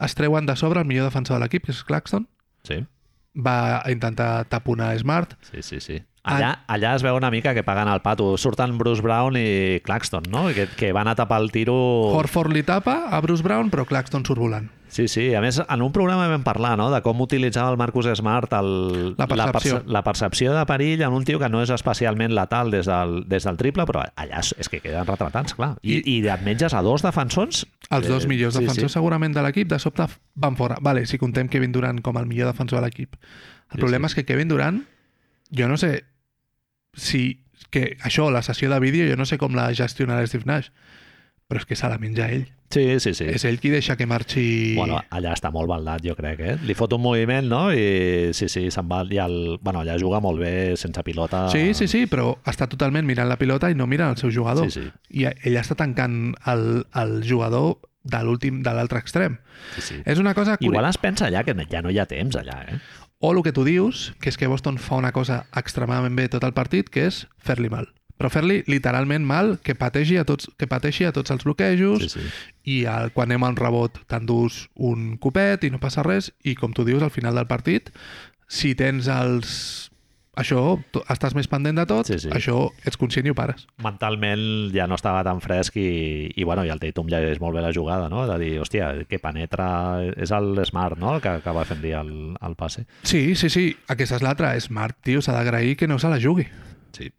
[SPEAKER 2] es treuen de sobre el millor defensor de l'equip, que és Claxton.
[SPEAKER 1] sí.
[SPEAKER 2] Va intentar taponar Smart.
[SPEAKER 1] Sí, sí, sí. Allà, allà es veu una mica que paguen el pato. Surten Bruce Brown i Claxton, no? Que, que van a tapar el tiro...
[SPEAKER 2] Horford li tapa a Bruce Brown, però Claxton surt volant.
[SPEAKER 1] Sí, sí. A més, en un programa vam parlar no? de com utilitzava el Marcus Smart el,
[SPEAKER 2] La percepció.
[SPEAKER 1] La, perce- la percepció de perill en un tio que no és especialment letal des del, des del triple, però allà és- és que queden retratats, clar. I, I, et menges a dos defensors...
[SPEAKER 2] Els dos
[SPEAKER 1] Eh,
[SPEAKER 2] millors
[SPEAKER 1] sí,
[SPEAKER 2] defensors
[SPEAKER 1] sí.
[SPEAKER 2] segurament de l'equip de sobte van fora. Vale, si contem Kevin Durant com el millor defensor de l'equip. El
[SPEAKER 1] Sí,
[SPEAKER 2] problema és que Kevin Durant, jo no sé si... que Això, la sessió de vídeo, jo no sé com la gestionarà Steve Nash, però és que se la menja ell.
[SPEAKER 1] Sí, sí, sí.
[SPEAKER 2] És ell qui deixa que marxi...
[SPEAKER 1] Bueno, ah. allà està molt baldat, jo crec, eh? Li fot un moviment, no? I sí, sí, se'n va... I el, bueno, allà juga molt bé, sense pilota...
[SPEAKER 2] Sí, sí, sí, però està totalment mirant la pilota i no mirant el seu jugador.
[SPEAKER 1] Sí, sí.
[SPEAKER 2] I ell està tancant el, el jugador de l'últim de l'altre extrem.
[SPEAKER 1] sí, sí.
[SPEAKER 2] És una cosa curiosa.
[SPEAKER 1] Igual es pensa allà que ja no hi ha temps allà, eh?
[SPEAKER 2] O el que tu dius, que és que Boston fa una cosa extremadament bé tot el partit, que és fer-li mal. Però fer-li literalment mal, que pateixi a tots, que pateixi a tots els bloquejos,
[SPEAKER 1] Sí, sí.
[SPEAKER 2] i el, quan anem a un rebot t'endús un copet i no passa res, i com tu dius, al final del partit, si tens els... Això, tu, estàs més pendent de tot,
[SPEAKER 1] Sí, sí.
[SPEAKER 2] això ets conscient i ho pares.
[SPEAKER 1] Mentalment ja no estava tan fresc i, i bueno, i el Tatum ja és molt bé la jugada, no? De dir, hòstia, que penetra... És el Smart, no?, el que acaba fent dir el, el passe.
[SPEAKER 2] Sí, sí, sí, aquesta és l'altra. Smart, tio, s'ha d'agrair que no se la jugui.
[SPEAKER 1] Sí.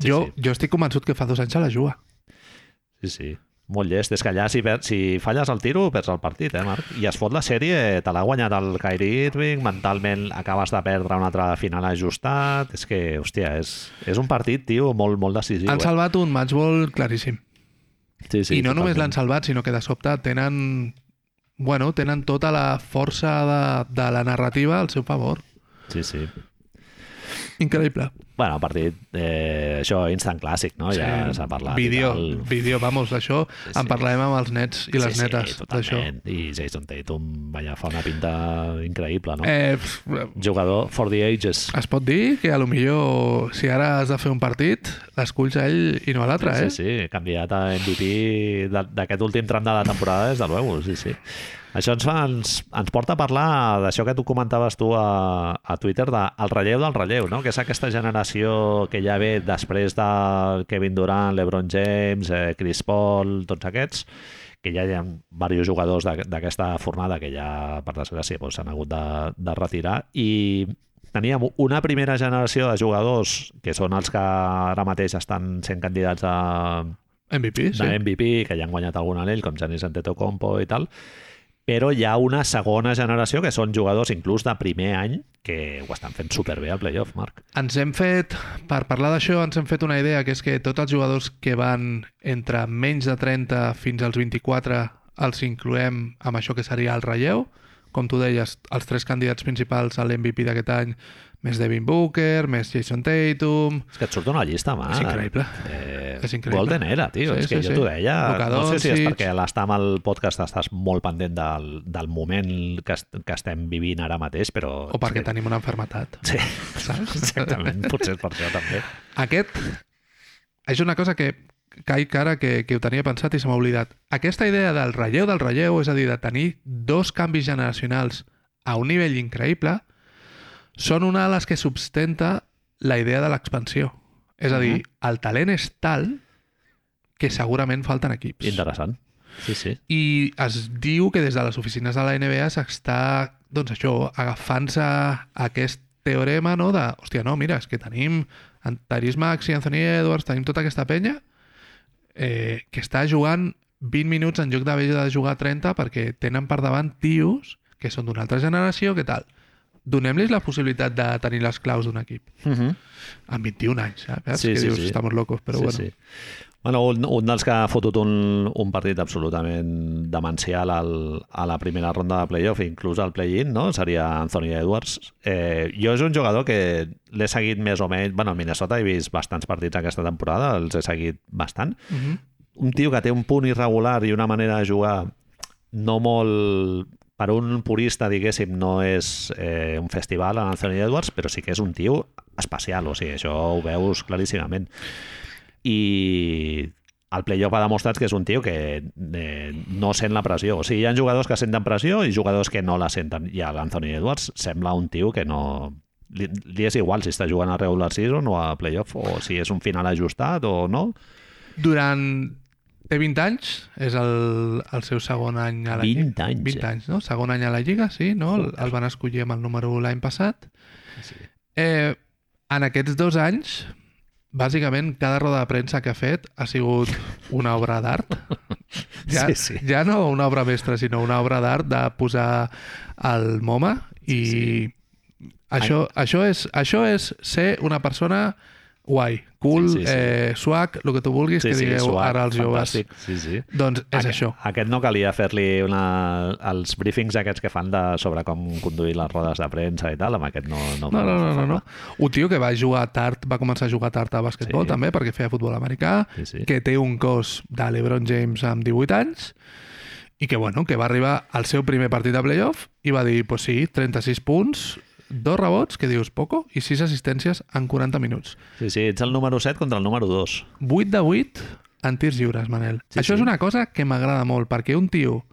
[SPEAKER 1] Sí,
[SPEAKER 2] Jo,
[SPEAKER 1] sí.
[SPEAKER 2] jo estic convençut que fa dos anys se la juga.
[SPEAKER 1] Sí, sí. Molt llest. És que allà, si, per, si falles el tiro, perds el partit, eh, Marc? I es fot la sèrie, te l'ha guanyat el Kyrie Irving, mentalment acabes de perdre una altra final ajustat. És que, hòstia, és, és un partit, tio, molt, molt decisiu.
[SPEAKER 2] Han
[SPEAKER 1] eh?
[SPEAKER 2] salvat un matchball claríssim.
[SPEAKER 1] Sí,
[SPEAKER 2] Sí, I no només
[SPEAKER 1] totalment.
[SPEAKER 2] l'han salvat, sinó que de sobte tenen... Bueno, tenen tota la força de, de la narrativa al seu favor.
[SPEAKER 1] Sí, sí.
[SPEAKER 2] Increïble.
[SPEAKER 1] Bueno, partit, eh, això, instant clàssic, no? Ja s'ha parlat. i
[SPEAKER 2] Vídeo,
[SPEAKER 1] tal.
[SPEAKER 2] vídeo, vamos, d'això
[SPEAKER 1] Sí,
[SPEAKER 2] en
[SPEAKER 1] sí.
[SPEAKER 2] parlarem amb els nets i les
[SPEAKER 1] sí,
[SPEAKER 2] netes,
[SPEAKER 1] Sí,
[SPEAKER 2] d'això.
[SPEAKER 1] totalment. I Jason Tatum, vaja, fa una pinta increïble, no? Eh.
[SPEAKER 2] Eh, pf,
[SPEAKER 1] Jugador for the ages.
[SPEAKER 2] es pot dir que a lo millor si ara has de fer un partit, l'esculls a ell i no a l'altre,
[SPEAKER 1] sí,
[SPEAKER 2] eh?
[SPEAKER 1] sí, sí, candidat a MVP de- d'aquest últim tram de la temporada, des de luego, sí, sí. Això ens, fa, ens, ens porta a parlar d'això que tu comentaves tu a, a Twitter, del de, el relleu del relleu, no? que és aquesta generació que ja ve després de Kevin Durant, LeBron James, eh, Chris Paul, tots aquests, que ja hi ha diversos jugadors d'aqu- d'aquesta formada que ja, per desgràcia, doncs, s'han hagut de, de retirar i teníem una primera generació de jugadors que són els que ara mateix estan sent candidats a,
[SPEAKER 2] MVP,
[SPEAKER 1] de
[SPEAKER 2] sí.
[SPEAKER 1] MVP, que ja han guanyat algun anell, com Giannis Antetokounmpo i tal, però hi ha una segona generació que són jugadors inclús de primer any que ho estan fent superbé al playoff, Marc.
[SPEAKER 2] Ens hem fet, per parlar d'això, ens hem fet una idea, que és que tots els jugadors que van entre menys de 30 fins als 24 els incloem amb això que seria el relleu. Com tu deies, els tres candidats principals a l'MVP d'aquest any, més Devin Booker, més Jason Tatum...
[SPEAKER 1] És que et surt una llista, mà.
[SPEAKER 2] És increïble.
[SPEAKER 1] Eh,
[SPEAKER 2] És increïble.
[SPEAKER 1] Golden era, tio. Sí, és que sí, jo sí. t'ho deia.
[SPEAKER 2] Luka
[SPEAKER 1] no sé si és
[SPEAKER 2] Doncic.
[SPEAKER 1] perquè a l'estar amb el podcast estàs molt pendent del, del moment que, est que estem vivint ara mateix, però...
[SPEAKER 2] O perquè
[SPEAKER 1] és que-
[SPEAKER 2] tenim una enfermetat.
[SPEAKER 1] Sí,
[SPEAKER 2] Saps?
[SPEAKER 1] exactament. Potser és per això també.
[SPEAKER 2] Aquest és una cosa que caic cara que, que ho tenia pensat i se m'ha oblidat. Aquesta idea del relleu del relleu, és a dir, de tenir dos canvis generacionals a un nivell increïble, són una de les que sustenta la idea de l'expansió. És a dir, el talent és tal que segurament falten equips.
[SPEAKER 1] Interessant. Sí, sí.
[SPEAKER 2] I es diu que des de les oficines de la NBA s'està, doncs això, agafant-se a aquest teorema, no?, de, hòstia, no, mira, és que tenim en Tyrese Max i Anthony Edwards, tenim tota aquesta penya eh, que està jugant 20 minuts en lloc d'haver de jugar 30 perquè tenen per davant tios que són d'una altra generació, que tal? Donem-los la possibilitat de tenir les claus d'un equip.
[SPEAKER 1] Uh -huh.
[SPEAKER 2] Amb 21 anys, saps?
[SPEAKER 1] Sí,
[SPEAKER 2] que
[SPEAKER 1] sí,
[SPEAKER 2] dius,
[SPEAKER 1] sí.
[SPEAKER 2] estamos locos, però
[SPEAKER 1] sí,
[SPEAKER 2] bueno.
[SPEAKER 1] Sí. Bueno, un, un dels que ha fotut un, un partit absolutament demencial al, a la primera ronda de playoff, inclús al play-in, no? seria Anthony Edwards. Eh, jo és un jugador que l'he seguit més o menys... Bueno, a Minnesota he vist bastants partits aquesta temporada, els he seguit bastant.
[SPEAKER 2] Mhm.
[SPEAKER 1] Un tio que té un punt irregular i una manera de jugar no molt per un purista, diguéssim, no és eh, un festival en Anthony Edwards, però sí que és un tio especial, o sigui, això ho veus claríssimament. I el playoff ha demostrat que és un tio que eh, no sent la pressió. O sigui, hi ha jugadors que senten pressió i jugadors que no la senten. I a l'Anthony Edwards sembla un tio que no... Li, li és igual si està jugant a regular season o a playoff, o si és un final ajustat o no.
[SPEAKER 2] Durant... Té 20 anys, és el, el seu segon any a la
[SPEAKER 1] 20
[SPEAKER 2] Lliga.
[SPEAKER 1] anys,
[SPEAKER 2] 20
[SPEAKER 1] eh?
[SPEAKER 2] anys, no? Segon any a la Lliga, sí, no? El, el van escollir amb el número 1 l'any passat.
[SPEAKER 1] Sí.
[SPEAKER 2] Eh, en aquests dos anys, bàsicament, cada roda de premsa que ha fet ha sigut una obra d'art. Ja,
[SPEAKER 1] Sí, sí.
[SPEAKER 2] ja no una obra mestra, sinó una obra d'art de posar el MoMA i Això, això, és, això és ser una persona guai, cool,
[SPEAKER 1] Sí, sí, sí.
[SPEAKER 2] Eh, suac, el que tu vulguis que digueu
[SPEAKER 1] suat,
[SPEAKER 2] ara als joves.
[SPEAKER 1] fantàstic. Sí, sí.
[SPEAKER 2] Doncs és
[SPEAKER 1] Aquest-
[SPEAKER 2] això.
[SPEAKER 1] Aquest no calia fer-li una... els briefings aquests que fan de, sobre com conduir les rodes de premsa i tal, amb aquest no... No,
[SPEAKER 2] No, no, no, no, no. Un tio que va jugar tard, va començar a jugar tard a basquetbol
[SPEAKER 1] Sí.
[SPEAKER 2] sí. també, perquè feia futbol americà,
[SPEAKER 1] Sí, sí.
[SPEAKER 2] que té un cos de l'Ebron James amb 18 anys, i que, bueno, que va arribar al seu primer partit de playoff i va dir, pues sí, 36 punts, dos rebots, que dius poco, i sis assistències en 40 minuts.
[SPEAKER 1] Sí, sí, ets el número 7 contra el número 2.
[SPEAKER 2] 8 de 8 en tirs lliures, Manel.
[SPEAKER 1] Sí,
[SPEAKER 2] Sí, Això
[SPEAKER 1] sí.
[SPEAKER 2] és una cosa que m'agrada molt, perquè un tio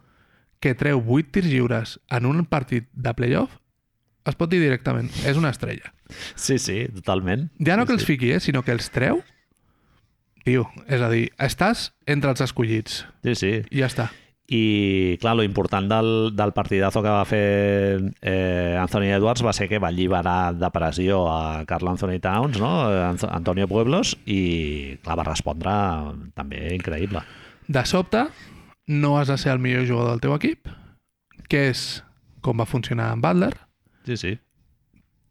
[SPEAKER 2] que treu 8 tirs lliures en un partit de playoff es pot dir directament, és una estrella.
[SPEAKER 1] Sí, sí, totalment.
[SPEAKER 2] Ja no
[SPEAKER 1] Sí,
[SPEAKER 2] que els
[SPEAKER 1] sí.
[SPEAKER 2] fiqui, eh, sinó que els treu. Tio, és a dir, estàs entre els escollits.
[SPEAKER 1] Sí, sí.
[SPEAKER 2] I ja està.
[SPEAKER 1] I, clar, lo important del, del partidazo que va fer eh, Anthony Edwards va ser que va alliberar de pressió a Carl Anthony Towns, no? Anto- Antonio Pueblos, i, clar, va respondre també increïble.
[SPEAKER 2] De sobte, no has de ser el millor jugador del teu equip, que és com va funcionar amb Butler.
[SPEAKER 1] Sí, sí.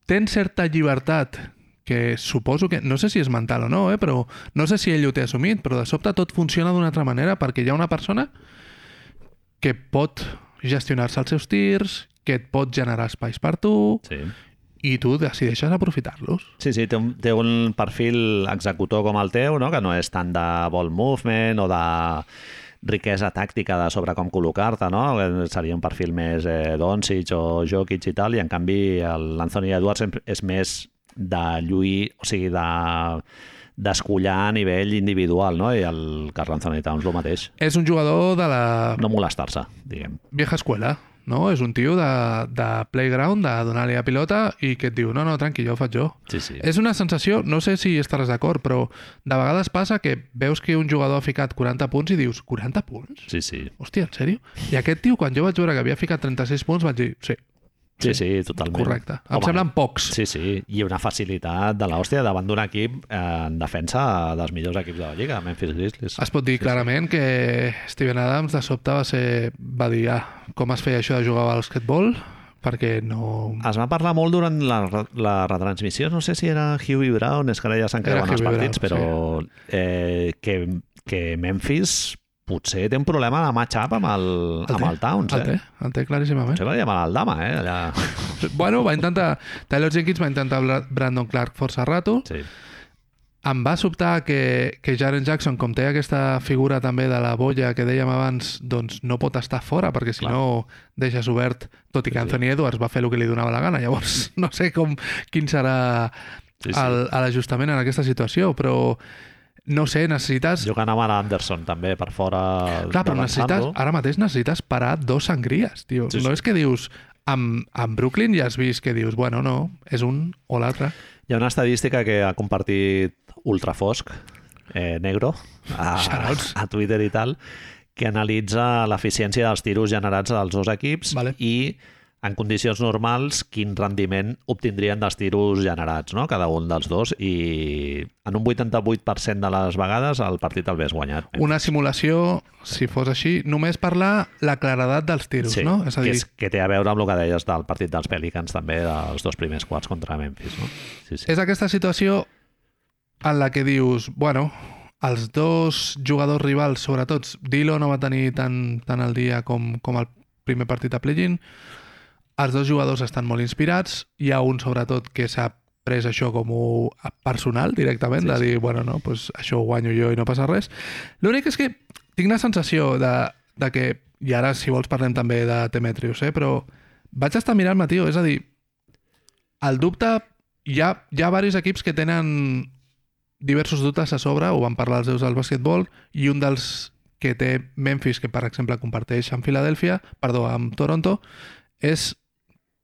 [SPEAKER 2] Tens certa llibertat que suposo que, no sé si és mental o no, eh, però no sé si ell ho té assumit, però de sobte tot funciona d'una altra manera perquè hi ha una persona que pot gestionar-se els seus tirs, que et pot generar espais per tu,
[SPEAKER 1] Sí.
[SPEAKER 2] i tu decideixes aprofitar-los.
[SPEAKER 1] Sí, sí, té un, té un perfil executor com el teu, no? que no és tant de ball movement o de riquesa tàctica de sobre com col·locar-te, no? Seria un perfil més eh, Doncic o Jokic i tal, i en canvi l'Anthony Edwards em- és més de lluir, o sigui, de d'escollar a nivell individual, no? I el Carl Anthony Towns el mateix.
[SPEAKER 2] És un jugador de la
[SPEAKER 1] No molestar-se, diguem.
[SPEAKER 2] vieja escuela, no? És un tio de, de playground, de donar-li la pilota i que et diu, no, no, tranqui, jo ho faig jo.
[SPEAKER 1] Sí, sí.
[SPEAKER 2] És una sensació, no sé si estaràs d'acord, però de vegades passa que veus que un jugador ha ficat 40 punts i dius, 40 punts?
[SPEAKER 1] Sí, sí.
[SPEAKER 2] Hòstia, en sèrio? I aquest tio, quan jo vaig veure que havia ficat 36 punts, vaig dir, sí,
[SPEAKER 1] Sí, sí, totalment.
[SPEAKER 2] correcte. Em
[SPEAKER 1] Home,
[SPEAKER 2] semblen pocs.
[SPEAKER 1] Sí, sí, i una facilitat de l'hòstia davant d'un equip eh, en defensa dels millors equips de la Lliga, Memphis Grizzlies.
[SPEAKER 2] Es pot dir clarament que Steven Adams de sobte va, ser, va dir ah, com es feia això de jugar al basquetbol perquè no...
[SPEAKER 1] Es va parlar molt durant la, la retransmissió, no sé si era Huey Brown, és que ara ja s'han
[SPEAKER 2] Era
[SPEAKER 1] creuen els
[SPEAKER 2] Huey
[SPEAKER 1] partits,
[SPEAKER 2] Brown,
[SPEAKER 1] però eh, que, que Memphis potser té un problema de match-up amb el,
[SPEAKER 2] El
[SPEAKER 1] amb
[SPEAKER 2] té,
[SPEAKER 1] el Towns,
[SPEAKER 2] El té,
[SPEAKER 1] eh?
[SPEAKER 2] el té claríssimament.
[SPEAKER 1] Potser va llamar el Dama, eh? Allà...
[SPEAKER 2] Bueno, va intentar... Taylor Jenkins va intentar Bra- Brandon Clark força rato.
[SPEAKER 1] Sí.
[SPEAKER 2] Em va sobtar que, que Jaren Jackson, com té aquesta figura també de la boia que dèiem abans, doncs no pot estar fora, perquè si
[SPEAKER 1] Clar.
[SPEAKER 2] no deixes obert, tot i que
[SPEAKER 1] Sí, sí.
[SPEAKER 2] Anthony Edwards va fer el que li donava la gana. Llavors, no sé com, quin serà
[SPEAKER 1] Sí, sí.
[SPEAKER 2] el- l'ajustament en aquesta situació, però no sé, necessites...
[SPEAKER 1] Jo que anava a l'Anderson també per fora
[SPEAKER 2] Clar, però necessites,
[SPEAKER 1] defensant-lo.
[SPEAKER 2] ara mateix necessites parar dos sangries, tio.
[SPEAKER 1] Sí, sí.
[SPEAKER 2] No és que dius, amb, amb Brooklyn ja has vist que dius, bueno, no, és un o l'altre.
[SPEAKER 1] Hi ha una estadística que ha compartit Ultrafosc, eh, negro, a,
[SPEAKER 2] Shoutouts.
[SPEAKER 1] a Twitter i tal, que analitza l'eficiència dels tiros generats dels dos equips
[SPEAKER 2] Vale.
[SPEAKER 1] i en condicions normals, quin rendiment obtindrien dels tiros generats, no? cada un dels dos, i en un 88% de les vegades el partit el ves guanyat.
[SPEAKER 2] Una simulació, si fos així, només per la, la claredat dels tiros,
[SPEAKER 1] sí,
[SPEAKER 2] no? És a dir,
[SPEAKER 1] que, és, que té a veure amb el que deies del partit dels Pelicans també, dels dos primers quarts contra Memphis. No? Sí, sí.
[SPEAKER 2] és aquesta situació en la que dius, bueno, els dos jugadors rivals, sobretot, Dilo no va tenir tant tan el dia com, com el primer partit a play-in, els dos jugadors estan molt inspirats, hi ha un, sobretot, que s'ha pres això com ho- a personal directament,
[SPEAKER 1] Sí,
[SPEAKER 2] de
[SPEAKER 1] sí.
[SPEAKER 2] dir, bueno, no, pues això ho guanyo jo i no passa res. L'únic és que tinc la sensació de, de que, i ara si vols parlem també de Demetrius, eh, però vaig estar mirant-me, tio, és a dir, el dubte, hi ha, hi ha diversos equips que tenen diversos dubtes a sobre, ho van parlar els déus del basquetbol, i un dels que té Memphis, que per exemple comparteix amb Filadèlfia, perdó, amb Toronto, és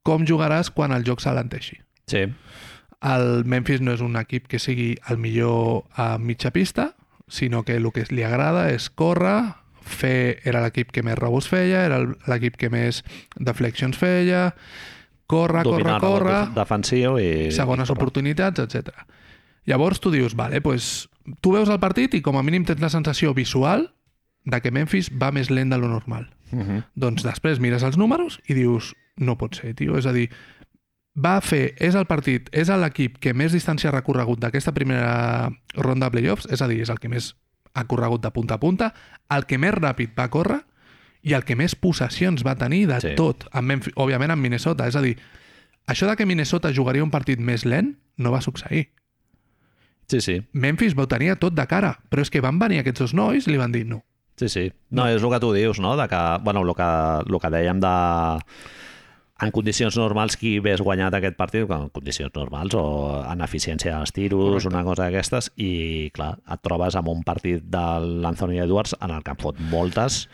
[SPEAKER 2] com jugaràs quan el joc s'alenteixi.
[SPEAKER 1] Sí.
[SPEAKER 2] El Memphis no és un equip que sigui el millor a mitja pista, sinó que el que li agrada és córrer, fer... Era l'equip que més rebus feia, era el- l'equip que més deflections feia, córrer, córrer,
[SPEAKER 1] Dominar el rebot
[SPEAKER 2] córrer,
[SPEAKER 1] defensiu i...
[SPEAKER 2] segones
[SPEAKER 1] i córrer.
[SPEAKER 2] oportunitats, etc. Llavors tu dius, vale, pues, tu veus el partit i com a mínim tens la sensació visual de que Memphis va més lent de lo normal.
[SPEAKER 1] Mhm.
[SPEAKER 2] Doncs després mires els números i dius, no pot ser, tio. És a dir, va fer, és el partit, és l'equip que més distància ha recorregut d'aquesta primera ronda de playoffs, és a dir, és el que més ha corregut de punta a punta, el que més ràpid va córrer i el que més possessions va tenir de
[SPEAKER 1] Sí.
[SPEAKER 2] sí. tot, amb Memphis, òbviament amb Minnesota. És a dir, això de que Minnesota jugaria un partit més lent no va succeir.
[SPEAKER 1] Sí, sí.
[SPEAKER 2] Memphis ho tenia tot de cara, però és que van venir aquests dos nois i li van dir no.
[SPEAKER 1] Sí, sí. No, és el que tu dius, no? De que, bueno, el que, el que dèiem de... En condicions normals, qui hagués guanyat aquest partit? En condicions normals o en eficiència dels tiros,
[SPEAKER 2] Correcte.
[SPEAKER 1] una cosa d'aquestes, i, clar, et trobes amb un partit de l'Anthony Edwards en el que en fot moltes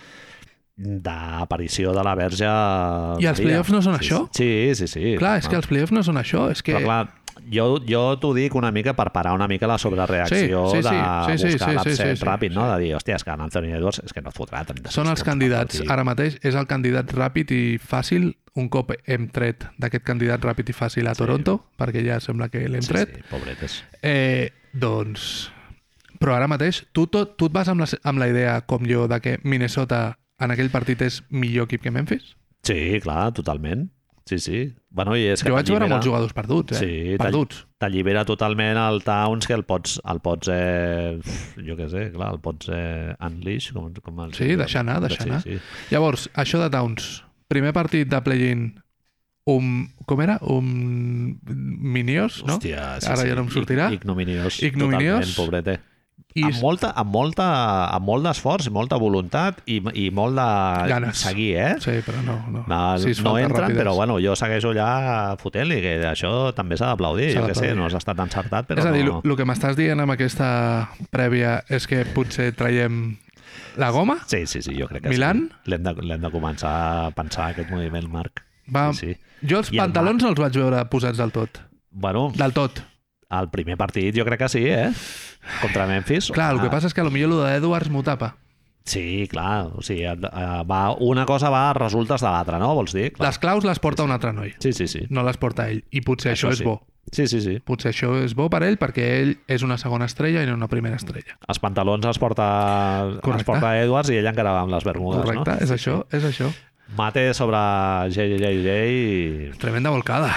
[SPEAKER 1] d'aparició de la verge...
[SPEAKER 2] I els
[SPEAKER 1] Maria.
[SPEAKER 2] playoffs no són
[SPEAKER 1] sí,
[SPEAKER 2] això?
[SPEAKER 1] Sí, sí, sí.
[SPEAKER 2] Clar, és que els playoffs no són això, és que...
[SPEAKER 1] Però clar, jo, jo t'ho dic una mica per parar una mica la sobrereacció
[SPEAKER 2] Sí, sí,
[SPEAKER 1] de
[SPEAKER 2] sí, sí, sí,
[SPEAKER 1] buscar
[SPEAKER 2] sí,
[SPEAKER 1] l'upset
[SPEAKER 2] sí, sí, sí,
[SPEAKER 1] ràpid, no? De dir, hòstia, és que en Anthony Edwards és que no et fotrà 36
[SPEAKER 2] Són els
[SPEAKER 1] punts per
[SPEAKER 2] candidats.
[SPEAKER 1] partit.
[SPEAKER 2] Ara mateix és el candidat ràpid i fàcil. Un cop hem tret d'aquest candidat ràpid i fàcil a Toronto, perquè ja sembla que l'hem
[SPEAKER 1] Sí,
[SPEAKER 2] tret,
[SPEAKER 1] sí, pobretes.
[SPEAKER 2] eh, doncs... Però ara mateix, tu, tot, tu et vas amb la, amb la idea, com jo, de que Minnesota en aquell partit és millor equip que Memphis?
[SPEAKER 1] Sí, clar, totalment. Sí, sí. Bueno, i és que
[SPEAKER 2] Jo vaig veure
[SPEAKER 1] t'allibera-
[SPEAKER 2] molts jugadors perduts, eh?
[SPEAKER 1] Sí,
[SPEAKER 2] perduts.
[SPEAKER 1] t'allibera totalment el Towns que el pots, el pots eh, jo què sé, clar, el pots eh, unleash, com, com el
[SPEAKER 2] Sí, deixar anar, deixar anar.
[SPEAKER 1] Sí, sí.
[SPEAKER 2] Llavors, això de Towns. Primer partit de play-in un... Com era? Un... Miniós, no?
[SPEAKER 1] Hòstia, sí,
[SPEAKER 2] Ara
[SPEAKER 1] sí.
[SPEAKER 2] ja no em sortirà.
[SPEAKER 1] Ig- Ignominiós.
[SPEAKER 2] Ignominiós.
[SPEAKER 1] Totalment, pobrete.
[SPEAKER 2] I
[SPEAKER 1] Amb, molta, amb, molta, amb molt d'esforç, i molta voluntat i, i molt de
[SPEAKER 2] Ganes.
[SPEAKER 1] seguir, eh?
[SPEAKER 2] Sí, però no. No,
[SPEAKER 1] No,
[SPEAKER 2] Sis
[SPEAKER 1] no
[SPEAKER 2] faltes
[SPEAKER 1] entren,
[SPEAKER 2] ràpides.
[SPEAKER 1] però bueno, jo segueixo allà fotent-li, que això també s'ha d'aplaudir.
[SPEAKER 2] S'ha
[SPEAKER 1] Jo què sé,
[SPEAKER 2] d'aplaudir.
[SPEAKER 1] no has estat encertat, però
[SPEAKER 2] és a dir,
[SPEAKER 1] no...
[SPEAKER 2] el que m'estàs dient amb aquesta prèvia és que potser traiem la goma?
[SPEAKER 1] Sí, sí, sí, jo crec que
[SPEAKER 2] Milan?
[SPEAKER 1] sí. L'hem de, l'hem de començar a pensar aquest moviment, Marc.
[SPEAKER 2] Va,
[SPEAKER 1] Sí, sí.
[SPEAKER 2] Jo els
[SPEAKER 1] I el
[SPEAKER 2] pantalons no els vaig veure posats del tot.
[SPEAKER 1] Bueno,
[SPEAKER 2] Del tot.
[SPEAKER 1] el primer partit jo crec que sí, eh? Contra Memphis.
[SPEAKER 2] Clar, el que
[SPEAKER 1] Ah,
[SPEAKER 2] passa és que potser lo d'Edwards m'ho tapa.
[SPEAKER 1] Sí, clar, o sigui, eh, va, una cosa va a resultes de l'altra, no? Vols dir? Clar.
[SPEAKER 2] Les claus les porta un altre noi,
[SPEAKER 1] Sí, sí, sí.
[SPEAKER 2] no les porta ell. I potser això,
[SPEAKER 1] Això
[SPEAKER 2] és
[SPEAKER 1] sí.
[SPEAKER 2] bo.
[SPEAKER 1] Sí, sí, sí.
[SPEAKER 2] Potser això és bo per ell perquè ell és una segona estrella i no una primera estrella.
[SPEAKER 1] Els pantalons els porta, els
[SPEAKER 2] Correcte.
[SPEAKER 1] porta Edwards i ell encara va amb les bermudes,
[SPEAKER 2] Correcte? És això, és això.
[SPEAKER 1] no? Mate sobre JJJ i...
[SPEAKER 2] Tremenda volcada.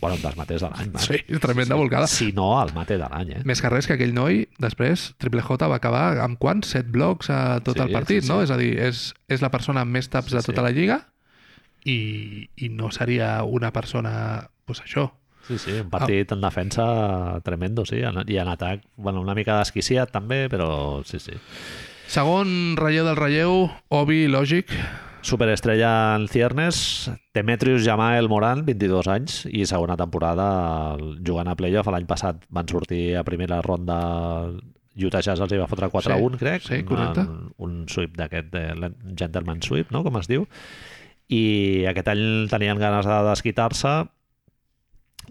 [SPEAKER 1] Bueno, un dels mates de l'any, Marc.
[SPEAKER 2] Sí, tremenda volcada.
[SPEAKER 1] Si no, el mate de l'any, eh?
[SPEAKER 2] Més que res que aquell noi, després, Triple J va acabar amb quants? Set blocs a tot
[SPEAKER 1] Sí,
[SPEAKER 2] el partit,
[SPEAKER 1] sí, sí.
[SPEAKER 2] no? És a dir, és, és la persona amb més taps de
[SPEAKER 1] Sí,
[SPEAKER 2] tota
[SPEAKER 1] sí.
[SPEAKER 2] la lliga i, i no seria una persona, doncs això,
[SPEAKER 1] Sí, sí, un partit en defensa tremendo, sí, en- i en atac, bueno, una mica desquiciat també, però sí, sí.
[SPEAKER 2] Segon relleu del relleu, obvi, lògic.
[SPEAKER 1] Superestrella en Ciernes, Demetrius Jamael Moran, 22 anys, i segona temporada jugant a playoff. L'any passat van sortir a primera ronda Utah Jazz els hi va fotre 4-1,
[SPEAKER 2] Sí,
[SPEAKER 1] crec.
[SPEAKER 2] sí, correcte.
[SPEAKER 1] Un, un sweep d'aquest, eh, l'en- gentleman sweep, no?, com es diu. I aquest any tenien ganes de desquitar-se,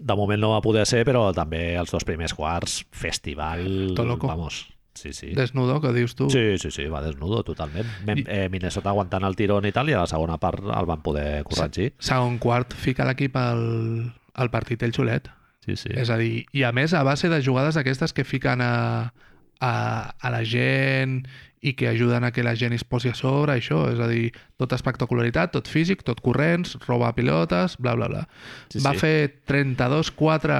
[SPEAKER 1] de moment no va poder ser, però també els dos primers quarts, festival...
[SPEAKER 2] Tot loco.
[SPEAKER 1] Vamos. Sí, sí.
[SPEAKER 2] Desnudo, que dius tu.
[SPEAKER 1] Sí, sí, sí, va desnudo totalment. Mem
[SPEAKER 2] Uh. I-
[SPEAKER 1] eh, Minnesota aguantant el tirón i tal, i a la segona part el van poder corregir.
[SPEAKER 2] Segon quart, fica l'equip al, al partit el xulet.
[SPEAKER 1] Sí, sí.
[SPEAKER 2] És a dir, i a més a base de jugades d'aquestes que fiquen a, a, a la gent i que ajuden a que la gent es posi a sobre, això, és a dir, tot espectacularitat, tot físic, tot corrents, roba pilotes, bla, bla, bla.
[SPEAKER 1] Sí,
[SPEAKER 2] Va
[SPEAKER 1] sí.
[SPEAKER 2] fer 32, 4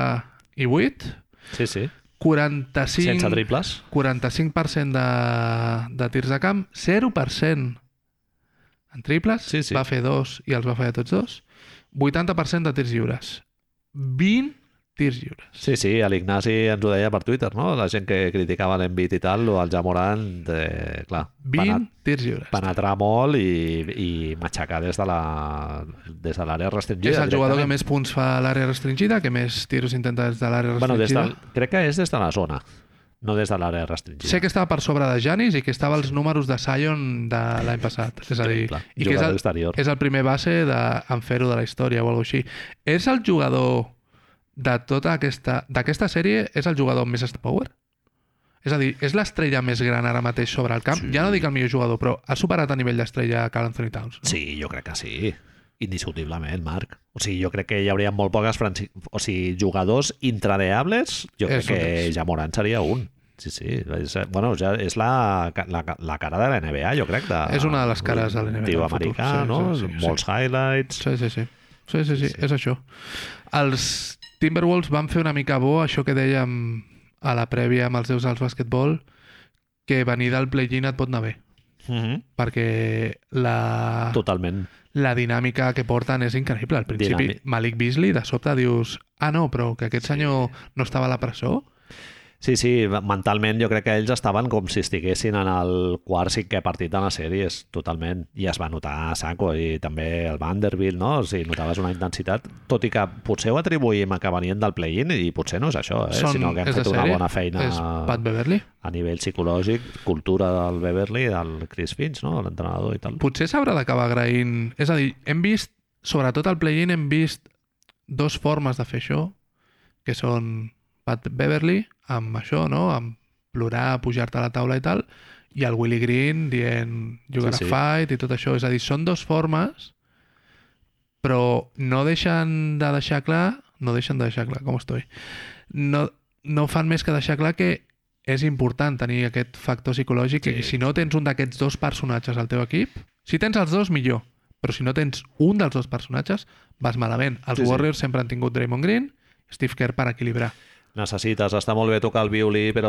[SPEAKER 2] i 8,
[SPEAKER 1] sí, sí.
[SPEAKER 2] 45...
[SPEAKER 1] Sense triples.
[SPEAKER 2] 45% de, de tirs de camp, 0% en triples,
[SPEAKER 1] Sí, sí.
[SPEAKER 2] va fer dos i els va fallar tots dos, 80% de tirs lliures, 20 tirs lliures.
[SPEAKER 1] Sí, sí, a l'Ignasi ens ho deia per Twitter, no? La gent que criticava l'Envit i tal, o el Jamorant, eh, clar,
[SPEAKER 2] 20 tirs lliures.
[SPEAKER 1] penetrar molt i, i matxacar des de la des de l'àrea restringida.
[SPEAKER 2] és el jugador que
[SPEAKER 1] directament.
[SPEAKER 2] més punts fa a l'àrea restringida, que més tiros intenta des de l'àrea
[SPEAKER 1] Bueno, des
[SPEAKER 2] restringida.
[SPEAKER 1] del, crec que és des de la zona, no des de l'àrea restringida.
[SPEAKER 2] Sé que estava per sobre de Janis i que estava als números de Sion de l'any passat. És a dir,
[SPEAKER 1] Clar,
[SPEAKER 2] i que és
[SPEAKER 1] jugador
[SPEAKER 2] el,
[SPEAKER 1] exterior.
[SPEAKER 2] És el primer base de, en fer-ho de la història o alguna així. És el jugador de tota aquesta... D'aquesta sèrie és el jugador amb més star power? És a dir, és l'estrella més gran ara mateix sobre el camp?
[SPEAKER 1] Sí.
[SPEAKER 2] Sí. Ja no dic el millor jugador, però ha superat a nivell d'estrella Carl Anthony Towns. No?
[SPEAKER 1] Sí, jo crec que sí. Indiscutiblement, Marc. O sigui, jo crec que hi hauria molt poques franci... o sigui, jugadors intradeables. Jo crec
[SPEAKER 2] Eso
[SPEAKER 1] que
[SPEAKER 2] es.
[SPEAKER 1] ja Morant seria un. Sí, sí. És, bueno, ja és la, ca- la, ca- la cara de la NBA, jo crec. De,
[SPEAKER 2] És una de les cares de la NBA
[SPEAKER 1] Tio
[SPEAKER 2] del futur.
[SPEAKER 1] americà,
[SPEAKER 2] Sí,
[SPEAKER 1] no?
[SPEAKER 2] sí, sí, sí.
[SPEAKER 1] Molts highlights.
[SPEAKER 2] Sí, sí, sí. Sí, sí, sí, sí, és això. Els Timberwolves van fer una mica bo això que dèiem a la prèvia amb els seus als basquetbol, que venir del play-in et pot anar bé,
[SPEAKER 1] Mm -hmm.
[SPEAKER 2] perquè la,
[SPEAKER 1] Totalment.
[SPEAKER 2] la dinàmica que porten és increïble. Al principi,
[SPEAKER 1] Dinàmic.
[SPEAKER 2] Malik Beasley, de sobte dius ah, no, però que aquest senyor no estava a la presó?
[SPEAKER 1] Sí, sí, mentalment jo crec que ells estaven com si estiguessin en el quart cinquè partit de la sèrie, és totalment. I es va notar a Saco i també el Vanderbilt, no? O sigui, notaves una intensitat, tot i que potser ho atribuïm a que venien del play-in i potser no és això, eh?
[SPEAKER 2] Són-
[SPEAKER 1] sinó que han
[SPEAKER 2] és de
[SPEAKER 1] fet una
[SPEAKER 2] sèrie,
[SPEAKER 1] bona feina
[SPEAKER 2] És Pat Beverly?
[SPEAKER 1] a nivell psicològic, cultura del Beverly i del Chris Finch, no? l'entrenador i tal.
[SPEAKER 2] potser s'haurà d'acabar agraint... És a dir, hem vist, sobretot al play-in, hem vist dos formes de fer això, que són Pat Beverly, amb això, no? Amb plorar, pujar-te a la taula i tal, i el Willy Green dient jugar
[SPEAKER 1] Sí,
[SPEAKER 2] sí,
[SPEAKER 1] sí.
[SPEAKER 2] sí. a fight i tot això. És a dir, són dos formes, però no deixen de deixar clar... No deixen de deixar clar, com estoy? No, no fan més que deixar clar que és important tenir aquest factor psicològic sí. i
[SPEAKER 1] Sí.
[SPEAKER 2] si no tens un d'aquests dos personatges al teu equip, si tens els dos, millor. Però si no tens un dels dos personatges, vas malament. Els
[SPEAKER 1] Sí,
[SPEAKER 2] sí,
[SPEAKER 1] sí.
[SPEAKER 2] Warriors sempre han tingut Draymond Green, Steve Kerr per equilibrar.
[SPEAKER 1] necessites, està molt bé tocar el violí, però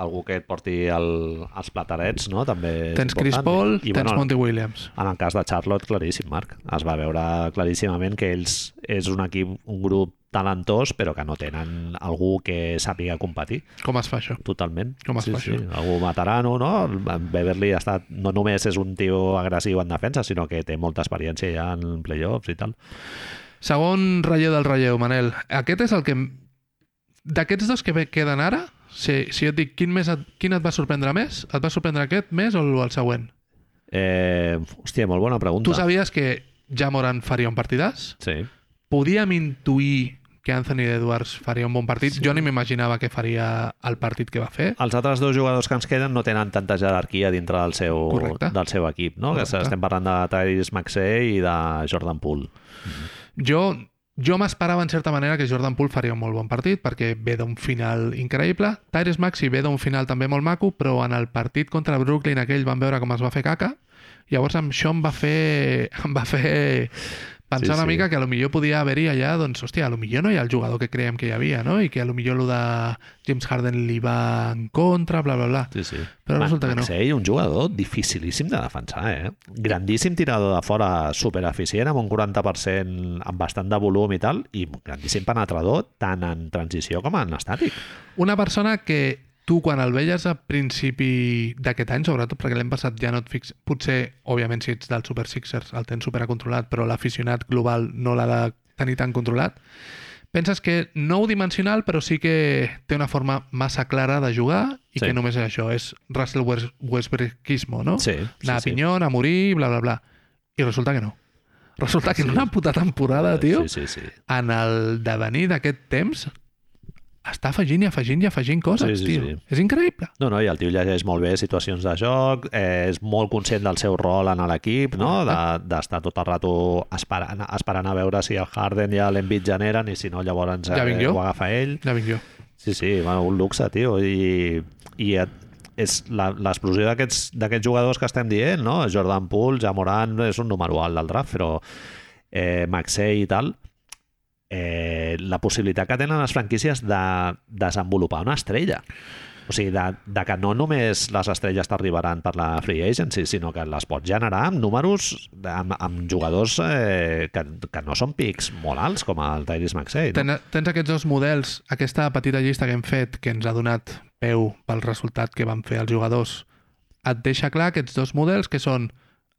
[SPEAKER 1] algú que et porti el, els platarets, no? També és
[SPEAKER 2] Tens Chris Paul,
[SPEAKER 1] important. eh? I,
[SPEAKER 2] tens
[SPEAKER 1] bueno,
[SPEAKER 2] Monty Williams.
[SPEAKER 1] En el cas de Charlotte, claríssim, Marc. Es va veure claríssimament que ells és un equip, un grup talentós, però que no tenen algú que sàpiga competir
[SPEAKER 2] Com es fa això?
[SPEAKER 1] totalment.
[SPEAKER 2] Com es
[SPEAKER 1] sí,
[SPEAKER 2] fa
[SPEAKER 1] sí.
[SPEAKER 2] això?
[SPEAKER 1] Algú veterano, no? En Beverly ha estat, no només és un tio agressiu en defensa, sinó que té molta experiència ja en playoffs i tal.
[SPEAKER 2] Segon relleu del relleu, Manel. Aquest és el que... em- D'aquests dos que ve- queden ara, si, si jo et dic quin, més et, quin et va sorprendre més, et va sorprendre aquest més o el següent?
[SPEAKER 1] Eh, hòstia, molt bona pregunta.
[SPEAKER 2] Tu sabies que ja Moran faria un partidàs?
[SPEAKER 1] Sí.
[SPEAKER 2] Podíem intuir que Anthony Edwards faria un bon partit.
[SPEAKER 1] Sí.
[SPEAKER 2] Jo ni m'imaginava que faria el partit que va fer.
[SPEAKER 1] Els altres dos jugadors que ens queden no tenen tanta jerarquia dintre del seu,
[SPEAKER 2] Correcte.
[SPEAKER 1] del seu equip, no?
[SPEAKER 2] Correcte.
[SPEAKER 1] Que estem parlant de Tyrese Maxey i de Jordan Poole.
[SPEAKER 2] Jo, jo m'esperava, en certa manera, que Jordan Poole faria un molt bon partit, perquè ve d'un final increïble. Tyrese Maxey ve d'un final també molt maco, però en el partit contra Brooklyn aquell van veure com es va fer caca. Llavors amb això em va fer, em va fer
[SPEAKER 1] Sí,
[SPEAKER 2] pensar sí, una
[SPEAKER 1] sí.
[SPEAKER 2] mica que a lo millor podia haver-hi allà, doncs, hòstia, a lo millor no hi ha el jugador que creiem que hi havia, no? I que a lo millor lo de James Harden li va en contra, bla, bla, bla.
[SPEAKER 1] Sí, sí.
[SPEAKER 2] Però resulta que no.
[SPEAKER 1] Maxey, un jugador dificilíssim de defensar, eh? Grandíssim tirador de fora, supereficient, amb un 40%, amb bastant de volum i tal, i grandíssim penetrador, tant en transició com en estàtic.
[SPEAKER 2] Una persona que tu, quan el veies a principi d'aquest any, sobretot perquè l'hem passat ja no et fix... Potser, òbviament, si ets del Super Sixers el tens super controlat, però l'aficionat global no l'ha de tenir tan controlat. Penses que nou dimensional, però sí que té una forma massa clara de jugar
[SPEAKER 1] Sí.
[SPEAKER 2] i sí. que només és això, és Russell West Westbrookismo, no?
[SPEAKER 1] Sí, sí,
[SPEAKER 2] Anar a
[SPEAKER 1] sí.
[SPEAKER 2] pinyon, a morir, bla, bla, bla. I resulta que no. Resulta que en
[SPEAKER 1] Sí.
[SPEAKER 2] una puta temporada, tio,
[SPEAKER 1] Sí, sí, sí.
[SPEAKER 2] en el devenir d'aquest temps està afegint i afegint i afegint coses,
[SPEAKER 1] Sí, sí,
[SPEAKER 2] tio.
[SPEAKER 1] sí.
[SPEAKER 2] És increïble.
[SPEAKER 1] No, no, i el tio llegeix molt bé situacions de joc, eh, és molt conscient del seu rol en l'equip,
[SPEAKER 2] Ah.
[SPEAKER 1] no? De- d'estar de, tot el rato esperant, esperant a veure si el Harden i l'Envit generen i si no, llavors eh,
[SPEAKER 2] Ja vinc jo.
[SPEAKER 1] ho agafa ell.
[SPEAKER 2] Ja vinc jo.
[SPEAKER 1] Sí, sí, bueno, un luxe, tio. I, i et- és la- l'explosió d'aquests d'aquests jugadors que estem dient, no? Jordan Poole, Jamoran, és un número alt del draft, però eh, Maxey i tal, eh, la possibilitat que tenen les franquícies de desenvolupar una estrella. O sigui, de, de que no només les estrelles t'arribaran per la free agency, sinó que les pots generar amb números, amb, amb jugadors eh, que, que no són pics molt alts, com el Tyrese Maxey. No?
[SPEAKER 2] Ten, tens aquests dos models, aquesta petita llista que hem fet, que ens ha donat peu pel resultat que van fer els jugadors, et deixa clar aquests dos models que són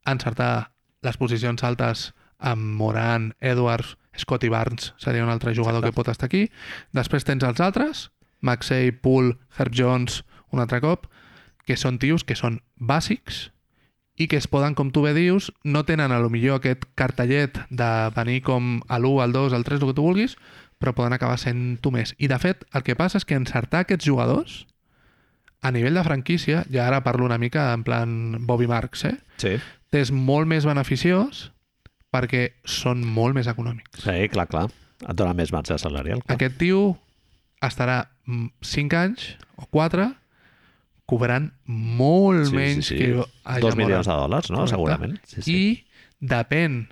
[SPEAKER 2] encertar les posicions altes amb Moran, Edwards, Scotty Barnes seria un altre jugador
[SPEAKER 1] Exacte.
[SPEAKER 2] que pot estar aquí. Després tens els altres, Maxey, Poole, Herb Jones, un altre cop, que són tios que són bàsics i que es poden, com tu bé dius, no tenen a lo millor aquest cartellet de venir com a l'1, al 2, al 3, el que tu vulguis, però poden acabar sent tu més. I de fet, el que passa és que encertar aquests jugadors a nivell de franquícia, ja ara parlo una mica en plan Bobby Marks, eh?
[SPEAKER 1] Sí.
[SPEAKER 2] t'és molt més beneficiós perquè són molt més econòmics.
[SPEAKER 1] Sí, clar, clar. Et dona més marge salarial. Clar.
[SPEAKER 2] Aquest tio estarà 5 anys o 4 cobrant molt menys que a
[SPEAKER 1] Dos
[SPEAKER 2] Jamoran.
[SPEAKER 1] milions de dòlars, no?
[SPEAKER 2] Correcte.
[SPEAKER 1] Segurament. Sí, sí.
[SPEAKER 2] I depèn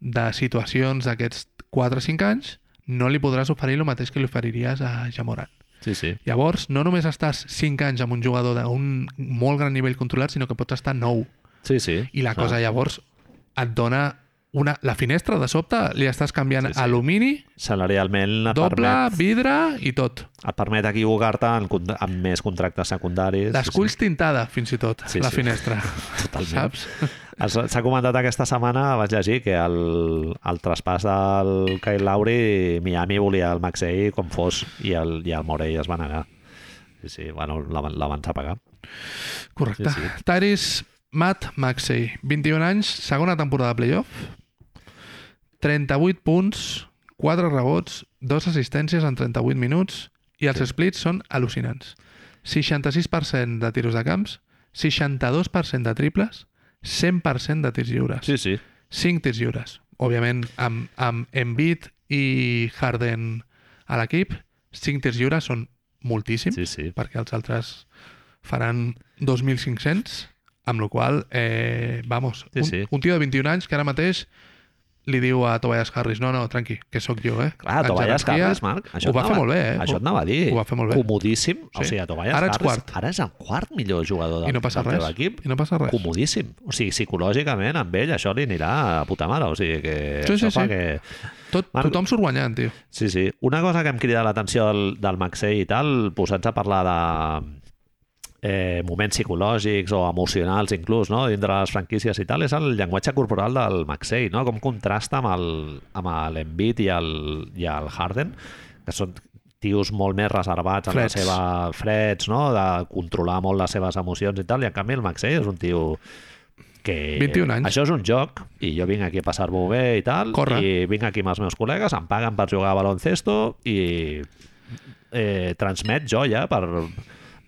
[SPEAKER 2] de situacions d'aquests 4 o 5 anys, no li podràs oferir el mateix que li oferiries a Jamoran.
[SPEAKER 1] sí, sí.
[SPEAKER 2] Llavors, no només estàs 5 anys amb un jugador d'un molt gran nivell controlat, sinó que pots estar 9.
[SPEAKER 1] sí, sí.
[SPEAKER 2] I la
[SPEAKER 1] Clar.
[SPEAKER 2] cosa llavors et dona una, la finestra de sobte, li estàs canviant
[SPEAKER 1] Sí,
[SPEAKER 2] sí,
[SPEAKER 1] sí.
[SPEAKER 2] sí. alumini,
[SPEAKER 1] Salarialment et
[SPEAKER 2] doble,
[SPEAKER 1] permet,
[SPEAKER 2] vidre i tot.
[SPEAKER 1] et permet equivocar-te en con- amb més contractes secundaris.
[SPEAKER 2] L'esculls tintada, fins i tot,
[SPEAKER 1] Sí,
[SPEAKER 2] sí, la
[SPEAKER 1] sí.
[SPEAKER 2] sí. finestra.
[SPEAKER 1] Totalment.
[SPEAKER 2] Saps?
[SPEAKER 1] Es- S'ha comentat aquesta setmana, vaig llegir, que el, el traspàs del Kyle Lowry, Miami volia el Maxey com fos, i el, i el Morey es va negar. Sí, sí, bueno, la, la van pagar.
[SPEAKER 2] Correcte.
[SPEAKER 1] Sí,
[SPEAKER 2] Sí, sí. Taris Matt Maxey, 21 anys, segona temporada de playoff, 38 punts, 4 rebots, 2 assistències en 38 minuts i els sí. splits són al·lucinants. 66% de tiros de camps, 62% de triples, 100% de tirs lliures.
[SPEAKER 1] Sí, sí.
[SPEAKER 2] 5 tirs lliures. Òbviament, amb, amb Embiid i Harden a l'equip, 5 tirs lliures són moltíssims,
[SPEAKER 1] Sí, sí.
[SPEAKER 2] perquè els altres faran 2.500, amb la qual cosa, eh, vamos,
[SPEAKER 1] Sí,
[SPEAKER 2] un,
[SPEAKER 1] sí.
[SPEAKER 2] un tio de 21 anys que ara mateix li diu a Tobias Harris, no, no, tranqui, que sóc jo, eh?
[SPEAKER 1] Clar,
[SPEAKER 2] En
[SPEAKER 1] Tobias
[SPEAKER 2] jerarquia,
[SPEAKER 1] Harris, Marc, això
[SPEAKER 2] Ho va
[SPEAKER 1] et
[SPEAKER 2] fer
[SPEAKER 1] anava-
[SPEAKER 2] molt bé, eh?
[SPEAKER 1] Això et anava a dir.
[SPEAKER 2] Ho va fer molt bé.
[SPEAKER 1] Comodíssim. O
[SPEAKER 2] Sí.
[SPEAKER 1] sigui, a Tobias
[SPEAKER 2] Ara ets
[SPEAKER 1] Harris,
[SPEAKER 2] quart.
[SPEAKER 1] Ara és el quart millor jugador del,
[SPEAKER 2] I no passa
[SPEAKER 1] del
[SPEAKER 2] res.
[SPEAKER 1] teu equip.
[SPEAKER 2] I no passa res.
[SPEAKER 1] Comodíssim. O sigui, psicològicament, amb ell, això li anirà a puta mare. O sigui, que
[SPEAKER 2] Sí, sí,
[SPEAKER 1] això fa
[SPEAKER 2] sí.
[SPEAKER 1] que...
[SPEAKER 2] Tot,
[SPEAKER 1] Marc-
[SPEAKER 2] tothom surt guanyant, tio.
[SPEAKER 1] Sí, sí. Una cosa que em crida l'atenció del, del Maxell i tal, posats a parlar de eh, moments psicològics o emocionals inclús, no?, dintre les franquícies i tal, és el llenguatge corporal del Maxell, no?, com contrasta amb el, amb l'Embiid i, el, i el Harden, que són tios molt més reservats en la
[SPEAKER 2] Freds.
[SPEAKER 1] seva freds, no?, de controlar molt les seves emocions i tal, i en canvi el Maxell és un tio que
[SPEAKER 2] 21 anys.
[SPEAKER 1] això és un joc i jo vinc aquí a passar-m'ho bé i tal
[SPEAKER 2] Corre.
[SPEAKER 1] i vinc aquí amb els meus col·legues, em paguen per jugar a baloncesto i eh, transmet joia per,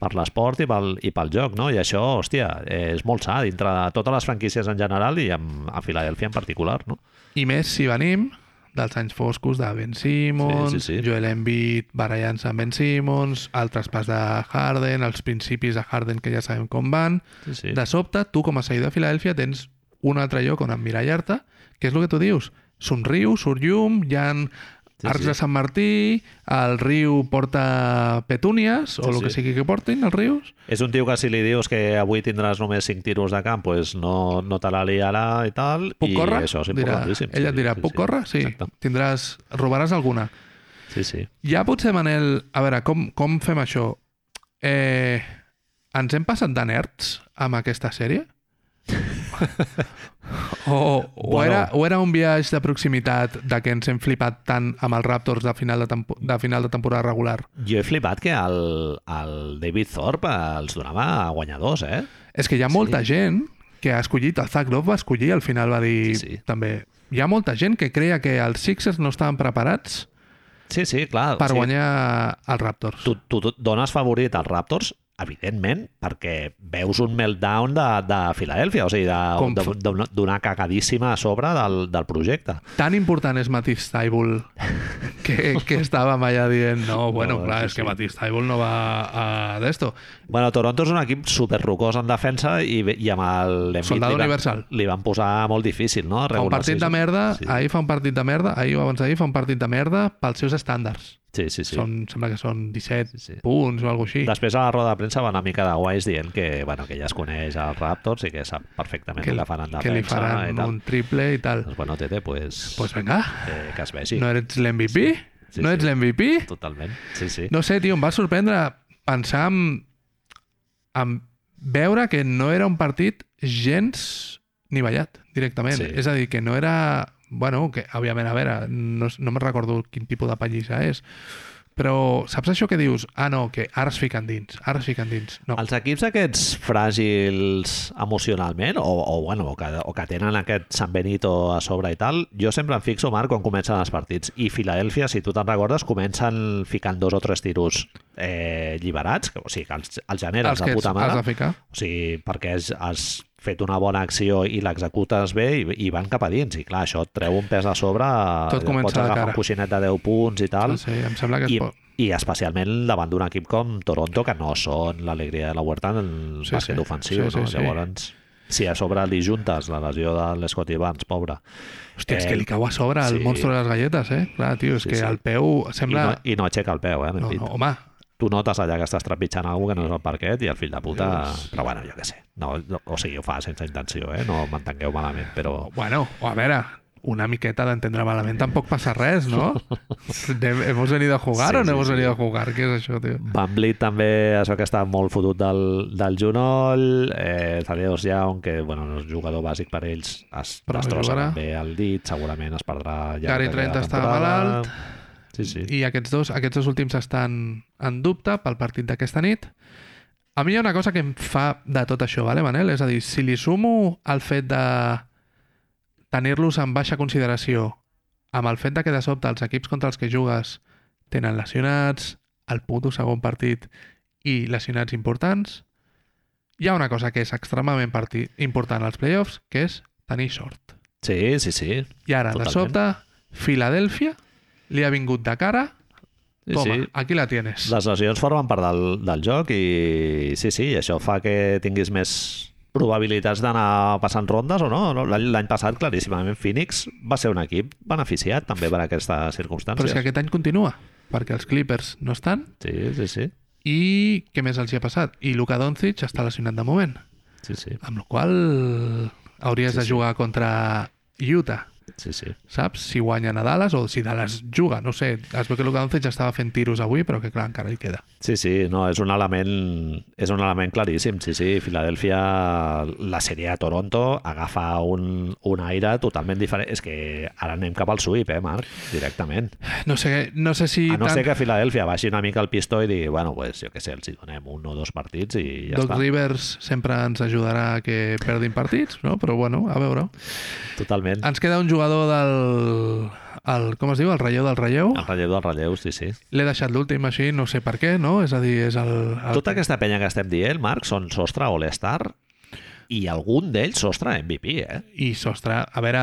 [SPEAKER 1] per l'esport i, pel, i pel joc, no? I això, hòstia, eh, és molt sa dintre de totes les franquícies en general i amb, a Filadèlfia en particular, no?
[SPEAKER 2] I més si venim dels anys foscos de Ben Simmons,
[SPEAKER 1] Sí, sí, sí.
[SPEAKER 2] Joel Embiid barallant-se amb Ben Simmons, el traspàs de Harden, els principis de Harden que ja sabem com van.
[SPEAKER 1] Sí, sí.
[SPEAKER 2] De sobte, tu com a seguidor de Filadèlfia tens un altre lloc on emmirallar-te, que és el que tu dius. Somriu, surt llum, hi ha
[SPEAKER 1] Sí,
[SPEAKER 2] arcs
[SPEAKER 1] sí.
[SPEAKER 2] de Sant Martí, el riu porta petúnies, o
[SPEAKER 1] Sí,
[SPEAKER 2] el que
[SPEAKER 1] sí.
[SPEAKER 2] sigui que portin els rius.
[SPEAKER 1] És un tio que si li dius que avui tindràs només 5 tiros de camp, pues no, no te la liarà i tal.
[SPEAKER 2] Puc
[SPEAKER 1] i
[SPEAKER 2] córrer?
[SPEAKER 1] Això és
[SPEAKER 2] dirà,
[SPEAKER 1] importantíssim.
[SPEAKER 2] ella et dirà,
[SPEAKER 1] sí,
[SPEAKER 2] puc
[SPEAKER 1] sí.
[SPEAKER 2] córrer? Sí.
[SPEAKER 1] Exacte.
[SPEAKER 2] Tindràs, robaràs alguna.
[SPEAKER 1] Sí, sí.
[SPEAKER 2] Ja potser, Manel, a veure, com, com fem això? Eh, ens hem passat de nerds amb aquesta sèrie? o, o,
[SPEAKER 1] Bueno.
[SPEAKER 2] era, o era un viatge de proximitat de que ens hem flipat tant amb els Raptors de final de, tempo, de, final de temporada regular?
[SPEAKER 1] Jo he flipat que el, el David Thorpe eh, els donava guanyadors, eh?
[SPEAKER 2] És que hi ha molta gent que ha escollit, el Zach Love va escollir, al final va dir
[SPEAKER 1] Sí, sí.
[SPEAKER 2] també... Hi ha molta gent que creia que els Sixers no estaven preparats
[SPEAKER 1] Sí, sí, clar.
[SPEAKER 2] per
[SPEAKER 1] o sigui,
[SPEAKER 2] guanyar els Raptors.
[SPEAKER 1] tu, tu, tu dones favorit als Raptors evidentment, perquè veus un meltdown de, de Filadèlfia, o sigui,
[SPEAKER 2] Com
[SPEAKER 1] de-
[SPEAKER 2] fa-
[SPEAKER 1] de- d'una d'una cagadíssima a sobre del, del projecte.
[SPEAKER 2] tan important és Matisse Taibul que, que estàvem allà dient no,
[SPEAKER 1] No,
[SPEAKER 2] bueno, no, clar,
[SPEAKER 1] sí,
[SPEAKER 2] és que
[SPEAKER 1] sí.
[SPEAKER 2] Matisse Taibul no va a d'esto.
[SPEAKER 1] Bueno, Toronto és un equip super rocós en defensa i, ve- i amb el Embiid
[SPEAKER 2] Soldado
[SPEAKER 1] li, van,
[SPEAKER 2] universal.
[SPEAKER 1] li van posar molt difícil, no?
[SPEAKER 2] Fa un partit de merda,
[SPEAKER 1] Sí,
[SPEAKER 2] sí. ahir fa un partit de merda, ahir o abans d'ahir fa un partit de merda pels seus estàndards.
[SPEAKER 1] sí, sí. sí.
[SPEAKER 2] Sí. Són, sembla que són 17
[SPEAKER 1] Sí,
[SPEAKER 2] sí,
[SPEAKER 1] sí.
[SPEAKER 2] sí. punts o alguna així.
[SPEAKER 1] Després a la roda de premsa va una mica de guais dient que, bueno, que ja es coneix els Raptors i que sap perfectament que, el que faran
[SPEAKER 2] que li
[SPEAKER 1] defensa i
[SPEAKER 2] faran
[SPEAKER 1] tal.
[SPEAKER 2] un triple i tal.
[SPEAKER 1] Doncs bueno, Tete, pues,
[SPEAKER 2] Pues vinga,
[SPEAKER 1] eh, que es vegi.
[SPEAKER 2] sí. no eres l'MVP?
[SPEAKER 1] Sí.
[SPEAKER 2] Sí.
[SPEAKER 1] Sí,
[SPEAKER 2] no
[SPEAKER 1] sí.
[SPEAKER 2] ets l'MVP?
[SPEAKER 1] Totalment, sí, sí.
[SPEAKER 2] No sé, tio, em va sorprendre pensar en, en veure que no era un partit gens nivellat, directament.
[SPEAKER 1] Sí.
[SPEAKER 2] Sí. És a dir, que no era... Bueno, que, òbviament, a veure, no, s- no me'n recordo quin tipus de pallissa és, però saps això que dius? Ah, no, que ara es fiquen dins, ara es fiquen dins. No,
[SPEAKER 1] Els equips aquests fràgils emocionalment, o, o, bueno, o, que, o que tenen aquest San Benito a sobre i tal, jo sempre em fixo, Marc, quan comencen els partits. I Filadèlfia, si tu te'n recordes, comencen ficant dos o tres tiros eh, lliberats, que, o sigui, que els, els generes
[SPEAKER 2] els
[SPEAKER 1] de
[SPEAKER 2] que
[SPEAKER 1] puta mare.
[SPEAKER 2] has de ficar.
[SPEAKER 1] O sigui, perquè has, has fet una bona acció i l'executes bé i, i van cap a dins. I clar, això et treu un pes a sobre, eh,
[SPEAKER 2] Tot comença
[SPEAKER 1] pots
[SPEAKER 2] de
[SPEAKER 1] agafar
[SPEAKER 2] cara.
[SPEAKER 1] un coixinet de 10 punts i tal.
[SPEAKER 2] No sé, em sembla que es
[SPEAKER 1] I,
[SPEAKER 2] pot...
[SPEAKER 1] I especialment davant d'un equip com Toronto, que no són l'alegria de la Huerta en el sí,
[SPEAKER 2] Sí,
[SPEAKER 1] bàsquet
[SPEAKER 2] sí.
[SPEAKER 1] ofensiu.
[SPEAKER 2] Sí, sí,
[SPEAKER 1] no?
[SPEAKER 2] sí.
[SPEAKER 1] Llavors, si a sobre li juntes la lesió de l'Scott Evans, pobre,
[SPEAKER 2] Hòstia, és
[SPEAKER 1] eh,
[SPEAKER 2] que li cau a sobre el
[SPEAKER 1] sí.
[SPEAKER 2] monstru de les galletes, eh? Clar, tio, és
[SPEAKER 1] Sí,
[SPEAKER 2] sí, que
[SPEAKER 1] sí.
[SPEAKER 2] sí. el peu
[SPEAKER 1] i
[SPEAKER 2] sembla...
[SPEAKER 1] no, i no aixeca el peu, eh?
[SPEAKER 2] no,
[SPEAKER 1] No,
[SPEAKER 2] no, home,
[SPEAKER 1] Tu notes allà que estàs trepitjant alguna que no és el parquet i el fill de puta...
[SPEAKER 2] Dios.
[SPEAKER 1] Però bueno, jo què sé. No, no, o sigui, ho fa sense intenció, eh? No m'entengueu malament, però...
[SPEAKER 2] Bueno, o a veure, una miqueta d'entendre malament tampoc passa res, no? Anem- ¿Hemos venido a jugar
[SPEAKER 1] Sí,
[SPEAKER 2] o no
[SPEAKER 1] sí,
[SPEAKER 2] hemos
[SPEAKER 1] sí.
[SPEAKER 2] venido a jugar? Què és això, tio?
[SPEAKER 1] Van Vliet també es veu que està molt fotut del, del genoll, eh, Thaddeus Young, que bueno, no és jugador bàsic per ells, es
[SPEAKER 2] Però no
[SPEAKER 1] destrossa
[SPEAKER 2] jugarà.
[SPEAKER 1] també el dit, segurament es perdrà ja
[SPEAKER 2] Gary
[SPEAKER 1] el que queda
[SPEAKER 2] Trent
[SPEAKER 1] de
[SPEAKER 2] està
[SPEAKER 1] temporada.
[SPEAKER 2] malalt.
[SPEAKER 1] Sí, sí. I...
[SPEAKER 2] I aquests dos, aquests dos últims estan en dubte pel partit d'aquesta nit. A mi hi ha una cosa que em fa de tot això, vale, Manel? És a dir, si li sumo el fet de tenir-los en baixa consideració amb el fet de que de sobte els equips contra els que jugues tenen lesionats, el puto segon partit i lesionats importants, hi ha una cosa que és extremament parti- important als playoffs, que és tenir sort.
[SPEAKER 1] sí, sí, sí.
[SPEAKER 2] I ara,
[SPEAKER 1] Totalment.
[SPEAKER 2] de sobte, Filadèlfia li ha vingut de cara
[SPEAKER 1] sí,
[SPEAKER 2] Toma,
[SPEAKER 1] sí.
[SPEAKER 2] aquí la tienes.
[SPEAKER 1] Les lesions formen part del, del joc i sí, sí, això fa que tinguis més probabilitats d'anar passant rondes o no. no? L'any l'any passat, claríssimament, Phoenix va ser un equip beneficiat també per aquestes circumstàncies.
[SPEAKER 2] Però és que aquest any continua, perquè els Clippers no estan
[SPEAKER 1] Sí, sí, sí.
[SPEAKER 2] i què més els hi ha passat? I Luka Doncic està lesionat de moment,
[SPEAKER 1] Sí, sí,
[SPEAKER 2] amb la qual cosa hauries
[SPEAKER 1] Sí,
[SPEAKER 2] de
[SPEAKER 1] sí.
[SPEAKER 2] jugar contra Utah,
[SPEAKER 1] sí, sí.
[SPEAKER 2] saps? Si guanyen a Dallas o si Dallas juga, no ho sé. Es veu que Luka Doncic estava fent tiros avui, però que clar, encara hi queda.
[SPEAKER 1] Sí, sí, no, és un element, és un element claríssim, sí, sí. Filadèlfia, la sèrie a Toronto agafa un, un aire totalment diferent. És que ara anem cap al sweep, eh, Marc? Directament.
[SPEAKER 2] No sé, no sé si...
[SPEAKER 1] I a no
[SPEAKER 2] tant-
[SPEAKER 1] ser que Filadèlfia baixi una mica el pistó i digui, bueno, pues, jo què sé, els hi donem un o dos partits i ja
[SPEAKER 2] Doc
[SPEAKER 1] està.
[SPEAKER 2] Rivers sempre ens ajudarà a que perdin partits, no? però bueno, a veure.
[SPEAKER 1] Totalment.
[SPEAKER 2] Ens queda un jugador del... El, com es diu? El relleu del relleu?
[SPEAKER 1] El relleu del relleu, sí, sí.
[SPEAKER 2] L'he deixat l'últim així, no sé per què, no? És a dir, és el... el...
[SPEAKER 1] Tota aquesta penya que estem dient, Marc, són sostre All-Star i algun d'ells sostre MVP, eh?
[SPEAKER 2] I, sostre, a veure,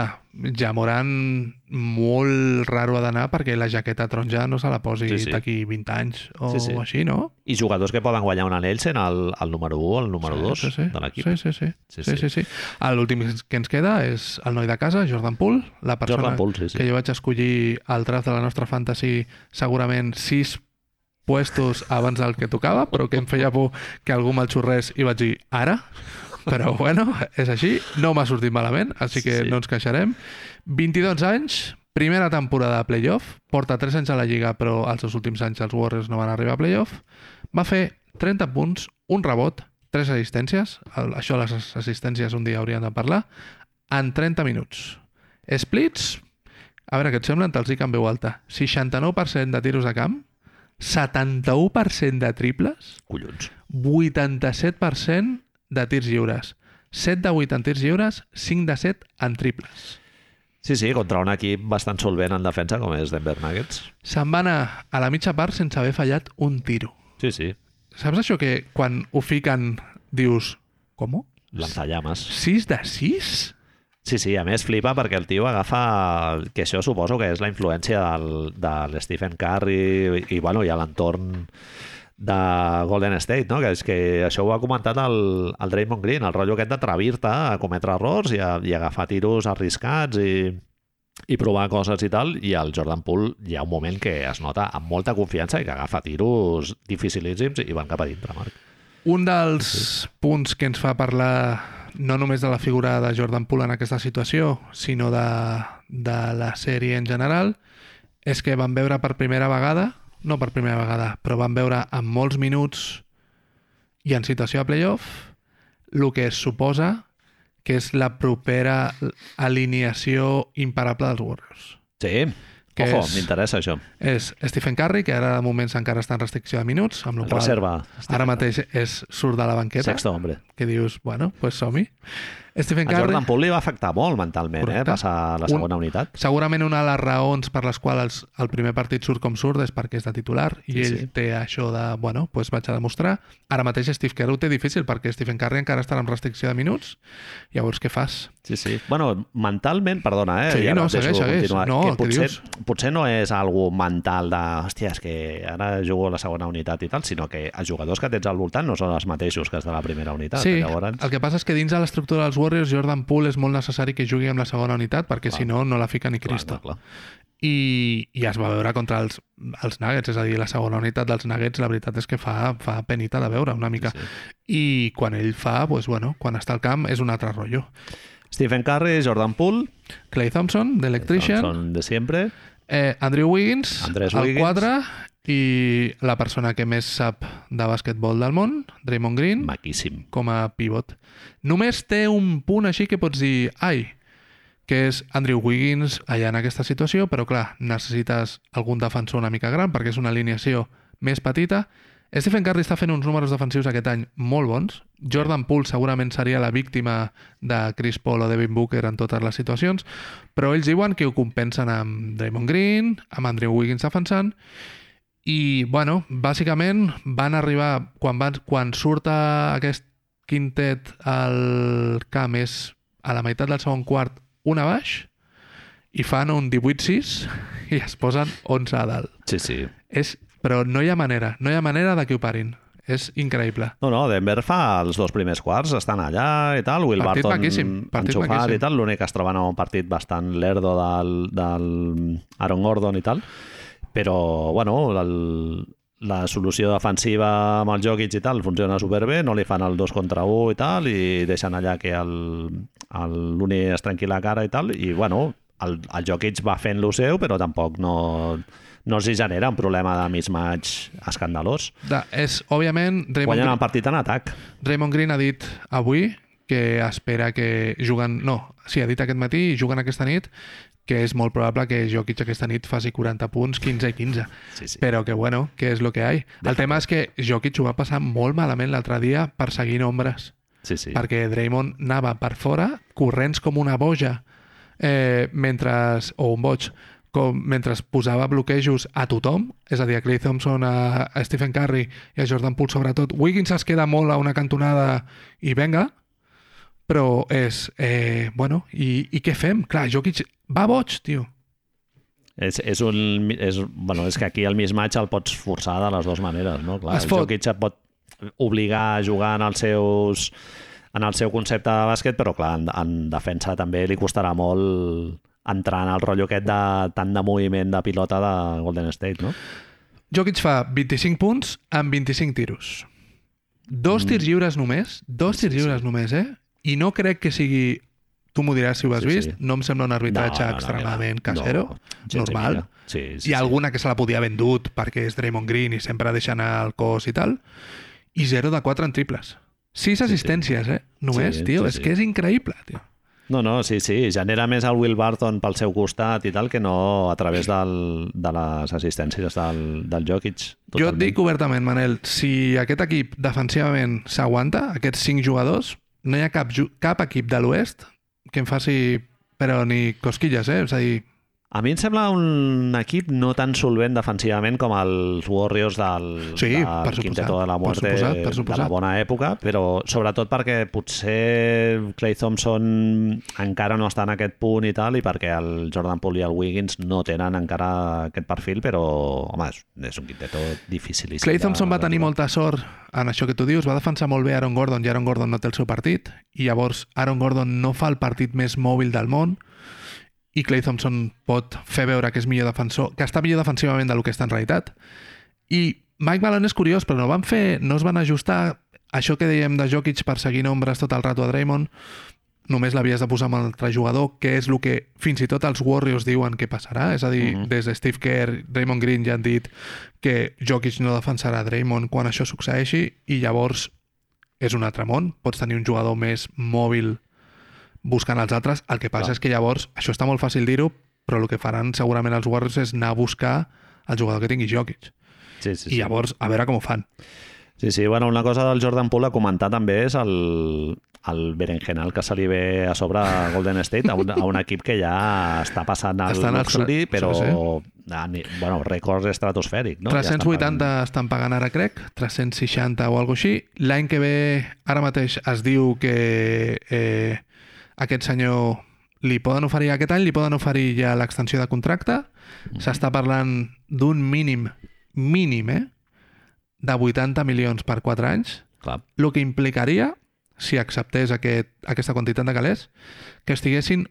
[SPEAKER 2] ja Moran molt raro ha d'anar perquè la jaqueta taronja no se la posi
[SPEAKER 1] Sí,
[SPEAKER 2] sí,
[SPEAKER 1] sí.
[SPEAKER 2] sí. d'aquí 20 anys o
[SPEAKER 1] Sí,
[SPEAKER 2] sí,
[SPEAKER 1] sí.
[SPEAKER 2] sí. així, no?
[SPEAKER 1] I jugadors que poden guanyar un anell sent el, el número 1 o el número 2
[SPEAKER 2] sí, sí.
[SPEAKER 1] de l'equip.
[SPEAKER 2] Sí, sí, sí. sí, sí. sí, sí. Ah, L'últim que ens queda és el noi de casa, Jordan Poole, la persona
[SPEAKER 1] Jordan Poole, sí, sí.
[SPEAKER 2] que jo vaig escollir al draft de la nostra fantasy segurament sis puestos abans del que tocava, però que em feia por que algú me'l xurrés i vaig dir ara, però bueno, és així, no m'ha sortit malament, així que
[SPEAKER 1] Sí,
[SPEAKER 2] sí,
[SPEAKER 1] sí.
[SPEAKER 2] sí. no ens queixarem. 22 anys, primera temporada de playoff, porta 3 anys a la Lliga, però els seus últims anys els Warriors no van arribar a playoff, va fer 30 punts, un rebot, 3 assistències, el, això les as- assistències un dia hauríem de parlar, en 30 minuts. Splits, a veure, què et semblen? Te'ls dic en veu alta. 69% de tiros a camp, 71% de triples,
[SPEAKER 1] Collons.
[SPEAKER 2] 87% de tirs lliures. 7 de 8 en tirs lliures, 5 de 7 en triples.
[SPEAKER 1] Sí, sí, contra un equip bastant solvent en defensa com és Denver Nuggets.
[SPEAKER 2] Se'n va anar a la mitja part sense haver fallat un tiro.
[SPEAKER 1] Sí, sí,
[SPEAKER 2] Saps això que quan ho fiquen dius... Com?
[SPEAKER 1] l'enzallames.
[SPEAKER 2] 6 de 6?
[SPEAKER 1] Sí, sí, a més flipa perquè el tio agafa el- que això suposo que és la influència del, de l'Stephen Curry i, i, bueno, i a l'entorn de Golden State, no? que és que això ho ha comentat el, el Draymond Green, el rotllo aquest d'atrevir-te a cometre errors i, a, i agafar tiros arriscats i, i provar coses i tal, i el Jordan Poole hi ha un moment que es nota amb molta confiança i que agafa tiros dificilíssims i van cap a dintre, Marc.
[SPEAKER 2] Un dels punts que ens fa parlar no només de la figura de Jordan Poole en aquesta situació, sinó de, de la sèrie en general, és que van veure per primera vegada, no per primera vegada, però van veure en molts minuts i en situació de playoff, el que es suposa que és la propera alineació imparable dels Warriors.
[SPEAKER 1] Sí,
[SPEAKER 2] Què
[SPEAKER 1] Ojo,
[SPEAKER 2] és?
[SPEAKER 1] m'interessa això.
[SPEAKER 2] És Stephen Curry, que ara de moment encara està en restricció de minuts, amb la
[SPEAKER 1] El
[SPEAKER 2] qual
[SPEAKER 1] reserva.
[SPEAKER 2] ara mateix és, surt de la banqueta
[SPEAKER 1] Sexto hombre.
[SPEAKER 2] que dius, bueno, pues som-hi. Stephen
[SPEAKER 1] A
[SPEAKER 2] Curry,
[SPEAKER 1] Jordan Poole li va afectar molt mentalment, eh?
[SPEAKER 2] Correcte.
[SPEAKER 1] Passar a la
[SPEAKER 2] Un-
[SPEAKER 1] segona unitat.
[SPEAKER 2] segurament una de les raons per les quals el primer partit surt com surt és perquè és de titular i
[SPEAKER 1] Sí,
[SPEAKER 2] ell
[SPEAKER 1] sí.
[SPEAKER 2] té això de, bueno, pues vaig a demostrar. Ara mateix Steve Kerr ho té difícil perquè Stephen Curry encara està amb restricció de minuts. Llavors, què fas?
[SPEAKER 1] Sí, sí. Bueno, mentalment, perdona, eh?
[SPEAKER 2] Sí,
[SPEAKER 1] ara
[SPEAKER 2] no,
[SPEAKER 1] et deixo
[SPEAKER 2] segueix, segueix.
[SPEAKER 1] continuar.
[SPEAKER 2] No,
[SPEAKER 1] que
[SPEAKER 2] què
[SPEAKER 1] potser,
[SPEAKER 2] dius?
[SPEAKER 1] potser no és algo mental de, hòstia, és que ara jugo a la segona unitat i tal, sinó que els jugadors que tens al voltant no són els mateixos que els de la primera unitat.
[SPEAKER 2] Sí,
[SPEAKER 1] Llavors,
[SPEAKER 2] el que passa és que dins de l'estructura dels Warriors Jordan Poole és molt necessari que jugui amb la segona unitat perquè
[SPEAKER 1] Clar.
[SPEAKER 2] si no, no la fica ni Cristo.
[SPEAKER 1] Clar, clar,
[SPEAKER 2] i, i es va veure contra els, els Nuggets, és a dir, la segona unitat dels Nuggets la veritat és que fa, fa penita de veure una mica.
[SPEAKER 1] clar. Sí, sí.
[SPEAKER 2] I quan ell fa, doncs, bueno, quan està al camp és un altre rotllo.
[SPEAKER 1] Stephen Curry, Jordan Poole,
[SPEAKER 2] Clay Thompson, The Electrician,
[SPEAKER 1] són de sempre.
[SPEAKER 2] Eh, Andrew Wiggins,
[SPEAKER 1] Andrés
[SPEAKER 2] el
[SPEAKER 1] Wiggins.
[SPEAKER 2] 4, i la persona que més sap de bàsquetbol del món, Draymond Green,
[SPEAKER 1] Maquíssim.
[SPEAKER 2] com a pivot. Només té un punt així que pots dir, ai, que és Andrew Wiggins allà en aquesta situació, però clar, necessites algun defensor una mica gran perquè és una alineació més petita. Stephen Curry està fent uns números defensius aquest any molt bons. Jordan Poole segurament seria la víctima de Chris Paul o Devin Booker en totes les situacions, però ells diuen que ho compensen amb Draymond Green, amb Andrew Wiggins defensant, i, bueno, bàsicament van arribar, quan, van, quan surt a aquest quintet al camp és a la meitat del segon quart una baix i fan un 18-6 i es posen 11 a dalt.
[SPEAKER 1] Sí, sí.
[SPEAKER 2] És, però no hi ha manera, no hi ha manera de que ho parin. És increïble.
[SPEAKER 1] No, no, Denver fa els dos primers quarts, estan allà i tal, Will
[SPEAKER 2] Partit
[SPEAKER 1] Barton
[SPEAKER 2] maquíssim, partit
[SPEAKER 1] enxufat
[SPEAKER 2] maquíssim.
[SPEAKER 1] i tal, l'únic que es troben a un partit bastant lerdo del, del Aaron Gordon i tal, però, bueno, el, la solució defensiva amb el Jokic i tal funciona superbé, no li fan el 2 contra 1 i tal, i deixen allà que el- el- l'Uni es trenqui la cara i tal, i, bueno, el, el Jokic va fent lo seu, però tampoc no, no els hi genera un problema de mismatch escandalós.
[SPEAKER 2] De, és, òbviament, Raymond,
[SPEAKER 1] Guanyen
[SPEAKER 2] Green-
[SPEAKER 1] el partit en atac.
[SPEAKER 2] Raymond Green ha dit avui que espera que juguen... No, sí, ha dit aquest matí i juguen aquesta nit que és molt probable que Jokic aquesta nit faci 40 punts, 15 i 15.
[SPEAKER 1] Sí, sí.
[SPEAKER 2] Però que, bueno, que és el que hi ha. El tema és que Jokic ho va passar molt malament l'altre dia perseguint ombres.
[SPEAKER 1] Sí, sí.
[SPEAKER 2] perquè Draymond anava per fora corrents com una boja eh, mentre, o un boig com, mentre posava bloquejos a tothom, és a dir, a Clay Thompson, a, a Stephen Curry i a Jordan Poole sobretot. Wiggins es queda molt a una cantonada i venga, però és, eh, bueno, i, i què fem? Clar, Jokic va boig, tio.
[SPEAKER 1] És, és, un, és, bueno, és que aquí el mismatch el pots forçar de les dues maneres, no? Clar,
[SPEAKER 2] Es
[SPEAKER 1] el
[SPEAKER 2] fot.
[SPEAKER 1] Jokic et pot obligar a jugar en els seus en el seu concepte de bàsquet, però clar, en, en defensa també li costarà molt entrar en el rotllo aquest de tant de moviment de pilota de Golden State, no?
[SPEAKER 2] Jokic fa 25 punts amb 25 tiros.
[SPEAKER 1] Mm.
[SPEAKER 2] Dos tirs lliures només, dos tirs lliures només, eh? I no crec que sigui... Tu m'ho diràs si ho has
[SPEAKER 1] Sí,
[SPEAKER 2] vist,
[SPEAKER 1] sí.
[SPEAKER 2] no em sembla un arbitratge extremadament
[SPEAKER 1] que va.
[SPEAKER 2] casero,
[SPEAKER 1] gens ni
[SPEAKER 2] normal.
[SPEAKER 1] mica. Sí, sí,
[SPEAKER 2] Hi ha
[SPEAKER 1] sí.
[SPEAKER 2] alguna que se la podia haver endut perquè és Draymond Green i sempre deixa anar el cos i tal. I 0 de 4 en triples. 6 assistències, eh? Només,
[SPEAKER 1] Sí,
[SPEAKER 2] tio.
[SPEAKER 1] sí,
[SPEAKER 2] és
[SPEAKER 1] sí.
[SPEAKER 2] que és increïble, tio.
[SPEAKER 1] No, no, sí, sí, genera més el Will Barton pel seu costat i tal que no a través del, de les assistències del, del Jokic.
[SPEAKER 2] Jo et dic obertament, Manel, si aquest equip defensivament s'aguanta, aquests 5 jugadors, no hi ha cap, ju- cap equip de l'oest que em faci però ni cosquilles, eh? És a dir,
[SPEAKER 1] A mi em sembla un equip no tan solvent defensivament com els Warriors del,
[SPEAKER 2] Sí,
[SPEAKER 1] del
[SPEAKER 2] per suposat,
[SPEAKER 1] Quinteto de la
[SPEAKER 2] per
[SPEAKER 1] Muerte
[SPEAKER 2] suposat, per
[SPEAKER 1] de la
[SPEAKER 2] suposat.
[SPEAKER 1] bona època, però sobretot perquè potser Clay Thompson encara no està en aquest punt i tal, i perquè el Jordan Poole i el Wiggins no tenen encara aquest perfil, però, home, és, és un Quinteto dificilíssim.
[SPEAKER 2] Clay
[SPEAKER 1] de-
[SPEAKER 2] Thompson va
[SPEAKER 1] de
[SPEAKER 2] tenir
[SPEAKER 1] jugar.
[SPEAKER 2] molta sort en això que tu dius, va defensar molt bé Aaron Gordon i Aaron Gordon no té el seu partit i llavors Aaron Gordon no fa el partit més mòbil del món i Clay Thompson pot fer veure que és millor defensor, que està millor defensivament del que està en realitat. I Mike Malone és curiós, però no van fer, no es van ajustar això que dèiem de Jokic perseguint ombres tot el rato a Draymond, només l'havies de posar amb un altre jugador, que és el que fins i tot els Warriors diuen que passarà. És a dir,
[SPEAKER 1] Mhm.
[SPEAKER 2] des de Steve Kerr, Draymond Green ja han dit que Jokic no defensarà Draymond quan això succeeixi i llavors és un altre món. Pots tenir un jugador més mòbil buscant els altres. El que passa
[SPEAKER 1] Clar.
[SPEAKER 2] és que llavors, això està molt fàcil dir-ho, però el que faran segurament els Warriors és anar a buscar el jugador que tingui Jokic.
[SPEAKER 1] Sí, sí,
[SPEAKER 2] I
[SPEAKER 1] sí.
[SPEAKER 2] llavors, a veure com ho fan.
[SPEAKER 1] Sí, sí, bueno, una cosa del Jordan Poole a comentar també és el, el berenjenal que se li ve a sobre a Golden State, a un, a un equip que ja està passant al
[SPEAKER 2] Estan al
[SPEAKER 1] luxuri,
[SPEAKER 2] tra-
[SPEAKER 1] però
[SPEAKER 2] sí,
[SPEAKER 1] a ni- bueno, rècord estratosfèric. No? Ja estan
[SPEAKER 2] 380 estan pagant ara, crec, 360 o alguna així. L'any que ve, ara mateix es diu que eh, aquest senyor li poden oferir aquest any, li poden oferir ja l'extensió de contracte. S'està parlant d'un mínim, mínim, eh? De 80 milions per 4 anys,
[SPEAKER 1] pagant- Clar,
[SPEAKER 2] el que implicaria, si acceptés aquest, aquesta quantitat de calés, que estiguessin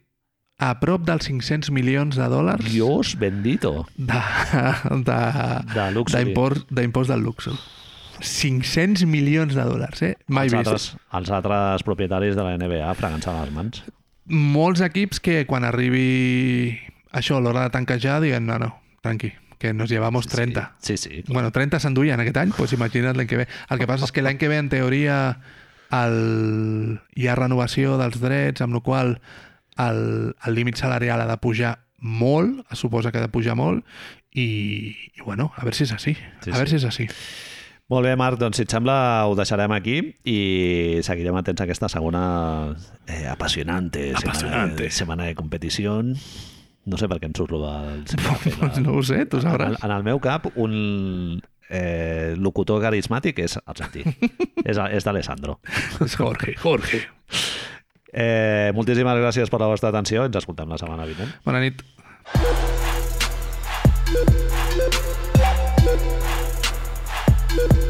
[SPEAKER 2] a prop dels 500 milions de dòlars
[SPEAKER 1] Dios bendito
[SPEAKER 2] de, de,
[SPEAKER 1] de luxuri.
[SPEAKER 2] d'impost d'impost del luxe. 500 milions de dòlars, eh? Mai
[SPEAKER 1] els,
[SPEAKER 2] vist.
[SPEAKER 1] altres, els altres propietaris de la NBA fregant-se les mans.
[SPEAKER 2] Molts equips que quan arribi això, l'hora de tanquejar, diguen, no, no, tranqui, que nos llevamos 30.
[SPEAKER 1] Sí, sí. sí.
[SPEAKER 2] Bueno, 30 s'enduien aquest any, doncs imagina't l'any que ve. El que passa és que l'any que ve, en teoria, el... hi ha renovació dels drets, amb la qual cosa el, el límit salarial ha de pujar molt, es suposa que ha de pujar molt, i, i bueno, a veure si és així.
[SPEAKER 1] Sí,
[SPEAKER 2] a veure
[SPEAKER 1] sí.
[SPEAKER 2] si és així.
[SPEAKER 1] Molt bé, Marc, doncs si et sembla ho deixarem aquí i seguirem atents a aquesta segona eh, apassionante,
[SPEAKER 2] Apasionante.
[SPEAKER 1] Setmana, de- setmana de competició. No sé per què em surt lo del...
[SPEAKER 2] Doncs no ho sé, tu
[SPEAKER 1] en,
[SPEAKER 2] sabràs.
[SPEAKER 1] el- en el meu cap, un eh, locutor carismàtic és Argentí. és, és d'Alessandro.
[SPEAKER 2] És Jorge, Jorge.
[SPEAKER 1] Eh, moltíssimes gràcies per la vostra atenció. Ens escoltem la setmana vinent.
[SPEAKER 2] Bona nit.
[SPEAKER 3] Thank you.